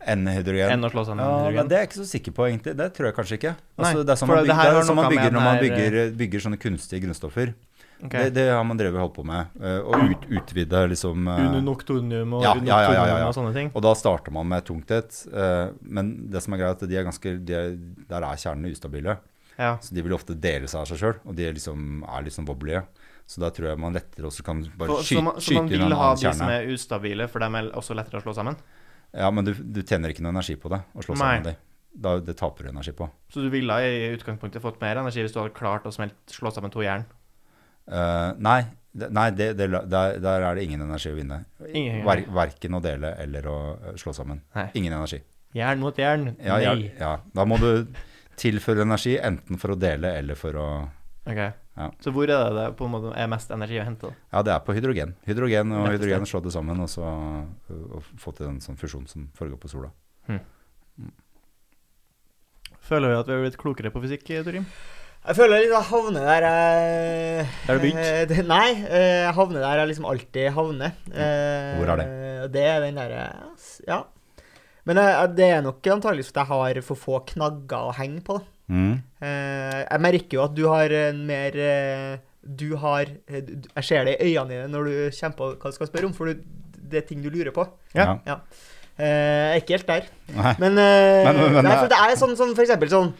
S2: ende hydrogen.
S3: enn å slå sammen
S2: Ja, men
S3: hydrogen.
S2: det er jeg ikke så sikker på, egentlig. Det tror jeg kanskje ikke.
S3: Nei,
S2: Altså, det er sånn
S3: for
S2: man
S3: det
S2: bygger,
S3: her
S2: det
S3: har
S2: er sånn man
S3: noe med
S2: bygger når man
S3: den her-
S2: bygger, bygger sånne kunstige grunnstoffer.
S3: Ok.
S2: Det, det har man drevet og holdt på med. eh, Og ut, utvide liksom eh,
S3: Ununoctonium og
S2: Ja, ja, ja, ja,
S3: unoctonium
S2: ja.
S3: og sånne ting.
S2: Og da starter man med tungthet. eh, Men det som er greit, er at de er ganske, de er, der er kjernene ustabile.
S3: Ja.
S2: Så de vil ofte dele seg av seg sjøl, og de er liksom, er litt sånn wobblige. Så der tror jeg man lettere også kan bare
S3: For, så,
S2: skyte,
S3: man, så
S2: skyte
S3: man
S2: inn en
S3: vil ha
S2: annen
S3: de som
S2: kjerne.
S3: er ustabile, for de er også lettere å slå sammen?
S2: Ja, men du, du tjener ikke noe energi på det å slå
S3: Nei.
S2: sammen de. Da, det taper du energi på.
S3: Så du ville i utgangspunktet fått mer energi hvis du hadde klart å smelte, slå sammen to jern?
S2: Eh, nei, det, nei det, det, der, der er det ingen energi å vinne.
S3: Ingen
S2: Ver, verken å dele eller å eh, slå sammen.
S3: Nei.
S2: Ingen energi.
S3: Jern mot jern?
S2: Ja, ja, ja. Da må du tilføre energi enten for å dele eller for å
S3: Ok.
S2: Ja.
S3: Så hvor er det det på en måte er mest energi å hente? da?
S2: Ja, det er på hydrogen. Hydrogen og
S3: Rett og
S2: hydrogen slå det sammen og så ø, og få til en sånn fusjon som foregår på sola.
S3: Føler du at vi har blitt klokere på fysikk, Torim?
S1: Jeg føler litt jeg havner der jeg
S3: Der du begynte?
S1: Eh, det- Nei, eh, jeg havner der jeg liksom alltid havner. Eh,
S2: Mm. Hvor er det?
S1: og Det er den derre Ja. Men eh, det er nok antageligvis at jeg har for få knagger å henge på. da.
S2: Mm.
S1: Eh, jeg merker jo at du har en mer eh, Du har eh, du- Jeg ser det i øynene dine når du kommer på hva du skal spørre om, for du, det er ting du lurer på.
S2: Ja.
S1: Eh, jeg er ikke helt der.
S2: Nei.
S1: Men, eh,
S2: Men- men- men-
S1: nei, for det er sånn, sånn for eksempel sånn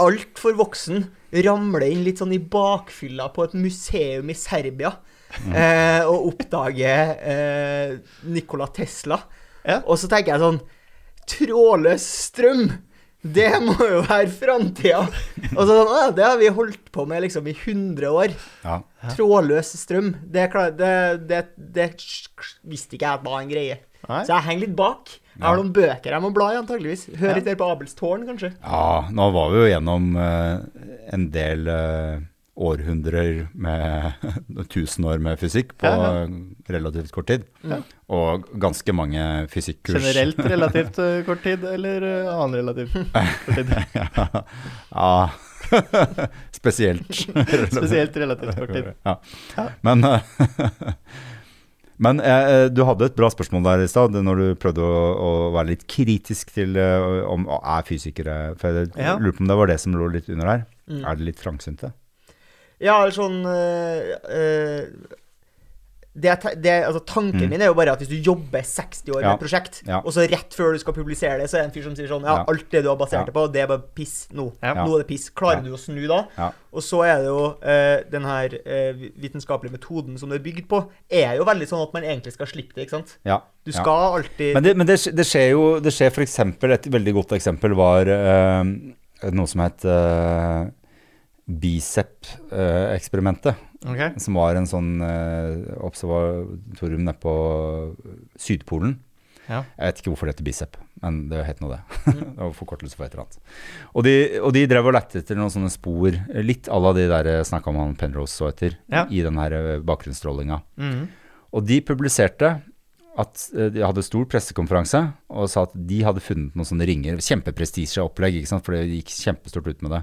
S1: Altfor voksen ramler inn litt sånn i bakfylla på et museum i Serbia
S2: Mm.
S1: eh, og oppdager eh, Nikola Tesla.
S3: Ja.
S1: Og så tenker jeg sånn Trådløs strøm! Det må jo være framtida! Og så sånn, «Å, det har vi holdt på med liksom i 100 år.
S2: Ja.
S1: Trådløs strøm. Det, er klar- det, det, det visste ikke jeg at var en greie.
S3: Nei.
S1: Så jeg henger litt bak. Jeg har noen bøker jeg må bla i, antageligvis. Hør litt mer på Abels tårn, kanskje.
S2: ja, nå var vi jo gjennom ø, en del ø, århundrer med tusen år med fysikk på øh,
S3: Ja,
S2: relativt kort tid. Og ganske mange fysikkurs.
S3: Generelt relativt eh, kort tid, eller eh, annen relativt kort tid?
S2: ja. Spesielt.
S3: Spesielt relativt kort tid.
S2: Ja. Men, eh, men eh, du hadde et bra spørsmål der i stad, når du prøvde å, å være litt kritisk til eh, om å, er fysikere For jeg
S3: Ja.
S2: lurer på om det var det som lå litt under her. Er de litt trangsynte?
S1: Ja, eller sånn øh, øh, det, er ta- det, er- altså, Tanken min er jo bare at hvis du jobber 60 år med
S2: Mm. Ja.
S1: et prosjekt,
S2: Ja.
S1: og så rett før du skal publisere det, så er det en fyr som sier sånn Ja,
S2: Ja.
S1: alt det du har basert
S2: Ja.
S1: det på, det er bare piss nå.
S3: Ja.
S1: Nå er det piss. Klarer
S2: Ja.
S1: du å snu da?
S2: Ja.
S1: Og så er det jo eh, den her eh, vitenskapelige metoden som det er bygd på, er jo veldig sånn at man egentlig skal slippe det, ikke sant?
S2: Ja.
S1: Du
S2: ja.
S1: skal alltid
S2: Men, det, men det, sk- det skjer jo Det skjer for eksempel Et veldig godt eksempel var eh, noe som het eh, Bicep-eksperimentet.
S3: Ok.
S2: som var en sånn eh, observatorium nede på Sydpolen.
S3: Ja. Mm.
S2: Jeg vet ikke hvorfor det heter Bicep, men det het nå det. det var forkortelse for et eller annet. Og de, og de drev og lette etter noen sånne spor, litt à la de der jeg snakka om han Penrose så etter,
S3: Ja.
S2: i den her eh, bakgrunnsstrålinga.
S3: Mhm.
S2: Og de publiserte at eh, de hadde stor pressekonferanse og sa at de hadde funnet noen sånne ringer. Kjempeprestisjeopplegg, ikke sant, for det gikk kjempestort ut med det.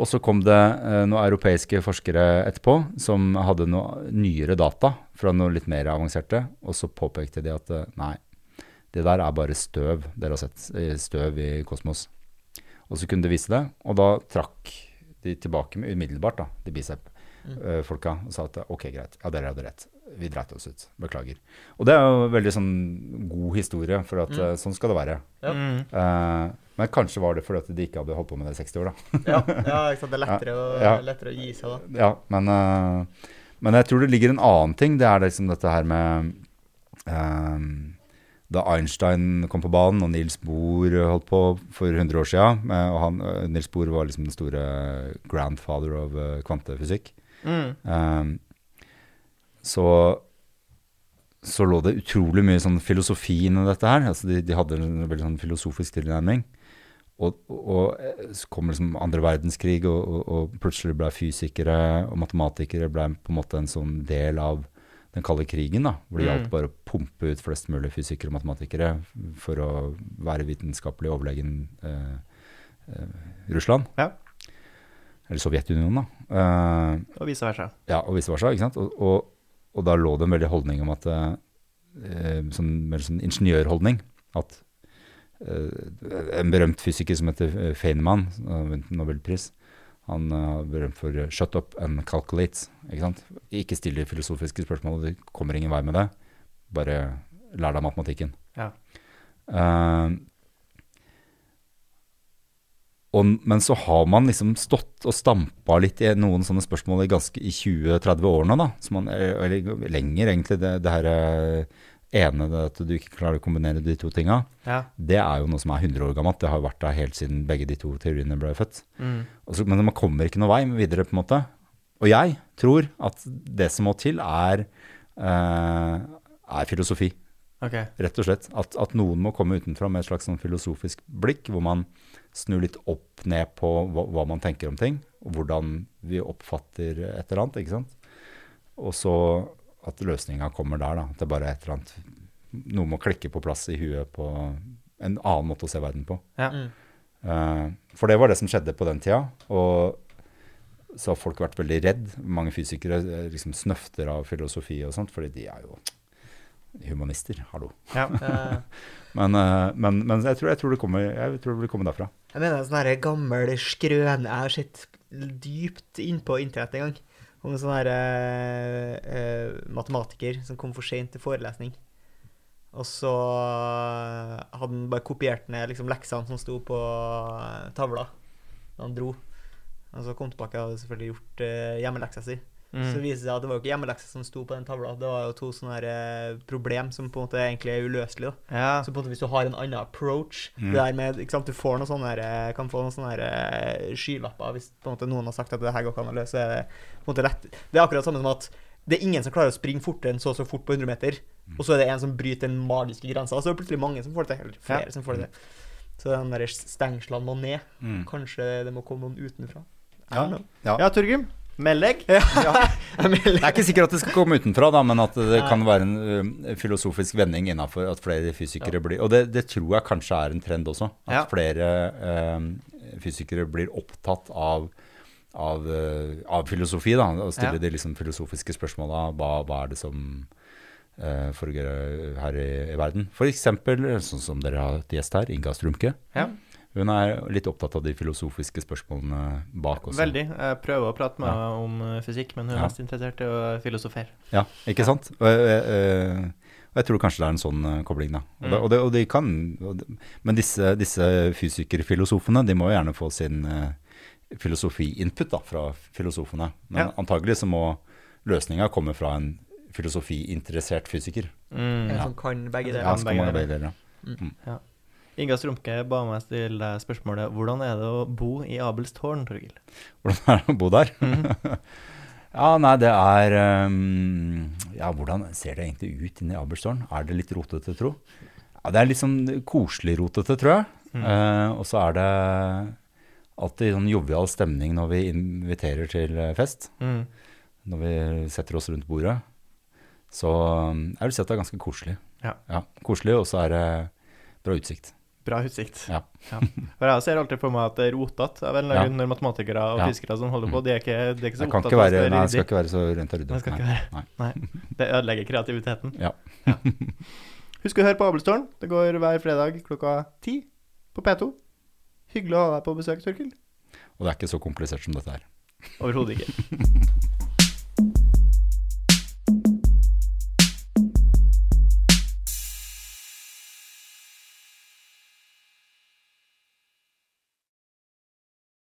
S2: Og så kom det eh, noen europeiske forskere etterpå som hadde noe nyere data fra noe litt mer avanserte, og så påpekte de at eh, nei, det der er bare støv dere har sett, eh, støv i kosmos. Og så kunne de vise det, og da trakk de tilbake med umiddelbart, da, de bicep-folka, og sa at ok, greit, ja, dere hadde rett. Vi dreit oss ut. Beklager. Og det er jo veldig sånn god historie, for at eh, sånn skal det være.
S1: Ja.
S3: Mhm.
S2: Eh, men kanskje var det fordi at de ikke hadde holdt på med det i 60 år, da.
S1: Ja, ja ikke sant? det er lettere å,
S2: Ja.
S1: lettere å gi seg da.
S2: Ja, men, eh, men jeg tror det ligger en annen ting. Det er liksom dette her med eh, Da Einstein kom på banen, og Niels Bohr holdt på for 100 år siden eh, og han, eh, Niels Bohr var liksom den store grandfather of eh, kvantefysikk.
S3: Mhm.
S2: Eh, så så lå det utrolig mye sånn filosofi inni dette her. Altså de, de hadde en veldig sånn filosofisk tilnærming. Og, og eh, så kom liksom andre verdenskrig, og, og, og plutselig ble fysikere og matematikere ble på en måte en sånn del av den kalde krigen, da, hvor det
S3: Mm.
S2: gjaldt bare å pumpe ut flest mulig fysikere og matematikere for å være vitenskapelig overlegen eh, eh, Russland.
S3: Ja.
S2: Eller Sovjetunionen, da. Eh,
S3: Og vice versa.
S2: ja, og vice versa, ikke sant? Og, og, og da lå det en veldig holdning om at eh, eh, sånn, Mer sånn ingeniørholdning. At eh, en berømt fysiker som heter eh, Feynman, som har vunnet en nobelpris han eh, er berømt for eh, 'shut up and calculate'. Ikke sant? Ikke stille filosofiske spørsmål, du kommer ingen vei med det. Bare lær deg matematikken.
S3: Ja.
S2: Eh, og, men så har man liksom stått og stampa litt i noen sånne spørsmål i, ganske- i 20-30 år nå, da. Som man, eh, eller lenger, egentlig. Det, det her eh, ene, det at du ikke klarer å kombinere de to tinga,
S3: Ja.
S2: det er jo noe som er 100 år gammelt. Det har vært der helt siden begge de to teoriene ble født.
S3: Mhm.
S2: Og så- men man kommer ikke noen vei videre, på en måte. Og jeg tror at det som må til, er, eh, er filosofi
S3: Ok.
S2: rett og slett. At, at noen må komme utenfra med et slags sånn filosofisk blikk, hvor man snur litt opp ned på hva, hva man tenker om ting, og hvordan vi oppfatter et eller annet, ikke sant? Og så at løsninga kommer der, da. At det bare er et eller annet Noe må klikke på plass i huet på en annen måte å se verden på.
S3: Ja.
S1: Mm.
S2: Eh, for det var det som skjedde på den tida. Og så har folk vært veldig redd. Mange fysikere eh, liksom snøfter av filosofi og sånt, fordi de er jo humanister. Hallo.
S3: Ja.
S1: Eh,
S2: Men, eh, men, men jeg, tror, jeg, tror det kommer, jeg tror det vil komme derfra.
S1: Jeg mener en sånn her gammel skrøne jeg har sett dypt innpå internett en gang. Om en sånn her eh, eh, matematiker som kom for sent til forelesning. Og så hadde han bare kopiert ned liksom, leksene som sto på eh, tavla da han dro. Og så kom tilbake og hadde selvfølgelig gjort uh, hjemmeleksa si. Så
S3: Mhm.
S1: viser det seg at det var jo ikke hjemmelekser som sto på den tavla, det var jo to sånne her, eh, problem som på en måte egentlig er uløselige. da.
S3: ja.
S1: Så på en måte hvis du har en annen approach
S2: Mm.
S1: det der med, ikke sant, Du får noen sånne, her, kan få noen sånne her, eh, skylapper hvis på en måte noen har sagt at det her går ikke an å løse. så er Det, på en måte lett. det er akkurat samme som at det er ingen som klarer å springe fortere enn så og så fort på 100 meter, og så er det en som bryter den magiske grensa. Og så er det plutselig mange som får det til. Eller flere
S3: Ja.
S1: som får det til. Så den der stengslene må ned. Kanskje det må komme noen utenfra. I
S2: Mm. Ja.
S1: don't know.
S3: ja, Torgrim. Meld deg.
S1: Jeg
S2: Det
S1: mener-
S2: er ikke sikkert at det skal komme utenfra, da, men at det
S1: Nei.
S2: kan være en ø, filosofisk vending innafor at flere fysikere blir Og det, det tror jeg kanskje er en trend også. At
S3: Ja.
S2: flere ø, fysikere blir opptatt av, av, ø, av filosofi. Da, og stiller
S3: Ja.
S2: de liksom filosofiske spørsmåla. Hva, hva er det som ø, foregår her i, i verden? F.eks. sånn som dere har hatt gjest her, Inga Strumke.
S3: Ja.
S2: Hun er litt opptatt av de filosofiske spørsmålene bak også.
S3: Veldig. Jeg prøver å prate med henne om eh, fysikk, men hun er
S2: Ja.
S3: mest interessert i å filosofere.
S2: Ja, ikke sant? Og, jeg- jeg- og jeg tror kanskje det er en sånn eh, kobling, da. Og, det,
S3: Mm.
S2: og, det, og de kan og de, Men disse, disse fysikerfilosofene, de må jo gjerne få sin eh, filosofi-input da, fra filosofene. Men
S3: Ja.
S2: antagelig så må løsninga komme fra en filosofi-interessert fysiker.
S3: Mm.
S1: En
S2: Ja.
S1: som kan begge
S2: Ja,
S3: Ja,
S1: deler.
S2: så
S3: begge
S2: kan man
S3: deler.
S2: velge, ja.
S3: Inga Strumke ba meg stille deg spørsmålet hvordan er det å bo i Abels tårn, Torgil?
S2: Hvordan er det å bo der?
S3: Mhm.
S2: ja, nei, det er ehm, Ja, hvordan ser det egentlig ut inni Abelstårn? Er det litt rotete, tro? Ja, det er litt sånn koselig-rotete, tror jeg.
S3: Mm.
S2: Eh, og så er det alltid sånn jovial stemning når vi inviterer til eh, fest.
S3: Mm.
S2: Når vi setter oss rundt bordet. Så eh, jeg vil si at det er ganske koselig.
S3: Ja.
S2: koselig, og så er det bra utsikt.
S3: Bra utsikt.
S2: Ja.
S3: For jeg ser alltid for meg at det er rotete av en eller
S2: Ja.
S3: annen grunn når matematikere og
S2: Ja.
S3: fiskere som holder på. De er ikke, de er ikke så
S2: Det kan
S3: opptatt
S2: ikke
S3: av at
S2: være,
S3: det er
S2: nei, det
S3: ryddig.
S2: skal ikke være så rent og ryddig.
S3: Det skal
S2: Nei.
S3: ikke være. Nei. Det ødelegger kreativiteten.
S2: Ja.
S3: Ja. Husk å høre på Abelstårn. Det går hver fredag klokka ti på P2. Hyggelig å ha deg på besøk, Torkil.
S2: Og det er ikke så komplisert som dette her.
S3: Overhodet ikke.